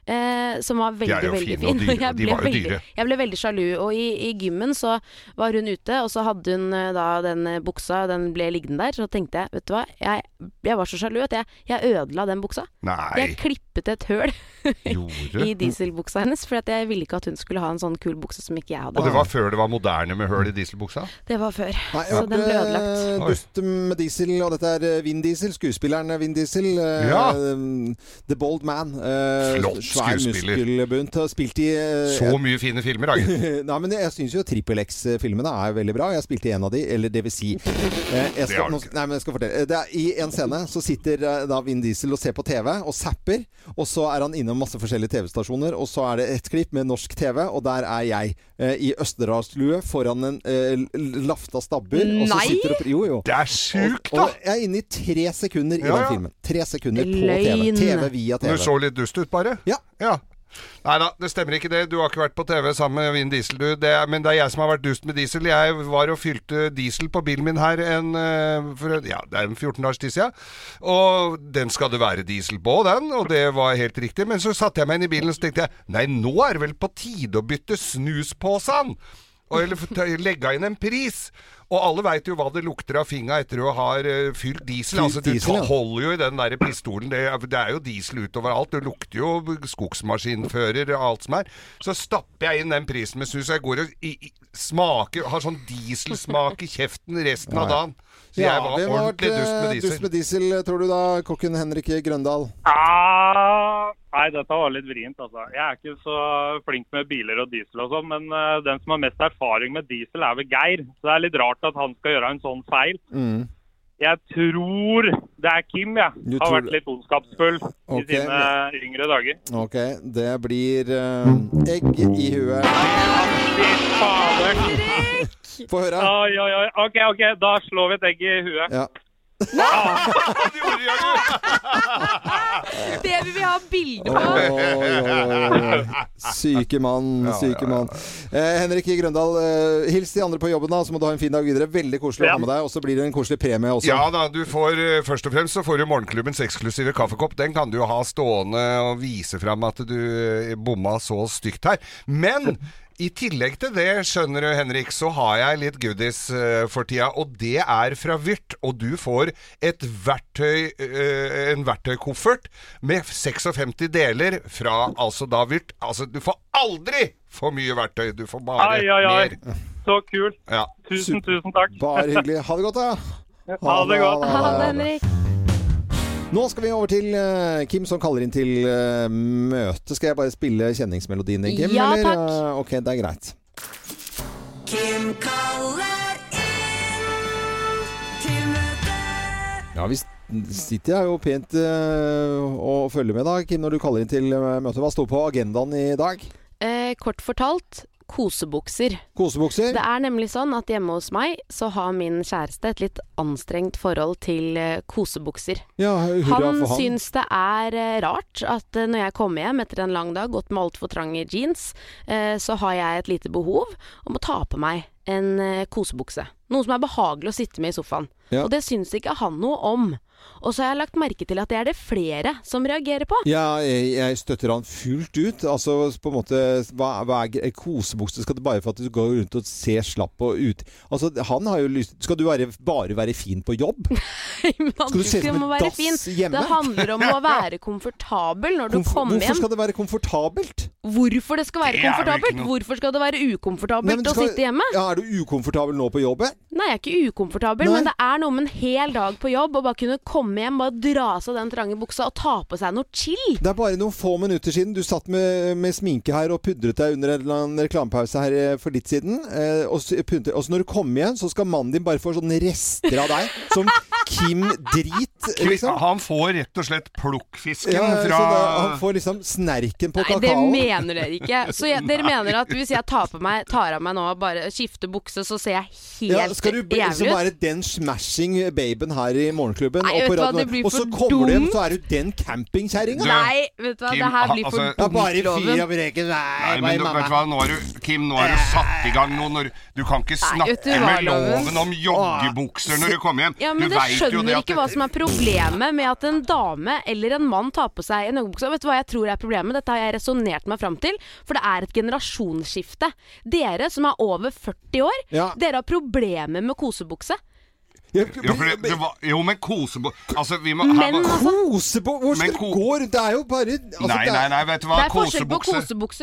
[SPEAKER 3] Eh, som var
[SPEAKER 2] De er
[SPEAKER 3] veldig,
[SPEAKER 2] jo
[SPEAKER 3] veldig
[SPEAKER 2] fine og
[SPEAKER 3] fin.
[SPEAKER 2] dyre,
[SPEAKER 3] <laughs> jeg
[SPEAKER 2] de
[SPEAKER 3] ble
[SPEAKER 2] var jo
[SPEAKER 3] veldig-
[SPEAKER 2] dyre.
[SPEAKER 3] jeg ble veldig sjalu, og i, i gymmen så var hun ute, og så hadde hun eh, da den eh, buksa, og den ble liggende der, så tenkte jeg, vet du hva, jeg, jeg var så sjalu at jeg, jeg ødela den buksa.
[SPEAKER 2] Nei.
[SPEAKER 3] Jeg klippet et høl <laughs> i
[SPEAKER 2] Gjorde?
[SPEAKER 3] dieselbuksa hennes, for at jeg ville ikke at hun skulle ha en sånn kul bukse som ikke jeg hadde.
[SPEAKER 2] Og det var før det var moderne med høl i dieselbuksa?
[SPEAKER 3] Det var før,
[SPEAKER 1] Nei,
[SPEAKER 3] så
[SPEAKER 1] jeg
[SPEAKER 3] den ble
[SPEAKER 1] hørte,
[SPEAKER 3] ødelagt.
[SPEAKER 1] eh, Dust med diesel, og dette er eh, Vin Diesel, skuespilleren Vin Diesel. eh,
[SPEAKER 2] Ja.
[SPEAKER 1] eh, The Bold Man. eh,
[SPEAKER 2] Flott
[SPEAKER 1] svær
[SPEAKER 2] skuespiller.
[SPEAKER 1] muskelbunt. har Spilt i eh,
[SPEAKER 2] Så
[SPEAKER 1] et-
[SPEAKER 2] mye fine filmer,
[SPEAKER 1] <laughs>
[SPEAKER 2] da.
[SPEAKER 1] Nei, men jeg syns jo Trippel X-filmene er veldig bra. Jeg spilte i en av de, eller det vil si eh, jeg
[SPEAKER 2] Det har
[SPEAKER 1] skal,
[SPEAKER 2] du
[SPEAKER 1] nå, nei, men jeg skal fortelle. Eh, Det er, I en scene så sitter eh, da Vin Diesel og ser på TV og zapper, og så er han innom masse forskjellige TV-stasjoner, og så er det et klipp med norsk TV, og der er jeg eh, i Østerdalslue foran en eh, l- lafta stabbur, og så
[SPEAKER 2] Nei!
[SPEAKER 1] sitter og pr- Jo, jo.
[SPEAKER 2] Det er sjukt,
[SPEAKER 1] da! Og, og jeg er inne i tre sekunder i
[SPEAKER 2] Ja,
[SPEAKER 1] den
[SPEAKER 2] ja.
[SPEAKER 1] filmen. Tre sekunder på TV. TV via TV.
[SPEAKER 2] Du så litt dust ut, bare?
[SPEAKER 1] Ja.
[SPEAKER 2] Nei da, det stemmer ikke det. Du har ikke vært på TV sammen med Vin Diesel, du. Det er, men det er jeg som har vært dust med diesel. Jeg var og fylte diesel på bilen min her en, eh, for, en- ja, det er en 14 dagers tid siden. Og den skal det være diesel på, den. Og det var helt riktig. Men så satte jeg meg inn i bilen og så tenkte jeg nei, nå er det vel på tide å bytte snuspåsen! Og eller få ta- legge inn en pris. Og alle veit jo hva det lukter av fingra etter du har eh, fylt diesel.
[SPEAKER 1] Fylt
[SPEAKER 2] altså du
[SPEAKER 1] diesel, ja.
[SPEAKER 2] tar, holder jo i den der pistolen. Det, er- det er jo diesel utover alt. Det lukter jo skogsmaskinfører og alt som er. Så stapper jeg inn den prisen med snus, og jeg går og i, i, smaker Har sånn dieselsmak i kjeften resten av
[SPEAKER 1] Ja, ja.
[SPEAKER 2] dagen. Så jeg var
[SPEAKER 1] hvem har vært,
[SPEAKER 2] ordentlig dust med
[SPEAKER 1] eh,
[SPEAKER 2] diesel.
[SPEAKER 1] dust med diesel, tror du da, kokken Henrik Grøndal?
[SPEAKER 20] Ah, nei, dette var litt vrient, altså. Jeg er ikke så flink med biler og diesel og sånn, men eh, den som har mest erfaring med diesel, er vel Geir. Så det er litt rart at han skal gjøre en sånn feil. Jeg tror det er Kim, jeg.
[SPEAKER 1] Du
[SPEAKER 20] har
[SPEAKER 1] tror
[SPEAKER 20] vært
[SPEAKER 1] det-
[SPEAKER 20] litt ondskapsfull
[SPEAKER 1] Ok.
[SPEAKER 20] i sine yngre dager.
[SPEAKER 1] Ok, det blir eh, egg
[SPEAKER 20] <laughs>
[SPEAKER 1] i huet.
[SPEAKER 20] Fader!
[SPEAKER 1] Få høre.
[SPEAKER 20] Oi, oi, oi. OK, ok, da slår vi et egg i huet.
[SPEAKER 1] Ja.
[SPEAKER 3] Det vil vi ha bilde
[SPEAKER 1] Oi,
[SPEAKER 3] på.
[SPEAKER 1] oi, oi, oi. Eh, Syke mann, syke mann. Eh, Henrik I. Grøndal, eh, hils de andre på jobben, da, så må du ha en fin dag videre. Veldig koselig å ha med deg, og så blir det en koselig premie også.
[SPEAKER 2] Ja da, du får eh, først og fremst så får du morgenklubbens eksklusive kaffekopp. Den kan du jo ha stående og vise fram at du eh, bomma så stygt her. Men i tillegg til det, skjønner du Henrik, så har jeg litt goodies eh, for tida. Og det er fra Vyrt. Og du får et verktøy, eh, en verktøykoffert med 56 deler fra altså da Vyrt. Altså, du får aldri for mye verktøy. Du får bare
[SPEAKER 20] Ai, ai, ai.
[SPEAKER 2] mer.
[SPEAKER 20] Så kult.
[SPEAKER 2] Ja.
[SPEAKER 20] Tusen, tusen takk.
[SPEAKER 1] Bare hyggelig. Ha det godt, da.
[SPEAKER 20] Ha det godt.
[SPEAKER 3] Henrik.
[SPEAKER 1] Nå skal vi over til eh, Kim som kaller inn til eh, møte. Skal jeg bare spille kjenningsmelodien din, Kim?
[SPEAKER 12] Ja, takk.
[SPEAKER 1] Eh, ok, det er greit.
[SPEAKER 12] Kim kaller inn til møte.
[SPEAKER 1] Ja, vi s- sitter her jo pent eh, og følger med, da, Kim, når du kaller inn til eh, møte. Hva står på agendaen i dag?
[SPEAKER 3] Eh, kort fortalt kosebukser.
[SPEAKER 1] Kosebukser?
[SPEAKER 3] Det er nemlig sånn at hjemme hos meg så har min kjæreste et litt anstrengt forhold til eh, kosebukser.
[SPEAKER 1] Ja, hurra
[SPEAKER 3] Han
[SPEAKER 1] for han.
[SPEAKER 3] syns det er eh, rart at eh, når jeg kommer hjem etter en lang dag, gått med altfor trange jeans, eh, så har jeg et lite behov om å ta på meg en eh, kosebukse. Noe som er behagelig å sitte med i sofaen.
[SPEAKER 1] Ja.
[SPEAKER 3] Og det syns ikke han noe om. Og så har jeg lagt merke til at det er det flere som reagerer på. <laughs>
[SPEAKER 1] Ja, jeg, jeg støtter han fullt ut. Altså, på en måte, hva, hva er gre- kosebukse? Skal det bare for at du går rundt og ser slapp og ut? Altså, han har jo lyst Skal du være, bare være fin på jobb?
[SPEAKER 3] Man
[SPEAKER 1] Skal du se
[SPEAKER 3] ikke
[SPEAKER 1] som en
[SPEAKER 3] må være
[SPEAKER 1] dass hjemme?
[SPEAKER 3] Det handler om å
[SPEAKER 1] <laughs>
[SPEAKER 3] være komfortabel når du
[SPEAKER 1] Komf-
[SPEAKER 3] kommer
[SPEAKER 1] Hvorfor
[SPEAKER 3] hjem.
[SPEAKER 1] skal det være komfortabelt?
[SPEAKER 3] Hvorfor det skal være
[SPEAKER 1] Det er jo ikke
[SPEAKER 3] komfortabelt?
[SPEAKER 1] noe-
[SPEAKER 3] Hvorfor skal det være
[SPEAKER 1] Nei,
[SPEAKER 3] ukomfortabelt
[SPEAKER 1] men du
[SPEAKER 3] å
[SPEAKER 1] skal-
[SPEAKER 3] sitte hjemme?
[SPEAKER 1] Ja, er du ukomfortabel nå på jobbet?
[SPEAKER 3] Nei, jeg er ikke ukomfortabel, men det er noe med en hel dag på jobb og bare kunne komme hjem, bare dra av seg den trange buksa og ta på seg noe chill.
[SPEAKER 1] Det er bare noen få minutter siden du satt med, med sminke her og pudret deg under en eller annen reklamepause her eh, for ditt siden. Eh, og, så, pudret- og så når du kommer igjen, så skal mannen din bare få sånne rester av deg som Kim Drit. Liksom.
[SPEAKER 2] Han får rett og slett plukkfisken
[SPEAKER 1] Ja, så
[SPEAKER 2] ah, fra
[SPEAKER 1] da, han får liksom snerken på
[SPEAKER 3] Nei, det
[SPEAKER 1] kakaoen.
[SPEAKER 3] mener dere ikke. Så jeg, dere mener at hvis jeg tar, på meg, tar av meg nå og bare skifter bukse, så ser jeg helt
[SPEAKER 1] Ja, skal du bli- liksom
[SPEAKER 3] jævlig ut?
[SPEAKER 1] være den smashing baben her i Morgenklubben? og,
[SPEAKER 3] Nei, vet
[SPEAKER 1] på
[SPEAKER 3] du hva,
[SPEAKER 1] radioen?
[SPEAKER 3] det blir
[SPEAKER 1] og så
[SPEAKER 3] for
[SPEAKER 1] kommer du hjem,
[SPEAKER 3] dumt.
[SPEAKER 1] så er du den campingkjerringa!
[SPEAKER 3] Nei, vet du hva,
[SPEAKER 2] Kim,
[SPEAKER 3] det her
[SPEAKER 2] ha-
[SPEAKER 3] blir
[SPEAKER 2] altså-
[SPEAKER 3] for
[SPEAKER 2] Ja,
[SPEAKER 1] bare
[SPEAKER 3] dumt,
[SPEAKER 1] fyr
[SPEAKER 3] loven.
[SPEAKER 1] av regelen. Nei,
[SPEAKER 2] Nei, men du, vet du hva, nå har du, Kim, nå har du
[SPEAKER 1] Eh.
[SPEAKER 2] satt i gang noe når Du kan ikke
[SPEAKER 3] Nei, vet du
[SPEAKER 2] snakke
[SPEAKER 3] hva,
[SPEAKER 2] med
[SPEAKER 3] Loven?
[SPEAKER 2] loven om joggebukser når du kommer hjem.
[SPEAKER 3] Ja, men
[SPEAKER 2] du
[SPEAKER 3] Dere
[SPEAKER 2] vet jo
[SPEAKER 3] skjønner
[SPEAKER 2] at
[SPEAKER 3] ikke hva som er problemet med at en dame eller en mann tar på seg en joggebukse. Og Vet du hva jeg tror er problemet? Dette har jeg resonnert meg fram til. For det er et generasjonsskifte. Dere som er over 40 år,
[SPEAKER 2] Ja.
[SPEAKER 3] dere har problemer med kosebukse.
[SPEAKER 2] Jo, for det, det var, jo men kosebo... Altså, vi må
[SPEAKER 3] Men, altså-
[SPEAKER 1] Kosebo... Hvor skal du gå? Det er jo bare altså,
[SPEAKER 2] Nei,
[SPEAKER 1] det er-
[SPEAKER 2] nei, nei, vet du hva,
[SPEAKER 3] det er forskjell på
[SPEAKER 2] kosebukse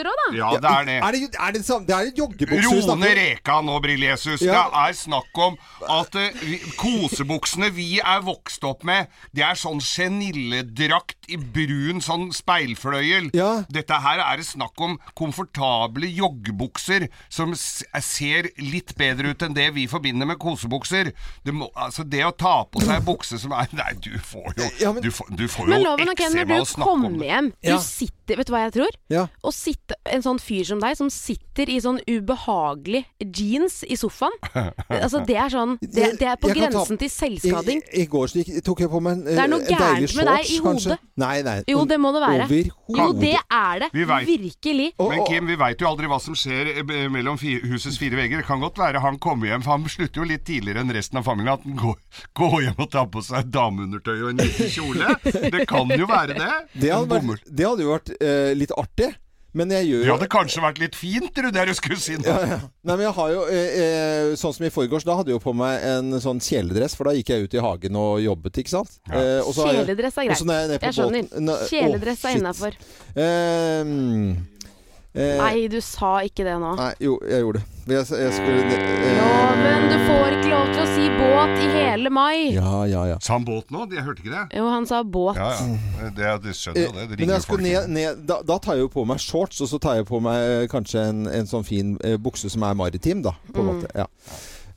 [SPEAKER 3] kosebukser òg, da.
[SPEAKER 2] Ja, det er det.
[SPEAKER 1] Er det, er det, samme- det er joggebukser vi
[SPEAKER 2] Rone
[SPEAKER 1] snakker om.
[SPEAKER 2] Rekan og Brillesus,
[SPEAKER 1] Ja.
[SPEAKER 2] det er snakk om at eh, vi, kosebuksene vi er vokst opp med, det er sånn genilledrakt i brun sånn speilfløyel. Dette her er det snakk om komfortable joggebukser som s- eh, ser litt bedre ut enn det vi forbinder med kosebukser. Det, må, altså det å ta på seg bukse som er Nei, du får jo Du får, du får
[SPEAKER 3] Men
[SPEAKER 2] jo
[SPEAKER 3] loven, ok, når
[SPEAKER 2] eksem av å
[SPEAKER 3] du
[SPEAKER 2] snakke om
[SPEAKER 3] kommer
[SPEAKER 2] det.
[SPEAKER 3] hjem
[SPEAKER 2] Ja.
[SPEAKER 3] Du sitter, vet du hva jeg tror?
[SPEAKER 1] Ja.
[SPEAKER 3] Å sitte, en sånn fyr som deg, som sitter i sånn ubehagelig jeans i
[SPEAKER 2] <laughs>
[SPEAKER 3] sofaen Altså, det er sånn Det, det er på
[SPEAKER 1] Jeg kan ta-
[SPEAKER 3] grensen til selvskading.
[SPEAKER 1] I, I går så gikk- tok jeg på meg en, eh,
[SPEAKER 3] Det er noe
[SPEAKER 1] en deilig
[SPEAKER 3] gærent med deg
[SPEAKER 1] shorts,
[SPEAKER 3] i hodet.
[SPEAKER 1] kanskje. Nei, nei.
[SPEAKER 3] Jo, det må det være.
[SPEAKER 1] Overhodet.
[SPEAKER 3] Jo, det er det.
[SPEAKER 2] Vi vet.
[SPEAKER 3] Virkelig.
[SPEAKER 2] Men Kim, vi veit jo aldri hva som skjer eh, b- mellom fi husets fire vegger. Det kan godt være han kommer hjem, for han slutter jo litt tidligere enn resten av familien. At han går, <laughs> går hjem og tar på seg dameundertøy og en liten kjole. Det kan jo være det.
[SPEAKER 1] <laughs> Det hadde, vært, det hadde jo vært eh, litt artig, men jeg gjør
[SPEAKER 2] Det
[SPEAKER 1] jo
[SPEAKER 2] hadde kanskje vært litt fint, tror du, det du skulle si nå.
[SPEAKER 1] ja, ja. Nei, men jeg har jo eh, eh, Sånn som i forgårs, da hadde jeg jo på meg en sånn kjeledress, for da gikk jeg ut i hagen og jobbet, ikke sant? Eh, og så har jeg-
[SPEAKER 3] Kjeledress er
[SPEAKER 1] og så
[SPEAKER 3] greit.
[SPEAKER 1] når jeg er nede på
[SPEAKER 3] Jeg skjønner.
[SPEAKER 1] båten- Nei, å,
[SPEAKER 3] Kjeledress er
[SPEAKER 1] shit.
[SPEAKER 3] innafor.
[SPEAKER 1] Eh, eh,
[SPEAKER 3] Nei, du sa ikke det nå.
[SPEAKER 1] Nei, jo, jeg gjorde det. Men Jeg, jeg skulle eh,
[SPEAKER 3] Loven, du får ikke lov til å si båt i hele mai.
[SPEAKER 1] Ja, ja, ja.
[SPEAKER 2] Sa han båt nå? Jeg hørte ikke det.
[SPEAKER 3] Jo, han sa båt.
[SPEAKER 2] Ja, ja. Det, det skjønner jo det. Det
[SPEAKER 1] Eh, Men
[SPEAKER 2] ringer
[SPEAKER 1] jeg
[SPEAKER 2] jo
[SPEAKER 1] skulle
[SPEAKER 2] folk.
[SPEAKER 1] ned, ned da, da tar jeg jo på meg shorts, og så tar jeg på meg eh, kanskje en, en sånn fin eh, bukse som er maritim, da. På en
[SPEAKER 3] Mm.
[SPEAKER 1] måte. Ja.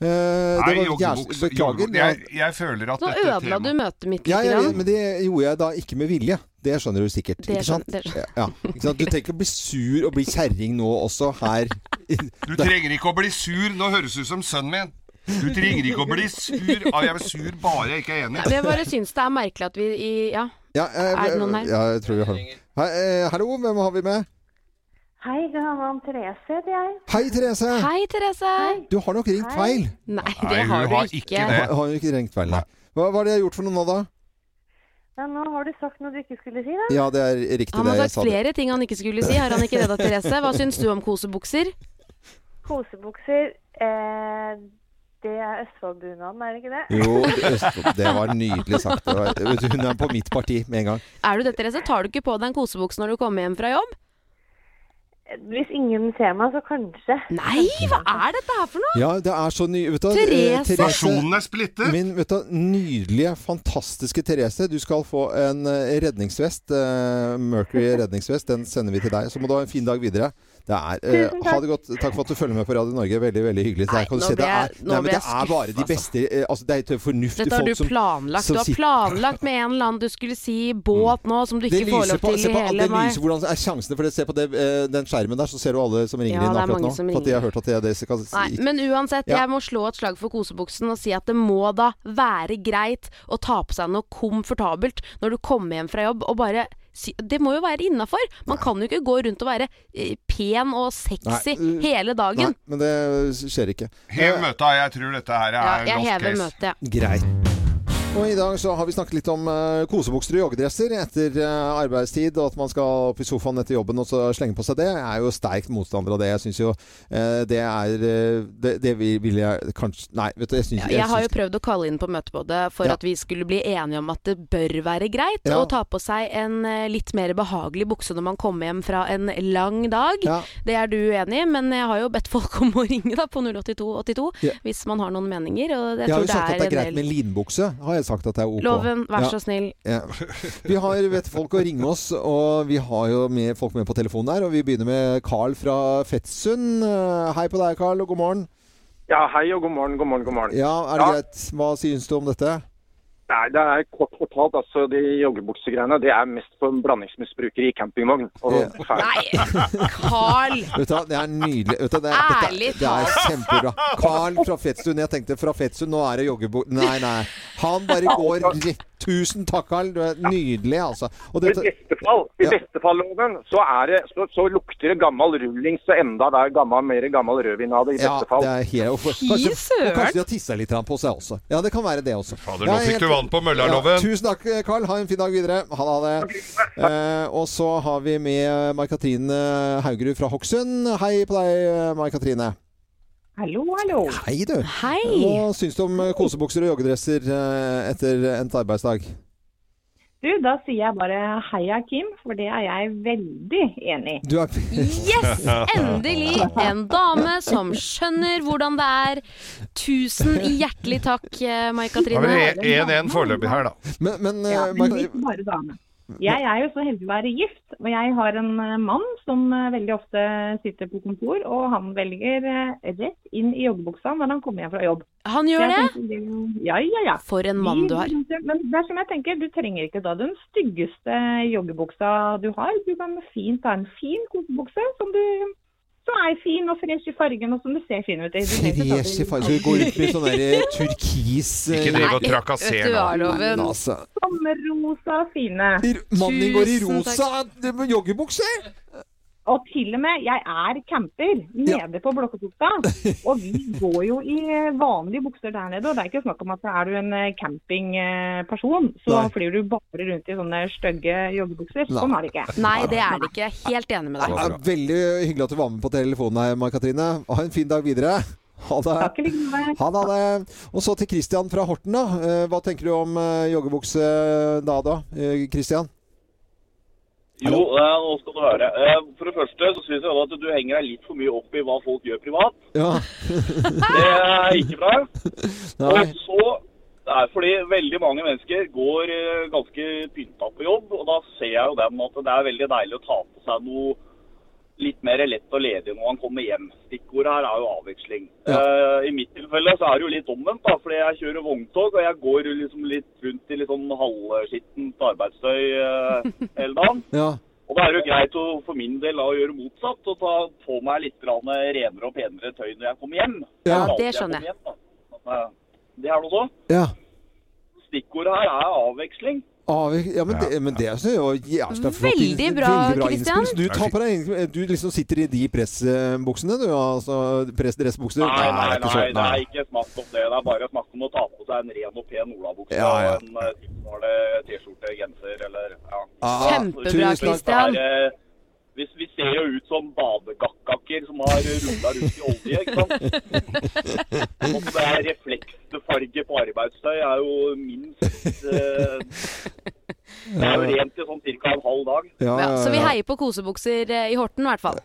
[SPEAKER 1] Eh, det
[SPEAKER 2] Nei,
[SPEAKER 1] var jævlig-
[SPEAKER 2] joggebukse.
[SPEAKER 1] Beklager.
[SPEAKER 2] joggebukse.
[SPEAKER 1] men jeg-
[SPEAKER 2] Jeg, jeg føler at
[SPEAKER 3] Nå
[SPEAKER 2] dette
[SPEAKER 3] ødela du møtet mitt
[SPEAKER 1] ja,
[SPEAKER 3] lite
[SPEAKER 1] ja,
[SPEAKER 3] grann.
[SPEAKER 1] men det gjorde jeg da ikke med vilje. Det skjønner du sikkert.
[SPEAKER 3] Det
[SPEAKER 1] Ikke sant?
[SPEAKER 3] skjønner- det skjønner-
[SPEAKER 1] Ja, ikke sant? Du trenger ikke å bli sur og bli kjerring nå også her.
[SPEAKER 2] Du trenger ikke å bli sur. Nå høres du ut som sønnen min. Du trenger ikke å bli sur. Ah, jeg er sur bare jeg ikke er enig.
[SPEAKER 3] Nei, men Jeg bare syns det er merkelig at vi i Ja.
[SPEAKER 1] Ja, eh,
[SPEAKER 3] Er det noen her?
[SPEAKER 1] Ja, jeg tror vi har noen. Hei, eh, hallo, hvem har vi med?
[SPEAKER 21] Hei, det handler om Therese, heter jeg.
[SPEAKER 1] Hei, Therese.
[SPEAKER 3] Hei, Therese.
[SPEAKER 1] Du har nok ringt
[SPEAKER 21] Hei.
[SPEAKER 1] feil.
[SPEAKER 3] Nei,
[SPEAKER 21] det Nei, hun har du har ikke. ikke det.
[SPEAKER 1] Har, har ikke ringt feil, nei. Hva, hva er det jeg har gjort for noe nå, da?
[SPEAKER 21] Ja, nå har du sagt noe du ikke skulle si, da.
[SPEAKER 1] Ja, det er riktig
[SPEAKER 3] Han
[SPEAKER 1] det
[SPEAKER 3] har
[SPEAKER 1] jeg
[SPEAKER 3] sagt
[SPEAKER 1] sa. det.
[SPEAKER 3] flere ting han ikke skulle si. Har han ikke det da, Therese? Hva syns du om kosebukser?
[SPEAKER 21] Kosebukser, eh, det er Østfoldbunaden, er det ikke det?
[SPEAKER 1] Jo, Østfold. Det var nydelig sagt. Det var, vet du, hun er på mitt parti med en gang.
[SPEAKER 3] Er du det, Therese? Tar du ikke på deg en kosebukse når du kommer hjem fra jobb?
[SPEAKER 21] Hvis ingen ser meg, så kanskje.
[SPEAKER 3] Nei, hva er dette her for noe?
[SPEAKER 1] Ja, det er så ny... Vet du, Eh,
[SPEAKER 3] Therese!
[SPEAKER 2] Personen er splittet!
[SPEAKER 1] Min vet du, nydelige, fantastiske Therese. Du skal få en eh, redningsvest. eh, Mercury redningsvest. Den sender vi til deg. Så må du ha en fin dag videre. Det er, eh,
[SPEAKER 3] Tusen
[SPEAKER 1] ha
[SPEAKER 3] takk.
[SPEAKER 1] det godt. Takk for at du følger med på Radio Norge. Veldig veldig hyggelig. Der kan du
[SPEAKER 3] nå
[SPEAKER 1] se, det
[SPEAKER 3] ble jeg-
[SPEAKER 1] er, nei,
[SPEAKER 3] nå
[SPEAKER 1] men
[SPEAKER 3] ble
[SPEAKER 1] det
[SPEAKER 3] jeg
[SPEAKER 1] er bare de
[SPEAKER 3] skuffet,
[SPEAKER 1] beste eh, altså, Det er fornuftige
[SPEAKER 3] Dette har
[SPEAKER 1] folk
[SPEAKER 3] du
[SPEAKER 1] som
[SPEAKER 3] planlagt. Du
[SPEAKER 1] som
[SPEAKER 3] har
[SPEAKER 1] sitter-
[SPEAKER 3] planlagt med en eller annen du skulle si båt nå, som du
[SPEAKER 1] Det
[SPEAKER 3] ikke får
[SPEAKER 1] lyser
[SPEAKER 3] lov
[SPEAKER 1] på,
[SPEAKER 3] til
[SPEAKER 1] se
[SPEAKER 3] i
[SPEAKER 1] på,
[SPEAKER 3] hele
[SPEAKER 1] det
[SPEAKER 3] mai.
[SPEAKER 1] lyser hvordan er sjansene for det. Se på det, eh, den skjermen der, så ser du alle som ringer
[SPEAKER 3] Ja,
[SPEAKER 1] inn
[SPEAKER 3] det er
[SPEAKER 1] akkurat
[SPEAKER 3] mange
[SPEAKER 1] nå.
[SPEAKER 3] som
[SPEAKER 1] For at jeg har hørt at det, det skal,
[SPEAKER 3] Nei, men uansett,
[SPEAKER 1] Ja.
[SPEAKER 3] jeg må slå et slag for kosebuksen og si at det må da være greit å ta på seg noe komfortabelt når du kommer hjem fra jobb og bare si Det må jo være innafor! Man kan jo ikke gå rundt og være eh, pen og sexy
[SPEAKER 1] Nei.
[SPEAKER 3] hele dagen.
[SPEAKER 1] <laughs> Nei, men det skjer ikke.
[SPEAKER 2] Hev møta, jeg tror dette her
[SPEAKER 3] Ja,
[SPEAKER 2] er
[SPEAKER 3] jeg
[SPEAKER 2] lost
[SPEAKER 3] hever
[SPEAKER 2] case.
[SPEAKER 3] møtet, ja.
[SPEAKER 1] Greit. Og I dag så har vi snakket litt om eh, kosebukser og joggedresser etter eh, arbeidstid, og at man skal opp i sofaen etter jobben og så slenge på seg det. Jeg er jo sterkt motstander av det. Jeg syns jo eh, det er eh, det, det vil vil jeg kanskje Nei, vet du, jeg syns
[SPEAKER 3] Ja, jeg har jo prøvd å kalle inn på møtebordet for
[SPEAKER 1] Ja.
[SPEAKER 3] at vi skulle bli enige om at det bør være greit
[SPEAKER 1] Ja.
[SPEAKER 3] å ta på seg en eh, litt mer behagelig bukse når man kommer hjem fra en lang dag. Det er du uenig i, men jeg har jo bedt folk om å <laughs> ringe da på 08282
[SPEAKER 1] Ja.
[SPEAKER 3] hvis man har noen meninger. Og
[SPEAKER 1] Jeg
[SPEAKER 3] jeg
[SPEAKER 1] har jo
[SPEAKER 3] tror det
[SPEAKER 1] sagt
[SPEAKER 3] er,
[SPEAKER 1] at det er greit
[SPEAKER 3] en
[SPEAKER 1] med
[SPEAKER 3] del
[SPEAKER 1] linbukse. Har jeg sagt at det er ok.
[SPEAKER 3] Loven, vær
[SPEAKER 1] Ja.
[SPEAKER 3] så snill.
[SPEAKER 1] Ja. Vi har vet folk å ringe oss, og vi har jo med, folk med på telefonen her. Og vi begynner med Carl fra Fettsund. Eh, Hei på deg, Carl, og god morgen.
[SPEAKER 22] Ja, hei og god morgen, god morgen, god morgen.
[SPEAKER 1] Ja, er det greit? Hva syns du om dette?
[SPEAKER 22] Nei, det er kort fortalt, altså de joggebuksegreiene, det er mest for blandingsmisbrukere i campingvogn. Og,
[SPEAKER 3] Nei,
[SPEAKER 1] <laughs>
[SPEAKER 3] Carl!
[SPEAKER 1] Vet du, hva, det er nydelig. Vet du, det, dette-
[SPEAKER 3] Ærlig
[SPEAKER 1] det er
[SPEAKER 3] talt.
[SPEAKER 1] kjempebra. Carl fra Fettsund. Jeg tenkte fra Fettsund, nå er det joggebok... Nei, nei. Han bare går rett. Tusen takk, Carl. Du er nydelig, altså. Og
[SPEAKER 22] I beste fall, i
[SPEAKER 1] Ja.
[SPEAKER 22] beste fall-loven, så, er det- så, så lukter det gammel rullings og enda det er gammel, mer gammel rødvin av det i
[SPEAKER 1] ja,
[SPEAKER 22] beste fall.
[SPEAKER 1] det er helt og kanskje, og kanskje de har tissa litt på seg også. Ja, det kan være det også.
[SPEAKER 2] Fader,
[SPEAKER 1] Ja,
[SPEAKER 2] nå fikk
[SPEAKER 1] helt-
[SPEAKER 2] du vann på mølla, Loven.
[SPEAKER 1] tusen takk, Carl. Ha en fin dag videre. Ha det. Ha det. Eh, og så har vi med Mai-Katrine Haugerud fra Hokksund. Hei på deg, Mai-Katrine.
[SPEAKER 23] Hallo, hallo.
[SPEAKER 1] Hei, du.
[SPEAKER 23] Hei.
[SPEAKER 1] Hva syns du om eh, kosebukser og joggedresser eh, etter endt arbeidsdag?
[SPEAKER 23] Du, da sier jeg bare heia Kim, for det er jeg veldig enig i.
[SPEAKER 1] Du er <laughs>
[SPEAKER 3] Yes! Endelig en dame som skjønner hvordan det er. Tusen hjertelig takk, eh,
[SPEAKER 2] Da
[SPEAKER 3] Mai-Katrine.
[SPEAKER 2] blir det 1-1 foreløpig her, da.
[SPEAKER 1] Men, men
[SPEAKER 23] Ja,
[SPEAKER 1] eh,
[SPEAKER 23] men
[SPEAKER 1] Mai-
[SPEAKER 23] ikke bare dame. Jeg er jo så heldig å være gift, og jeg har en eh, mann som eh, veldig ofte sitter på kontor, og han velger eh, rett inn i joggebuksa når han kommer hjem fra jobb.
[SPEAKER 3] Han gjør
[SPEAKER 23] Så jeg
[SPEAKER 3] det?
[SPEAKER 23] tenker, Ja, ja, ja.
[SPEAKER 3] For en mann du har.
[SPEAKER 23] Men det er som jeg tenker, du trenger ikke da den styggeste joggebuksa du har. Du kan fint ha en fin kosebukse som du som er fin og fresh i fargen, og som du ser fin ut i. Du trenger ikke ta den-
[SPEAKER 1] Fresh i fargen. Skal vi gå rundt med sånn der eh, turkis eh,
[SPEAKER 2] Ikke drive og
[SPEAKER 1] Nei,
[SPEAKER 2] trakassere
[SPEAKER 1] vet du
[SPEAKER 2] nå.
[SPEAKER 1] hva, Loven?
[SPEAKER 2] Nei,
[SPEAKER 1] altså.
[SPEAKER 23] Sommerrosa fine.
[SPEAKER 1] Mannen din går i rosa eh, joggebukse!
[SPEAKER 23] Og til og med, jeg er camper nede på Blokkebukta, og vi går jo i vanlige bukser der nede. Og det er ikke snakk om at er du en eh, campingperson, så
[SPEAKER 3] Nei.
[SPEAKER 23] flyr du bare rundt i sånne stygge joggebukser. Sånn er det ikke.
[SPEAKER 3] Nei, det er det ikke. Jeg er helt enig med
[SPEAKER 1] Det er
[SPEAKER 3] deg.
[SPEAKER 1] veldig hyggelig at du var med på telefonen her, Mai-Katrine. Ha en fin dag videre. Ha det. Ha det, ha det. Og så til Christian fra Horten, da. Eh, Hva tenker du om eh, joggebukse da, da? eh, Christian?
[SPEAKER 24] Jo, eh, nå skal du høre. Eh, For det første så syns jeg også at du henger deg litt for mye opp i hva folk gjør privat.
[SPEAKER 1] <laughs> Ja.
[SPEAKER 24] Det er ikke bra.
[SPEAKER 1] Nei.
[SPEAKER 24] Og så det er fordi veldig mange mennesker går eh, ganske pynta på jobb, og da ser jeg jo dem at det er veldig deilig å ta på seg noe litt mer lett og ledig når man kommer hjem. Stikkordet her er jo avveksling. Eh, I mitt tilfelle så er det jo litt omvendt, da, fordi jeg kjører vogntog og jeg går jo liksom litt rundt i litt sånn halvskittent arbeidstøy eh, hele dagen.
[SPEAKER 1] Ja.
[SPEAKER 24] Og da er det jo greit å, for min del da, å gjøre motsatt og ta på meg litt grann renere og penere tøy når jeg kommer hjem.
[SPEAKER 3] Ja,
[SPEAKER 24] Det er alltid
[SPEAKER 3] det skjønner
[SPEAKER 24] jeg. kommer hjem, da. eh, det er det også.
[SPEAKER 1] Ja.
[SPEAKER 24] Stikkordet her er avveksling.
[SPEAKER 1] Avvik- ja, men, Det, men det er så jo jævla flott.
[SPEAKER 24] Veldig
[SPEAKER 1] inn-
[SPEAKER 24] bra,
[SPEAKER 1] veldig bra
[SPEAKER 24] Christian.
[SPEAKER 1] innspill. Så Du, tar på deg, egen- du liksom sitter i de pressbuksene, du? Altså pressdressbukser?
[SPEAKER 24] Nei, nei,
[SPEAKER 1] det er ikke
[SPEAKER 24] nei,
[SPEAKER 1] sånn,
[SPEAKER 24] det er ikke snakk om det. Det er bare snakk om å ta på seg en ren og pen olabukse
[SPEAKER 1] Ja, ja.
[SPEAKER 24] og en eh, tilsvarende T-skjorte, genser eller ja. altså,
[SPEAKER 1] Ah, Kjempebra, tusen takk. Christian.
[SPEAKER 24] Det er, eh, Vi, vi ser jo ut som badegakkaker som har rulla rundt i olje, ikke
[SPEAKER 1] <laughs>
[SPEAKER 24] sant? Og det er refleksfarge på arbeidstøy er jo minst
[SPEAKER 1] <laughs>
[SPEAKER 24] eh, Det er jo rent i sånn ca. en halv dag.
[SPEAKER 1] Ja, ja,
[SPEAKER 3] Så vi
[SPEAKER 1] ja.
[SPEAKER 3] heier på kosebukser eh, i Horten, i hvert
[SPEAKER 1] <laughs>
[SPEAKER 3] fall.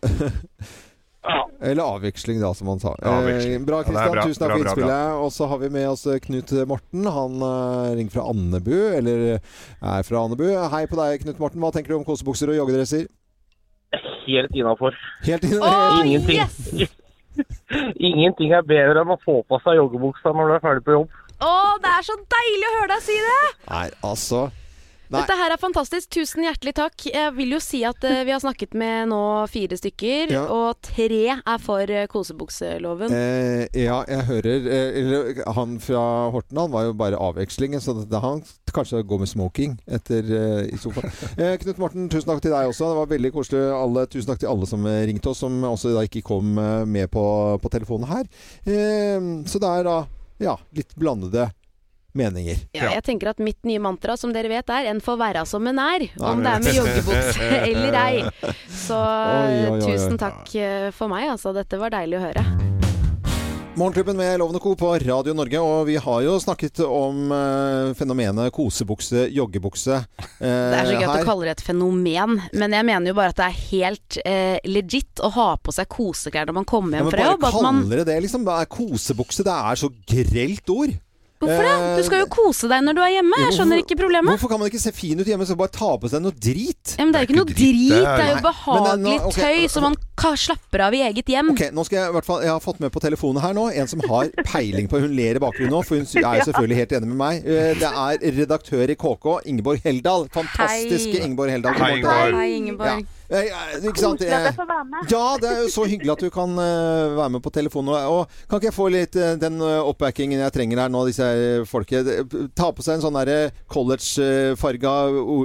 [SPEAKER 1] Eller avveksling, da, som han sa.
[SPEAKER 2] Avveksling.
[SPEAKER 1] Eh, Bra,
[SPEAKER 2] Ja, det er
[SPEAKER 1] Kristian.
[SPEAKER 2] bra,
[SPEAKER 1] Tusen
[SPEAKER 2] bra,
[SPEAKER 1] takk for
[SPEAKER 2] bra, bra.
[SPEAKER 1] innspillet. Og så har vi med oss eh, Knut Morten. Han eh, ringer fra Andebu, eller eh, er fra Andebu. Hei på deg, Knut Morten. Hva tenker du om kosebukser og joggedresser?
[SPEAKER 25] Helt innafor.
[SPEAKER 1] Helt
[SPEAKER 25] Åh,
[SPEAKER 1] <laughs>
[SPEAKER 25] Ingenting. Ingenting er bedre enn å få på seg joggebuksa når du er ferdig på jobb.
[SPEAKER 3] Å, det er så deilig å høre deg si det!
[SPEAKER 1] Nei, altså
[SPEAKER 3] Dette her er fantastisk. Tusen hjertelig takk. Jeg vil jo si at eh, vi har snakket med nå fire stykker,
[SPEAKER 1] Ja.
[SPEAKER 3] og tre er for eh, kosebukseloven.
[SPEAKER 1] Eh, ja, jeg hører eh, eller, Han fra Horten han var jo bare avvekslingen, så det, han kanskje går med smoking etter eh, i
[SPEAKER 3] <laughs>
[SPEAKER 1] sofaen. Eh, Knut Morten, tusen takk til deg også. Det var veldig koselig. Alle, tusen takk til alle som eh, ringte oss, som også da ikke kom eh, med på, på telefonen her. Eh, så det er da ja, litt blandede meninger.
[SPEAKER 3] Ja, jeg tenker at mitt nye mantra, som dere vet, er 'en får være som en er', om det
[SPEAKER 1] men-
[SPEAKER 3] er med joggebukse
[SPEAKER 1] <laughs>
[SPEAKER 3] eller ei. Så
[SPEAKER 1] Oi, oi, oi, oi.
[SPEAKER 3] tusen takk eh, for meg, altså. Dette var deilig å høre.
[SPEAKER 1] Morgenklubben med Lovende Co. på Radio Norge, og vi har jo snakket om eh, fenomenet kosebukse, joggebukse.
[SPEAKER 3] <laughs>
[SPEAKER 1] eh,
[SPEAKER 3] Det er så gøy at
[SPEAKER 1] her.
[SPEAKER 3] du kaller det et fenomen, men jeg mener jo bare at det er helt eh, legit å ha på seg koseklær når man kommer
[SPEAKER 1] Ja,
[SPEAKER 3] hjem
[SPEAKER 1] men
[SPEAKER 3] fra
[SPEAKER 1] bare
[SPEAKER 3] jobb. At
[SPEAKER 1] kaller
[SPEAKER 3] man,
[SPEAKER 1] det det, liksom. Det er kosebukse. Det er så grelt ord. Eh,
[SPEAKER 3] hvorfor det? Du skal jo kose deg når du er hjemme, jeg skjønner ikke problemet.
[SPEAKER 1] Hvorfor kan man ikke se fin ut hjemme, så bare ta på seg noe drit?
[SPEAKER 3] Ja, men det er jo ikke noe drit,
[SPEAKER 1] det er-
[SPEAKER 3] det er jo
[SPEAKER 1] Nei. Men det
[SPEAKER 3] behagelig
[SPEAKER 1] er nå- ok. altså-
[SPEAKER 3] tøy som man ka- slapper av i eget hjem.
[SPEAKER 1] Ok, nå skal Jeg i hvert fall, jeg har fått med på telefonen her nå en som har peiling på Hun ler i bakgrunnen nå, for hun
[SPEAKER 3] <laughs>
[SPEAKER 1] sy- er jo selvfølgelig helt enig med meg. Eh, Det er redaktør i KK, Ingeborg Heldal. Fantastiske
[SPEAKER 4] Hei.
[SPEAKER 1] Ingeborg Heldal. God
[SPEAKER 4] Hei,
[SPEAKER 1] morgen.
[SPEAKER 4] Ingeborg. Hei, Ingeborg.
[SPEAKER 1] Ja. Eh, eh, Ikke sant?
[SPEAKER 4] Koselig at jeg
[SPEAKER 1] Eh,
[SPEAKER 4] får være med.
[SPEAKER 1] Ja, det er jo så hyggelig at du kan eh, være med på telefonen. Og, og kan ikke jeg få litt eh, den eh, oppbackingen jeg trenger her nå, disse her folket? Eh, Ta på seg en sånn derre eh, collegefarga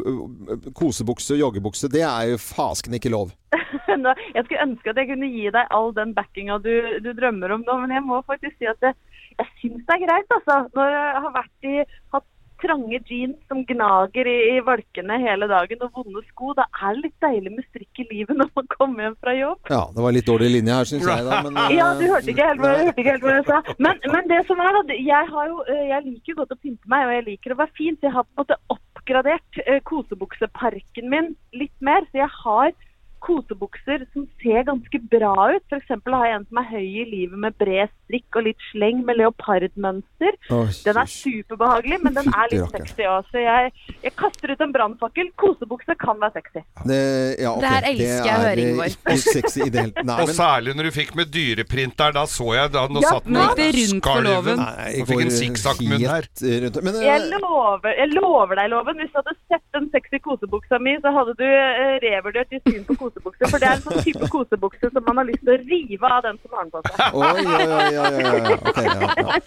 [SPEAKER 1] eh, kosebukse og joggebukse. Det er jo fasken ikke lov.
[SPEAKER 4] <laughs> Nå, jeg skulle ønske at jeg kunne gi deg all den backinga du, du drømmer om nå, men jeg må faktisk si at det, jeg syns det er greit, altså. Når jeg har vært i, hatt trange jeans som gnager i, i valkene hele dagen og vonde sko, da er det litt deilig med strikk i livet når man kommer hjem fra jobb.
[SPEAKER 1] Ja, det var litt dårlig linje her, syns jeg. Da, men, eh,
[SPEAKER 4] <laughs> Ja, du hørte ikke helt hva, du hørte ikke helt hva jeg sa. Men, men det som er, da, det- jeg, har jo, eh, jeg liker jo godt å pynte meg, og jeg liker å være fin. Så jeg har på en måte oppgradert eh, kosebukseparken min litt mer. Så jeg har kosebukser som ser ganske bra ut. F.eks. har jeg en som er høy i livet med bred strikk og litt sleng med leopardmønster.
[SPEAKER 1] Oi,
[SPEAKER 4] Den er superbehagelig, men den er litt
[SPEAKER 1] Fytti rakker.
[SPEAKER 4] sexy òg. Så jeg, jeg kaster ut en brannfakkel. Kosebukse kan være sexy.
[SPEAKER 1] eh, Det, ja, ok.
[SPEAKER 4] Det her elsker jeg å høre,
[SPEAKER 1] eh,
[SPEAKER 4] Ingeborg.
[SPEAKER 1] ikke sexy i det hele Nei,
[SPEAKER 2] <laughs> og
[SPEAKER 1] men-
[SPEAKER 2] særlig når du fikk med dyreprint der, da så jeg da nå
[SPEAKER 4] Ja,
[SPEAKER 2] satt den
[SPEAKER 4] nå gikk det
[SPEAKER 3] rundt for loven.
[SPEAKER 1] Nei, jeg
[SPEAKER 2] Og fikk en
[SPEAKER 1] går
[SPEAKER 2] sikksakk-munn her.
[SPEAKER 1] helt rundt. Men, eh,
[SPEAKER 4] Jeg lover, jeg lover deg, Loven. Hvis du hadde sett den sexy kosebuksa mi, så hadde du eh, revurdert ditt syn på kosebukser. For det er en sånn type kosebukse som man har lyst til å rive av den som har den
[SPEAKER 1] <laughs>
[SPEAKER 4] på seg.
[SPEAKER 1] Oi, oi, oi, oi, oi, oi. Ok, ja, ja.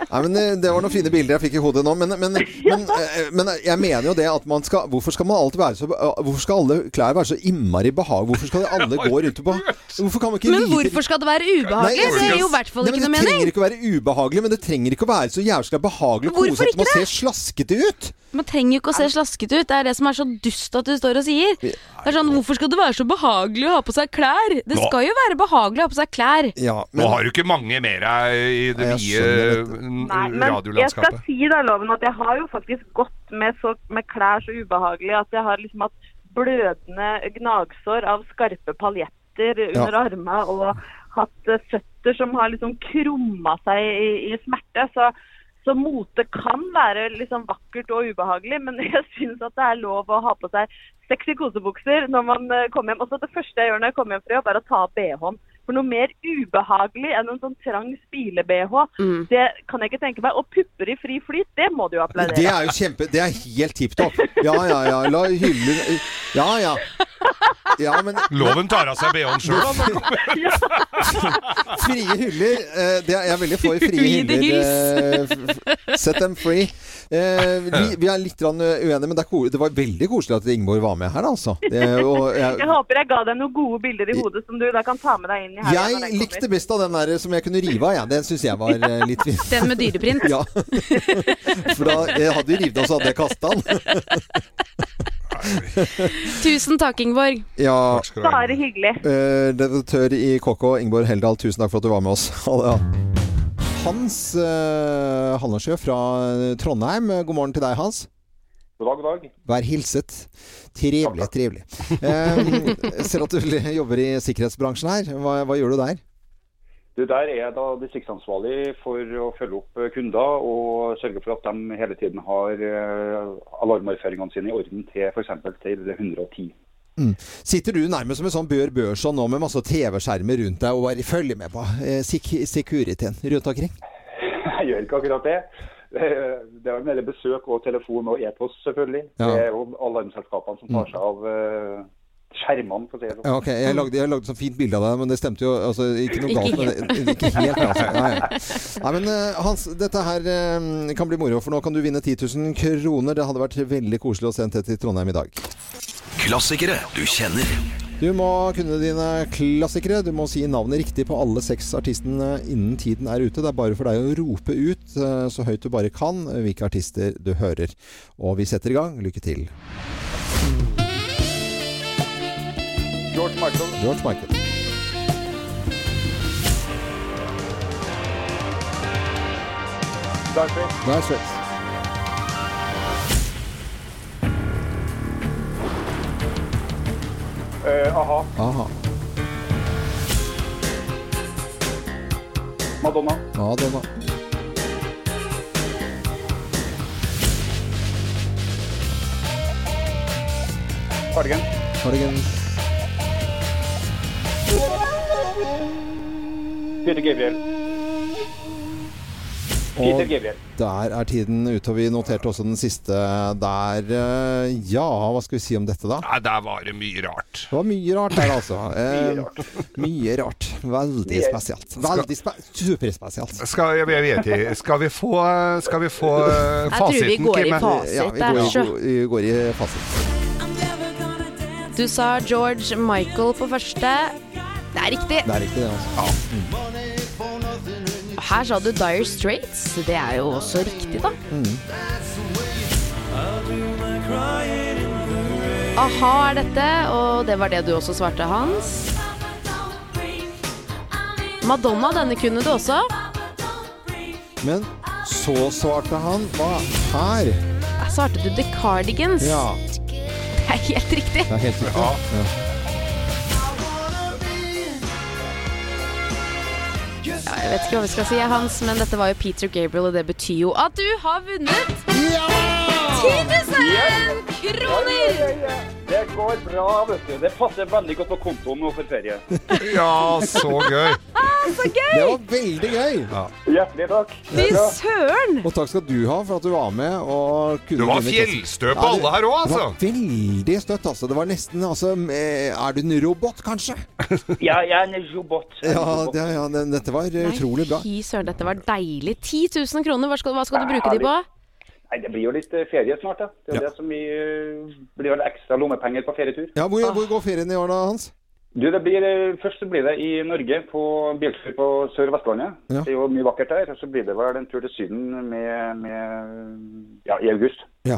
[SPEAKER 1] Nei, men eh, Det var noen fine bilder jeg fikk i hodet nå. Men, men, men, eh, men jeg mener jo det at man skal Hvorfor skal man alltid være så eh, Hvorfor skal alle klær være så innmari behag? Hvorfor skal alle gå rundt på Hvorfor kan man ikke
[SPEAKER 3] Men
[SPEAKER 1] vite-
[SPEAKER 3] hvorfor skal det være ubehagelig?
[SPEAKER 1] Nei,
[SPEAKER 3] det gir jo i hvert fall
[SPEAKER 1] Nei,
[SPEAKER 3] ikke
[SPEAKER 1] men
[SPEAKER 3] noe
[SPEAKER 1] Det trenger
[SPEAKER 3] mening.
[SPEAKER 1] ikke å være ubehagelig, men det trenger ikke å være så jævla behagelig og kosete
[SPEAKER 3] Hvorfor
[SPEAKER 1] at man
[SPEAKER 3] ikke det?
[SPEAKER 1] ser slaskete ut.
[SPEAKER 3] Man trenger jo ikke å se slasket ut. Det er det som er så dust at du står og sier. Det er sånn, Hvorfor skal det være så behagelig å ha på seg klær? Det
[SPEAKER 2] Nå-
[SPEAKER 3] skal jo være behagelig å ha på seg klær.
[SPEAKER 2] Nå har du ikke mange mer eh, i det vide
[SPEAKER 4] Nei,
[SPEAKER 2] eh,
[SPEAKER 4] men jeg skal
[SPEAKER 2] radiolandskapet.
[SPEAKER 4] si da, Loven, at jeg har jo faktisk gått med, så, med klær så ubehagelig at jeg har liksom hatt blødende gnagsår av skarpe paljetter under
[SPEAKER 5] Ja.
[SPEAKER 4] armene og hatt eh, føtter som har liksom krumma seg i, i smerte. Så, så mote kan være liksom vakkert og ubehagelig, men <laughs> jeg syns at det er lov å ha på seg sexy kosebukser når man eh, kommer hjem. Også det første jeg gjør når jeg kommer hjem fra jobb, er å ta av BH-en. For noe mer ubehagelig enn en sånn trang spile-BH,
[SPEAKER 3] Mm.
[SPEAKER 4] det kan jeg ikke tenke meg. Og pupper i fri flyt, det må du jo applaudere.
[SPEAKER 1] Det er jo kjempe Det er helt tipp topp. Ja, ja, ja. La hylle Ja, ja. Ja, men...
[SPEAKER 2] Loven tar av seg BH-en sjøl.
[SPEAKER 1] Frie hyller eh, det er Jeg er veldig for frie
[SPEAKER 2] Utvide
[SPEAKER 1] hyller.
[SPEAKER 2] hyls.
[SPEAKER 1] eh, f- f- Set them free. Eh, Vi, vi er litt grann eh, uenige, men det, er ko det var veldig koselig at Ingeborg var med her, altså. Det,
[SPEAKER 4] <laughs>
[SPEAKER 1] og
[SPEAKER 4] Jeg
[SPEAKER 1] jeg,
[SPEAKER 4] håper jeg ga deg noen gode bilder i hodet som du da kan ta med deg inn i helgen når
[SPEAKER 1] jeg
[SPEAKER 4] den
[SPEAKER 1] likte best av den der som jeg kunne rive av, jeg. Den syns jeg var eh, litt fin.
[SPEAKER 3] Den med dyreprint?
[SPEAKER 1] <laughs> Ja. For da jeg hadde jeg revet den, og så hadde jeg kasta den.
[SPEAKER 3] Tusen takk, Ingeborg.
[SPEAKER 1] Ja.
[SPEAKER 4] kommer. Bare hyggelig.
[SPEAKER 1] Eh, Redaktør i KK, Ingeborg Heldal, tusen takk for at du var med oss. <laughs> Ha det, ja. Hans uh, Hallersjø fra Trondheim, eh, god morgen til deg, Hans.
[SPEAKER 5] God dag, god dag.
[SPEAKER 1] Vær hilset. Trivelig, trivelig. Eh, ser at du <laughs> jobber i sikkerhetsbransjen her. Hva, hva gjør du der?
[SPEAKER 5] Du, der er jeg da distriktsansvarlig for å følge opp eh, kunder og sørge for at de hele tiden har eh, alarmarføringene sine i orden til f.eks. til 110.
[SPEAKER 1] Mm. Sitter du nærmest som en sånn Bør Børson nå med masse TV-skjermer rundt deg og bare følger med på eh, sik securityen rundt omkring?
[SPEAKER 5] <laughs> Jeg gjør ikke akkurat det. Eh, Det er jo mer besøk og telefon og e-post, selvfølgelig.
[SPEAKER 1] Ja. Mm.
[SPEAKER 5] Det er jo alarmselskapene som tar seg av eh, skjermene, for å si det sånn.
[SPEAKER 1] Ja, ok, Jeg lagde, jeg lagde sånn fint bilde av deg, men det stemte jo altså, ikke noe
[SPEAKER 5] Ikke
[SPEAKER 1] galt med
[SPEAKER 5] helt.
[SPEAKER 1] det. Ikke helt, altså. Nei, nei. nei men eh, Hans, dette her eh, kan bli moro, for nå kan du vinne 10 000 kroner. Det hadde vært veldig koselig å sende det til Trondheim i dag.
[SPEAKER 11] Klassikere du kjenner.
[SPEAKER 1] Du må kunne dine klassikere. Du må si navnet riktig på alle seks artistene innen tiden er ute. Det er bare for deg å rope ut eh, så høyt du bare kan eh, hvilke artister du hører. Og vi setter i gang. Lykke til.
[SPEAKER 5] George Michael,
[SPEAKER 1] George Michael.
[SPEAKER 5] Dire Straits,
[SPEAKER 1] Nice race.
[SPEAKER 5] eh, a-ha,
[SPEAKER 1] Aha.
[SPEAKER 5] Madonna,
[SPEAKER 1] Madonna.
[SPEAKER 5] Cardigan,
[SPEAKER 1] Cardigans.
[SPEAKER 5] Peter Gabriel. Peter Gabriel.
[SPEAKER 1] der er tiden ute, og vi noterte også den siste der. Eh, Ja, hva skal vi si om dette, da?
[SPEAKER 2] Nei, der var det mye rart.
[SPEAKER 1] Det var mye rart der, altså. Eh, mye rart. Veldig spesielt. Veldig spe superspesielt.
[SPEAKER 2] Skal, jeg, jeg vet ikke. skal vi få, skal vi få eh,
[SPEAKER 3] Jeg tror vi
[SPEAKER 2] fasiten,
[SPEAKER 3] går i
[SPEAKER 2] Kim?
[SPEAKER 3] fasit Ja, vi der, altså. går i- så.
[SPEAKER 1] Vi går i fasit.
[SPEAKER 3] Du sa George Michael på første. Det er riktig.
[SPEAKER 1] Det er riktig, det, altså.
[SPEAKER 3] Her sa du Dire Straits. Det er jo også riktig, da.
[SPEAKER 1] Mm. Mm.
[SPEAKER 3] A-ha er dette, og det var det du også svarte, Hans. Madonna, denne kunne du også.
[SPEAKER 1] Men så svarte han hva her?
[SPEAKER 3] Da svarte du The Cardigans.
[SPEAKER 1] Ja,
[SPEAKER 3] Det er helt riktig.
[SPEAKER 1] det er helt riktig. Ja.
[SPEAKER 3] Ja, jeg vet ikke hva vi skal si, Hans, men dette var jo Peter Gabriel, og det betyr jo at du har vunnet 10 000 kroner!
[SPEAKER 5] Det går bra, vet du. Det passer veldig godt på kontoen nå for
[SPEAKER 1] <laughs>
[SPEAKER 5] ferie.
[SPEAKER 2] Ja, så gøy.
[SPEAKER 3] Så gøy!
[SPEAKER 1] Det var veldig gøy!
[SPEAKER 5] Hjertelig takk.
[SPEAKER 3] Fy søren!
[SPEAKER 1] Og takk skal du ha for at du var med. Og kunne
[SPEAKER 2] Du var
[SPEAKER 1] vinne
[SPEAKER 2] fjellstø
[SPEAKER 1] klassen.
[SPEAKER 2] på alle her også, altså.
[SPEAKER 1] Det var veldig støtt, altså. Det var nesten altså eh, Er du en robot, kanskje?
[SPEAKER 5] Ja, jeg er en robot.
[SPEAKER 1] Ja, det, ja det, dette var utrolig bra.
[SPEAKER 3] Fy søren, dette var deilig. 10 000 kroner, hva skal, hva skal du bruke de på?
[SPEAKER 5] Nei, Det blir jo litt eh, ferie snart, da. Det er jo det som vi, eh, blir vel ekstra lommepenger på ferietur.
[SPEAKER 1] Ja, hvor,
[SPEAKER 3] Ah.
[SPEAKER 1] hvor går ferien i år da, Hans?
[SPEAKER 5] Du, det blir, eh, Først så blir det i Norge, på biltur på Sør-Vestlandet.
[SPEAKER 1] Ja.
[SPEAKER 5] Det er jo mye vakkert der. Og så blir det vel en tur til Syden med, med ja, i august.
[SPEAKER 1] Ja.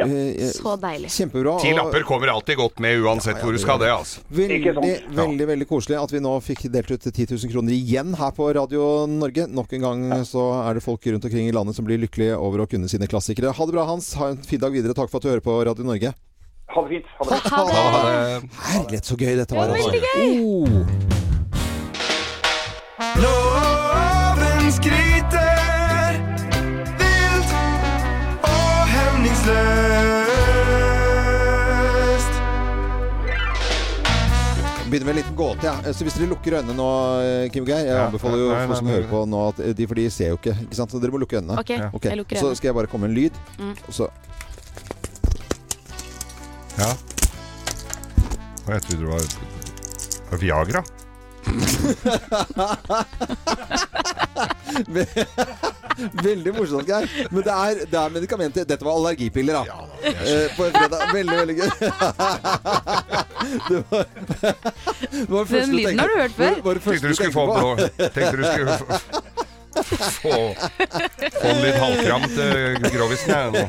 [SPEAKER 1] Eh,
[SPEAKER 3] Så deilig.
[SPEAKER 1] Kjempebra.
[SPEAKER 2] Ti
[SPEAKER 1] og-
[SPEAKER 2] lapper kommer alltid godt med uansett hvor du skal det, altså.
[SPEAKER 1] Veldig, veldig veldig koselig at vi nå fikk delt ut 10 000 kroner igjen her på Radio Norge. Nok en gang så er det folk rundt omkring i landet som blir lykkelige over å kunne sine klassikere. Ha det bra, Hans. Ha en fin dag videre. Takk for at du hører på Radio Norge.
[SPEAKER 5] Ha det fint. Ha det fint.
[SPEAKER 1] Herlighet, så gøy dette var.
[SPEAKER 5] Det var
[SPEAKER 1] altså. Oh.
[SPEAKER 6] Loven skryter vilt og
[SPEAKER 3] <laughs>
[SPEAKER 6] hemningsløst.
[SPEAKER 1] begynner med en liten gåte. Ja. Så hvis dere lukker øynene nå, eh, Kim og Geir Jeg
[SPEAKER 2] Ja.
[SPEAKER 1] anbefaler jo
[SPEAKER 2] Nei, nei,
[SPEAKER 1] folk som
[SPEAKER 2] nei,
[SPEAKER 1] hører på nå, at de, for de ser jo ikke. ikke sant? Så dere må lukke øynene.
[SPEAKER 2] Ok, Ja.
[SPEAKER 1] Ok,
[SPEAKER 2] jeg lukker
[SPEAKER 1] Så
[SPEAKER 2] øynene.
[SPEAKER 1] skal jeg bare komme med en lyd.
[SPEAKER 2] Mm.
[SPEAKER 1] Og så
[SPEAKER 2] Ja. Jeg trodde det var var Viagra.
[SPEAKER 1] <laughs> Veldig morsomt, Geir. Men det er, det er medikamenter. Dette var allergipiller, da. Eh, på en fredag. Veldig, veldig gøy. <laughs> Det var, <laughs> det var det første
[SPEAKER 2] Den lyden
[SPEAKER 1] tenkte-
[SPEAKER 2] har du hørt før.
[SPEAKER 1] var- var det første
[SPEAKER 2] Tenkte du skulle få blå- tenkte du skulle Få, få en litt halvkramt eh, grovisen her nå.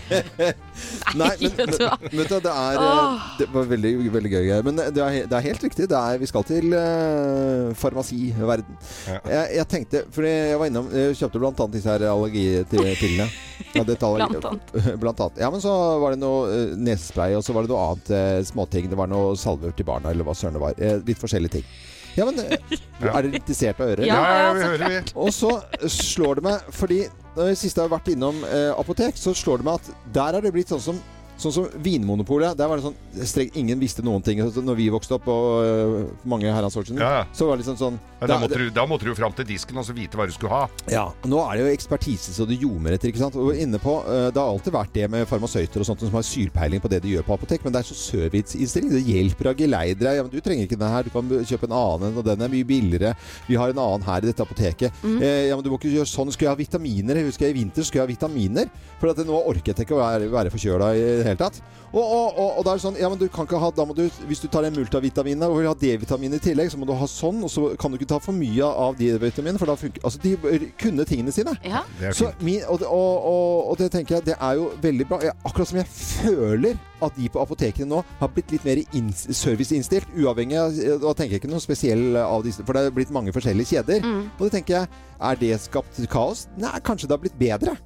[SPEAKER 1] Nei, men, men, men vet du, det er eh,
[SPEAKER 2] Åh.
[SPEAKER 1] Det var veldig, veldig gøy. Geir. Men det er, he- det er helt riktig. Det er, vi skal til eh, farmasiverden. Jeg, jeg tenkte For jeg var innom Jeg kjøpte blant annet disse her allergipillene. Ja, dette allergi-
[SPEAKER 6] Blant
[SPEAKER 1] <laughs> blant annet. Ja, men så var det noe eh, nesespray, og så var det noe annet eh, småting. Det var noe salver til barna, eller hva søren det var. Eh, litt forskjellige ting. Ja, men eh, er dere interessert å høre?
[SPEAKER 2] Ja, Ja, ja, ja, vi så hører, vi. klart.
[SPEAKER 1] Og så slår det meg, fordi når jeg sist har vært innom eh, apotek, så slår det meg at der er det blitt sånn som Sånn som Vinmonopolet. Der var det sånn strengt, Ingen visste noen ting. Så Når vi vokste opp, og eh, mange herrens år siden, så var det liksom sånn
[SPEAKER 2] Ja, da, måtte du, da måtte du fram til disken og så vite hva du skulle
[SPEAKER 1] <laughs>
[SPEAKER 2] ha.
[SPEAKER 1] ja, Nå er det jo ekspertise så det ljomer etter. ikke sant? Og inne på, eh, Det har alltid vært det med farmasøyter og sånt som har sylpeiling på det de gjør på apotek, men det er så serviceinnstilling. Det hjelper av geleider. Ja, men 'Du trenger ikke den her, du kan kjøpe en annen, og den er mye billigere.' 'Vi har en annen her i dette apoteket.'
[SPEAKER 6] Mhm.
[SPEAKER 1] Eh, 'Ja, men du må ikke gjøre sånn. Skal jeg ha vitaminer?' Jeg husker jeg i vinter skulle jeg ha vitaminer, for at nå orket jeg ikke å være, være forkjøla i det hele tatt. Og, og, og, og da er det sånn Ja, men du kan ikke ha da må du, Hvis du tar en multivitamin og vil ha D-vitamin i tillegg, så må du ha sånn, og så kan du ikke ta for mye av D-vitamin, for da funker Altså, de bør kunne tingene sine.
[SPEAKER 6] Det er
[SPEAKER 1] Så min, og, det- og, og, og det tenker jeg, det er jo veldig bra. Jeg, akkurat som jeg føler at de på apotekene nå har blitt litt mer inn- serviceinnstilt, uavhengig av Da tenker jeg ikke noe spesiell av disse, for det er blitt mange forskjellige kjeder. Og det tenker jeg, er det skapt kaos? Nei, kanskje det har blitt bedre.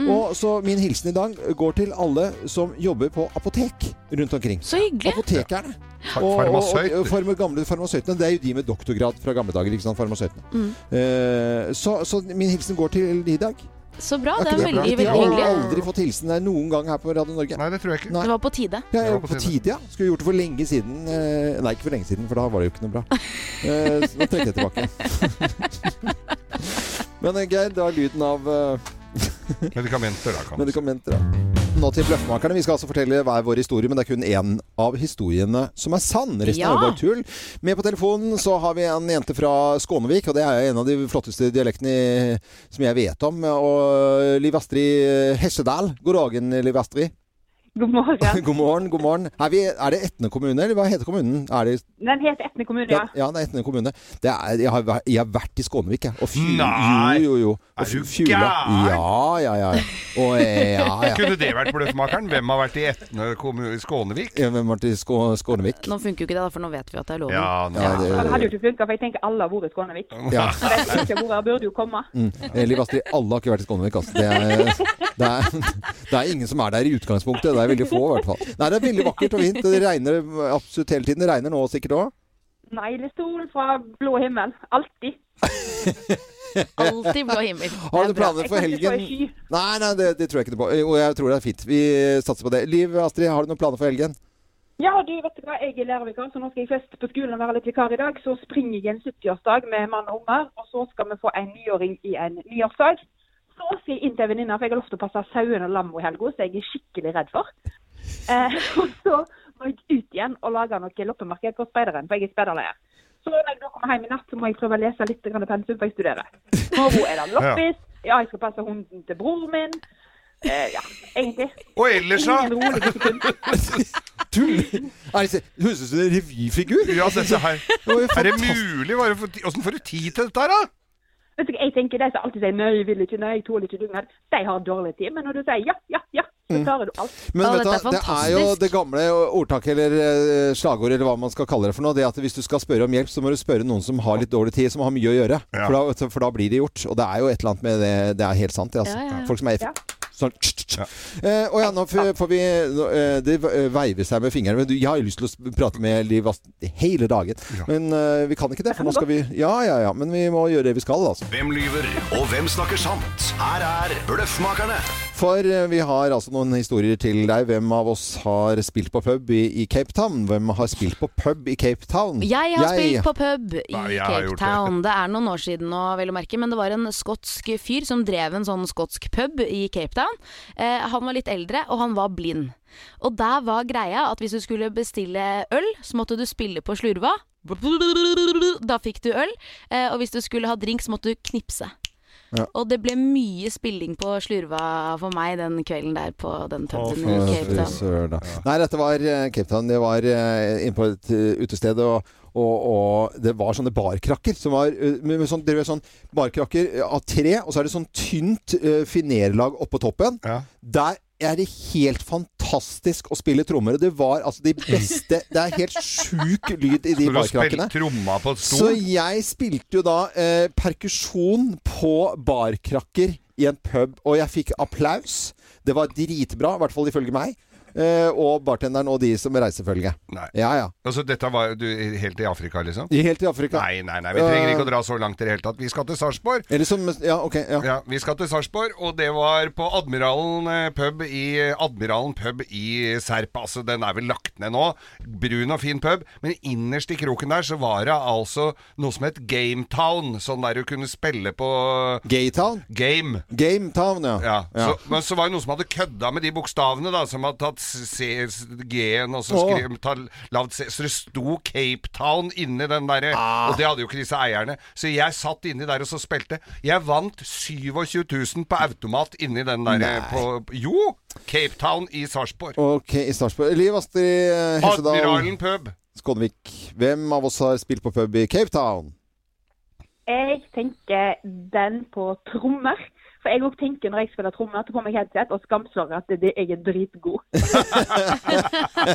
[SPEAKER 1] Og så min hilsen i dag går til alle som jobber på apotek rundt omkring.
[SPEAKER 3] Så hyggelig.
[SPEAKER 1] Apotekerne.
[SPEAKER 2] Fa-
[SPEAKER 1] Og- og- og-
[SPEAKER 2] farmasøyter.
[SPEAKER 1] farma- gamle farmasøytene. Det er jo de med doktorgrad fra gamle dager, ikke sant? Farmasøytene.
[SPEAKER 3] Mm.
[SPEAKER 1] Eh, så, så min hilsen går til de i dag.
[SPEAKER 3] Så bra.
[SPEAKER 1] Er
[SPEAKER 3] Det
[SPEAKER 1] ikke
[SPEAKER 3] er
[SPEAKER 1] bra?
[SPEAKER 3] veldig,
[SPEAKER 1] Jeg
[SPEAKER 3] veldig hyggelig.
[SPEAKER 1] har aldri fått hilsen der noen gang her på Radio Norge.
[SPEAKER 2] Nei, det tror jeg ikke.
[SPEAKER 3] Det var på tide.
[SPEAKER 1] Ja, jeg, på tide, ja. Skulle gjort det for lenge siden. Eh, Nei, ikke for lenge siden, for da var det jo ikke
[SPEAKER 3] <laughs>
[SPEAKER 1] noe bra. Eh, Så nå trekker jeg tilbake. <laughs> Men eh, Geir, det var lyden av eh,
[SPEAKER 2] Medikamenter, da. Kan.
[SPEAKER 1] medikamenter. da. Nå til Bløffmakerne. Vi skal altså fortelle hver vår historie, men det er kun én av historiene som er sann. Resten
[SPEAKER 6] Ja.
[SPEAKER 1] er bare tull. Med på telefonen så har vi en jente fra Skånevik, og det er en av de flotteste dialektene i- som jeg vet om. Og Liv Astrid Hesjedal. God dagen, Liv Astrid.
[SPEAKER 24] God morgen.
[SPEAKER 1] <laughs> god morgen. god morgen. Er, vi, er det Etne kommune, eller hva heter kommunen? Er det
[SPEAKER 24] Den heter Etne kommune,
[SPEAKER 1] ja,
[SPEAKER 24] ja.
[SPEAKER 1] ja, det er Etne kommune. Det er, jeg, har, vært- jeg har vært i Skånevik, jeg. Og fju-
[SPEAKER 2] Nei!
[SPEAKER 1] Jo, jo, jo. Og
[SPEAKER 2] Er du
[SPEAKER 1] fju- fjula.
[SPEAKER 2] gæren?
[SPEAKER 1] Ja, ja, ja. Og, eh, ja, ja.
[SPEAKER 2] <laughs> Kunne det vært bløffmakeren? Hvem har vært i Etne kommune i Skånevik?
[SPEAKER 1] Ja, Hvem var til Skå Skånevik?
[SPEAKER 3] Nå funker jo ikke det, da, for nå vet vi at det er loven.
[SPEAKER 2] Ja,
[SPEAKER 1] nei. Ja, det-
[SPEAKER 24] Ja, Det hadde jo ikke funka, for jeg tenker alle har vært i Skånevik.
[SPEAKER 1] Ja.
[SPEAKER 24] Men jeg tenker, Hvor jeg burde jo komme.
[SPEAKER 1] Mm. Eh, Liv Astrid, alle har ikke vært i Skånevik. Altså. Det, er, det, er, det er ingen som er der i utgangspunktet. Det er veldig få, i hvert fall. Nei, det er veldig vakkert og fint. Det regner absolutt hele tiden. Det regner nå sikkert òg.
[SPEAKER 24] Nei, det er sol fra blå himmel. Alltid.
[SPEAKER 3] Alltid blå himmel.
[SPEAKER 1] <laughs> Har du planer for helgen? Nei, nei, det, det tror jeg ikke noe på. Og jeg tror det er fint. Vi satser på det. Liv Astrid, har du noen planer for helgen?
[SPEAKER 24] Ja, du vet du hva, jeg er lærervikar, så nå skal jeg først på skolen og være litt vikar i dag. Så springer jeg en 70-årsdag med mann og unger, og så skal vi få en nyåring i en nyårsdag. Så skal jeg inn til en venninne, for jeg har lov til å passe sauen og lam i helga, så jeg er skikkelig redd for. Eh, <laughs> og så må jeg ut igjen og lage noe loppemarked på speideren, for jeg er speiderleder. Så når jeg da kommer hjem i natt, så må jeg prøve å lese litt grann pensum, for jeg studerer. Morgen er det loppis. Ja, jeg skal passe hunden til broren min. Eh, ja, egentlig.
[SPEAKER 2] Og ellers, da?
[SPEAKER 24] Ingen rolige sekunder.
[SPEAKER 1] <laughs> Tull! Er det, høres ut som en revyfigur.
[SPEAKER 2] Ja, dette her.
[SPEAKER 1] var jo
[SPEAKER 2] Er det
[SPEAKER 1] fantastisk.
[SPEAKER 2] mulig? Hva er det for ti- Åssen får du tid til dette her, da?
[SPEAKER 24] Vet du, hva, jeg tenker De som alltid sier 'nei, vil ikke, nei, tåler ikke dugnad', de har dårlig tid. Men når du sier ja, ja, ja, så
[SPEAKER 1] Mm.
[SPEAKER 24] klarer du alt.
[SPEAKER 1] Men vet du, hva, det er jo det gamle ordtaket eller eh, slagordet eller hva man skal kalle det for noe, det at hvis du skal spørre om hjelp, så må du spørre noen som har litt dårlig tid, som har mye å gjøre. For, da, for da blir det gjort. Og det er jo et eller annet med det Det er helt sant, det. Altså.
[SPEAKER 6] Ja, ja, ja.
[SPEAKER 1] Folk som er Sånn, tsk, tsk, tsk. Eh, og ja, nå f- får vi nå, eh, Det v- veiver seg med fingrene. Men du, jeg har jo lyst til å s- prate med Liv Astrid hele dagen. Men eh, vi kan ikke det, for nå skal vi Ja, ja, ja. Men vi må gjøre det vi skal, altså.
[SPEAKER 11] Hvem lyver, og hvem snakker sant? Her er Bløffmakerne.
[SPEAKER 1] For eh, vi har altså noen historier til deg. Hvem av oss har spilt på pub i, i Cape Town? Hvem har spilt på pub i Cape Town?
[SPEAKER 3] Jeg har spilt på pub i
[SPEAKER 1] Nei, jeg har
[SPEAKER 3] Cape
[SPEAKER 1] gjort det.
[SPEAKER 3] Town. Det. er noen år siden nå, vel å merke, men det var en skotsk fyr som drev en sånn skotsk pub i Cape Town. Eh, han var litt eldre, og han var blind. Og der var greia at hvis du skulle bestille øl, så måtte du spille på slurva. Da fikk du øl. Eh, og hvis du skulle ha drink, så måtte du knipse.
[SPEAKER 1] Ja.
[SPEAKER 3] Og det ble mye spilling på slurva for meg den kvelden der på den puben i
[SPEAKER 1] Å,
[SPEAKER 3] Cape
[SPEAKER 1] fy
[SPEAKER 3] Town.
[SPEAKER 1] søren, da. Nei, dette var eh, Cape Town. Det var eh, inne på et eh, utested. Og, og, og det var sånne barkrakker. Som var, eh, med, med sånn, dere vet sånn barkrakker eh, av tre, og så er det sånn tynt eh, finerlag oppå toppen. Der er det helt fantastisk å spille trommer. Og det var altså de beste Det er helt sjuk lyd
[SPEAKER 2] Skulle
[SPEAKER 1] i de
[SPEAKER 2] du
[SPEAKER 1] barkrakkene.
[SPEAKER 2] spille tromma på et
[SPEAKER 1] Så
[SPEAKER 2] stol?
[SPEAKER 1] jeg spilte jo da eh, perkusjon på barkrakker i en pub, og jeg fikk applaus. Det var dritbra, i hvert fall ifølge meg. Eh, og bartenderen og de som reisefølge. Ja, ja.
[SPEAKER 2] Altså, dette var du helt i Afrika, liksom?
[SPEAKER 1] Helt i Afrika.
[SPEAKER 2] Nei, nei, nei, vi trenger ikke å dra så langt i det hele tatt. Vi skal til Sarpsborg.
[SPEAKER 1] Eller som Ja, ok. Ja.
[SPEAKER 2] Ja, vi skal til Sarpsborg, og det var på Admiralen eh, pub i, Admiralen pub i Serp. Altså, den er vel lagt ned nå. Brun og fin pub. Men innerst i kroken der så var det altså noe som het Gametown. Sånn der du kunne spille på
[SPEAKER 1] Gaytown?
[SPEAKER 2] Game.
[SPEAKER 1] Gametown, ja. Ja.
[SPEAKER 2] Så, men så var det noen som hadde kødda med de bokstavene, da. Som hadde tatt C- s- G-en og så
[SPEAKER 1] Åh.
[SPEAKER 2] skrev ta, lavt C. Så det sto Cape Town inni den derre. Og det hadde jo ikke disse eierne. Så jeg satt inni der og så spilte. Jeg vant 27 000 på automat inni den derre på Jo! Cape Town i Sarpsborg.
[SPEAKER 1] Ok, i Sarpsborg. Liv Astrid eh, Hesjedal
[SPEAKER 2] Admiralen pub.
[SPEAKER 1] Skånevik. Hvem av oss har spilt på pub i Cape
[SPEAKER 23] <laughs>
[SPEAKER 1] Town? <laughs>
[SPEAKER 23] Jeg tenker den på trommer. For jeg òg tenker når jeg spiller trommer, tar på meg headset og skamslår at det, jeg er
[SPEAKER 1] <laughs>
[SPEAKER 23] dritgod.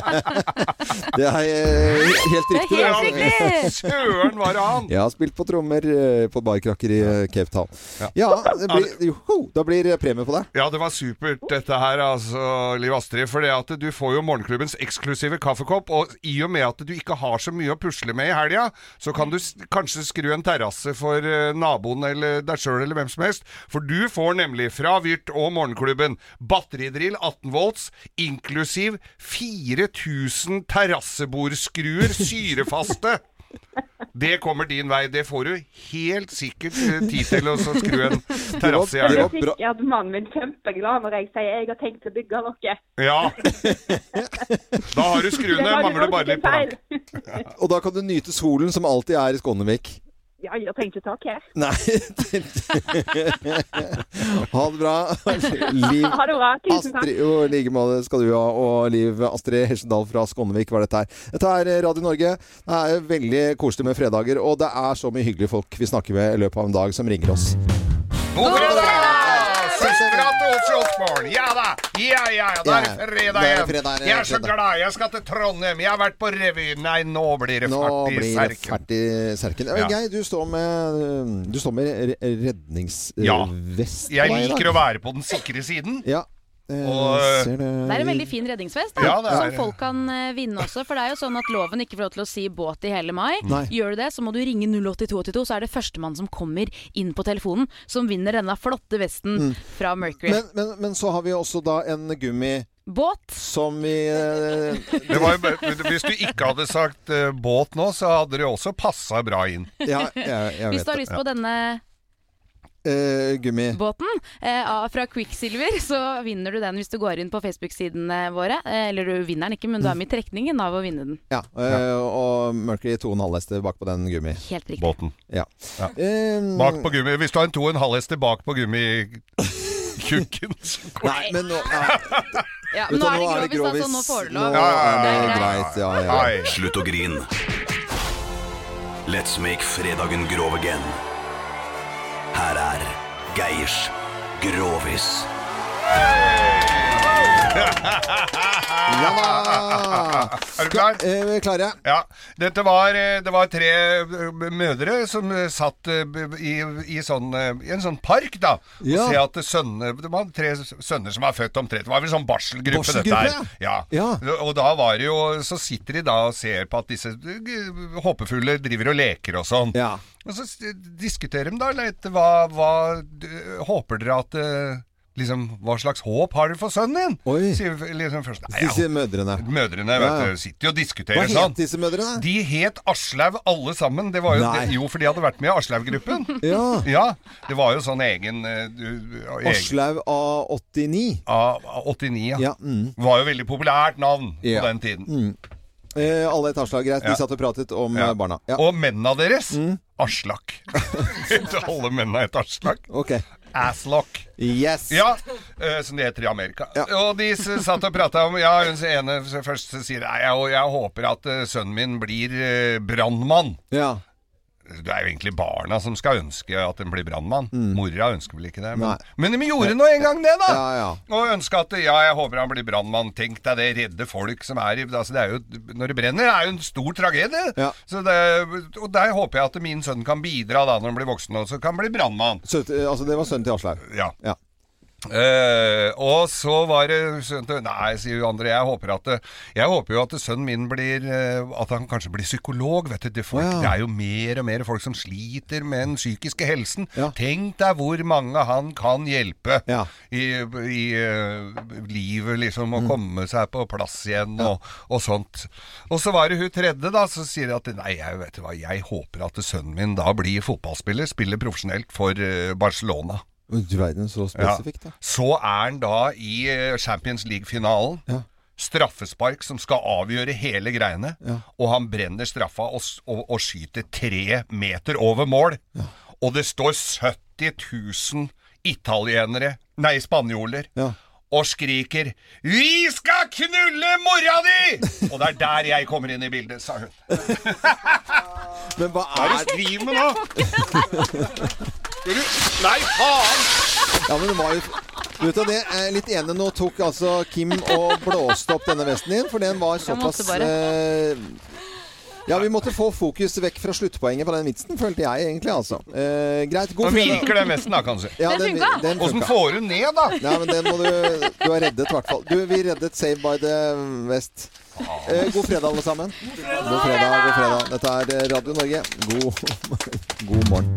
[SPEAKER 1] Det er eh, helt
[SPEAKER 23] Det er
[SPEAKER 1] riktig.
[SPEAKER 23] helt
[SPEAKER 1] altså.
[SPEAKER 23] riktig!
[SPEAKER 2] Søren var det han!
[SPEAKER 1] Jeg har spilt på trommer eh, på barkrakker i eh, Cape Town. Ja, det blir, joho, da blir det premie på deg.
[SPEAKER 2] Ja, det var supert dette her, altså, Liv Astrid. For det at du får jo morgenklubbens eksklusive kaffekopp, og i og med at du ikke har så mye å pusle med i helga, så kan du s kanskje skru en terrasse for eh, naboen eller deg sjøl eller hvem som helst. For du får nemlig fra Vyrt og morgenklubben batteridrill 18 volts, inklusiv 4000 terrassebordskruer syrefaste. Det kommer din vei. Det får du helt sikkert eh, tid til å så skru en terrasse i
[SPEAKER 23] Jeg
[SPEAKER 2] helga.
[SPEAKER 23] er sikkert mannen min kjempeglad når jeg sier jeg har tenkt å bygge noe.
[SPEAKER 2] Ja. Da har du skruene. Mangler bare litt på
[SPEAKER 23] plank.
[SPEAKER 1] Og da kan du nyte solen som alltid er i Skånevik.
[SPEAKER 23] Ja, jeg trenger ikke tak her.
[SPEAKER 1] Nei <laughs> Ha det bra. Liv
[SPEAKER 23] <laughs> Ha det bra. Tusen takk.
[SPEAKER 1] Astrid, jo, i like måte skal du ha. Og Liv Astrid Hesjedal fra Skånevik var dette her. Dette er eh, Radio Norge. Det er veldig koselig med fredager, og det er så mye hyggelige folk vi snakker med i løpet av en dag, som ringer oss.
[SPEAKER 2] God fredag! Søstera til Åse Osborn. Ja da! Ja, ja, ja. Da er det
[SPEAKER 1] Da
[SPEAKER 2] fredag
[SPEAKER 1] er det fredag,
[SPEAKER 2] igjen.
[SPEAKER 1] det er
[SPEAKER 2] Jeg er så
[SPEAKER 1] fredag.
[SPEAKER 2] glad. Jeg skal til Trondheim. Jeg har vært på revy. Nei, nå blir det
[SPEAKER 1] Nå
[SPEAKER 2] fart i
[SPEAKER 1] blir det
[SPEAKER 2] serken.
[SPEAKER 1] fælt i serken. Ja.
[SPEAKER 2] Ja.
[SPEAKER 1] Geir, du står med, øh, du står med re- redningsvest.
[SPEAKER 2] Ja. Jeg
[SPEAKER 1] på deg i dag.
[SPEAKER 2] liker å være på den sikre siden.
[SPEAKER 1] Ja. Eh,
[SPEAKER 2] Og,
[SPEAKER 1] ser det
[SPEAKER 3] Det er en veldig fin redningsfest, da,
[SPEAKER 2] Ja, det er
[SPEAKER 3] som
[SPEAKER 2] det.
[SPEAKER 3] folk kan eh, vinne også. For det er jo sånn at loven ikke får lov til å si båt i hele mai.
[SPEAKER 1] Nei.
[SPEAKER 3] Gjør du det, så må du ringe 08282, så er det førstemann som kommer inn på telefonen, som vinner denne flotte vesten
[SPEAKER 1] Mm.
[SPEAKER 3] fra Mercury.
[SPEAKER 1] men, men, men så har vi også da en
[SPEAKER 3] gummibåt
[SPEAKER 1] som vi eh,
[SPEAKER 2] Det var jo, bare- men hvis du ikke hadde sagt eh, båt nå, så hadde det jo også passa bra inn.
[SPEAKER 1] Ja,
[SPEAKER 3] <laughs>
[SPEAKER 1] jeg- jeg
[SPEAKER 3] Hvis du har lyst på denne
[SPEAKER 1] eh, gummi.
[SPEAKER 3] båten eh, av- fra Quicksilver, så vinner du den hvis du går inn på Facebook-sidene våre. Eh, eller du vinner den ikke, men du er med i trekningen av å vinne den.
[SPEAKER 2] <laughs>
[SPEAKER 1] Ja, eh, og Mercury 2,5 hester bak på den gummi.
[SPEAKER 3] Helt riktig.
[SPEAKER 2] Båten.
[SPEAKER 1] Ja.
[SPEAKER 2] Ja.
[SPEAKER 1] Eh,
[SPEAKER 2] Bak på gummi. Hvis du har en 2,5 hester bak på gummikukken så går
[SPEAKER 1] Nei, men nå
[SPEAKER 3] Ja,
[SPEAKER 1] Vet du,
[SPEAKER 3] nå er det
[SPEAKER 1] nå er det
[SPEAKER 3] grovis, altså. Nå
[SPEAKER 1] grovis.
[SPEAKER 3] får du
[SPEAKER 1] Nå-
[SPEAKER 3] lov.
[SPEAKER 1] Ja, ja,
[SPEAKER 3] Det er
[SPEAKER 1] ja,
[SPEAKER 3] greit.
[SPEAKER 1] greit, ja, ja.
[SPEAKER 11] Ai. Slutt å grine. Let's make fredagen grov again. Her er Geirs Grovis.
[SPEAKER 1] Ja da!
[SPEAKER 2] Er du klar?
[SPEAKER 1] Ah. Eh, klarer jeg.
[SPEAKER 2] Ja. Dette var, eh, det var tre eh, mødre som eh, satt eh, b- i, i, sånn, eh, i en sånn park, da. Og
[SPEAKER 1] Ja.
[SPEAKER 2] se at sønne, det var tre sønner som var født omtrent. Det var vel sånn barselgruppe,
[SPEAKER 1] Barselgruppe,
[SPEAKER 2] dette her. Ja.
[SPEAKER 1] Ja.
[SPEAKER 2] Og da var det jo Så sitter de da og ser på at disse eh, håpefulle driver og leker og sånn. Og så s- diskuterer de da litt hva, hva d- håper dere at eh, liksom, hva slags håp har du for sønnen din? Sier vi liksom først. Nei,
[SPEAKER 1] Disse mødrene.
[SPEAKER 2] Mødrene
[SPEAKER 1] Ja, ja.
[SPEAKER 2] vet du, sitter jo og diskuterer
[SPEAKER 1] Hva het
[SPEAKER 2] sånn.
[SPEAKER 1] disse mødrene?
[SPEAKER 2] De het Aslaug alle sammen. Det var jo,
[SPEAKER 1] Nei.
[SPEAKER 2] jo, for de hadde vært med i Aslaug-gruppen.
[SPEAKER 1] <laughs> ja.
[SPEAKER 2] Det var jo sånn egen eh, du- egen-
[SPEAKER 1] Aslaug A89.
[SPEAKER 2] A89, ja. Var jo veldig populært navn
[SPEAKER 1] Ja.
[SPEAKER 2] på den tiden.
[SPEAKER 1] Mm. Eh, alle et avslag, greit.
[SPEAKER 2] Ja.
[SPEAKER 1] Vi satt og pratet om
[SPEAKER 2] Ja.
[SPEAKER 1] eh, barna. Ja. Mm.
[SPEAKER 2] Og mennene deres Aslak. <laughs> Alle mennene het Aslak.
[SPEAKER 1] Okay.
[SPEAKER 2] Aslock.
[SPEAKER 1] Yes.
[SPEAKER 2] Ja, eh, som det heter i Amerika. Og de s- satt og prata om Ja, hun ene s- først så sier Nei, jeg, jeg håper at eh, sønnen min blir uh, brannmann.
[SPEAKER 1] Ja.
[SPEAKER 2] Det er jo egentlig barna som skal ønske at den blir brannmann. Mora ønsker vel ikke det. Men,
[SPEAKER 1] Mm. Nei.
[SPEAKER 2] men de gjorde nå en gang det, da!
[SPEAKER 1] Ja, ja.
[SPEAKER 2] Og ønska at Ja, jeg håper han blir brannmann. Tenk deg det, redde folk som er i altså det er jo, Når det brenner, er jo en stor tragedie. Så det, og der håper jeg at min sønn kan bidra da når han blir voksen, og så kan han bli brannmann.
[SPEAKER 1] Så, eh, altså, det var sønnen til Aslaug.
[SPEAKER 2] Ja.
[SPEAKER 1] Ja.
[SPEAKER 2] Eh, og så var det sønnen til Nei, sier jo andre, jeg håper at det- Jeg håper jo at sønnen min blir eh, At han kanskje blir psykolog, vet du. Det, folk, det er jo mer og mer folk som sliter med den psykiske helsen. Tenk deg hvor mange han kan hjelpe i, i eh, livet, liksom. Å komme seg på plass igjen og, og sånt. Og så var det hun tredje, da, så sier at Nei, jeg vet du hva, jeg håper at sønnen min da blir fotballspiller. Spiller profesjonelt for eh, Barcelona.
[SPEAKER 1] Du verden, så spesifikt, da.
[SPEAKER 2] Så er han da i eh, Champions League-finalen. Straffespark som skal avgjøre hele greiene. Og han brenner straffa og, s- og, og skyter tre meter over mål. Og det står 70 000 italienere, nei, spanjoler, og skriker 'Vi skal knulle mora di!' <laughs> Og det er der jeg kommer inn i bildet, sa hun. <laughs>
[SPEAKER 1] Men hva
[SPEAKER 2] Hva er det du driver med nå? Skal du Nei, faen!
[SPEAKER 1] <laughs> Ja, men det var jo Du vet hva, det er litt enig nå tok altså Kim og blåste opp denne vesten din, for den var
[SPEAKER 3] Jeg måtte
[SPEAKER 1] såpass
[SPEAKER 3] bare.
[SPEAKER 1] eh, ja, vi måtte få fokus vekk fra sluttpoenget på den vitsen, følte jeg egentlig, altså. Eh, greit, god
[SPEAKER 2] Men
[SPEAKER 1] fredag.
[SPEAKER 2] virker den vesten da, kanskje?
[SPEAKER 1] Ja,
[SPEAKER 2] Den
[SPEAKER 1] den,
[SPEAKER 2] funka.
[SPEAKER 1] den
[SPEAKER 2] Åssen
[SPEAKER 1] funka.
[SPEAKER 2] får du ned, da?
[SPEAKER 1] Nei, men den må du Du er reddet, i hvert fall. Du, vi reddet Save by the West.
[SPEAKER 2] Ah.
[SPEAKER 1] Eh, god fredag, alle sammen. God fredag, god fredag. Dette er Radio Norge. God, <laughs> god morgen.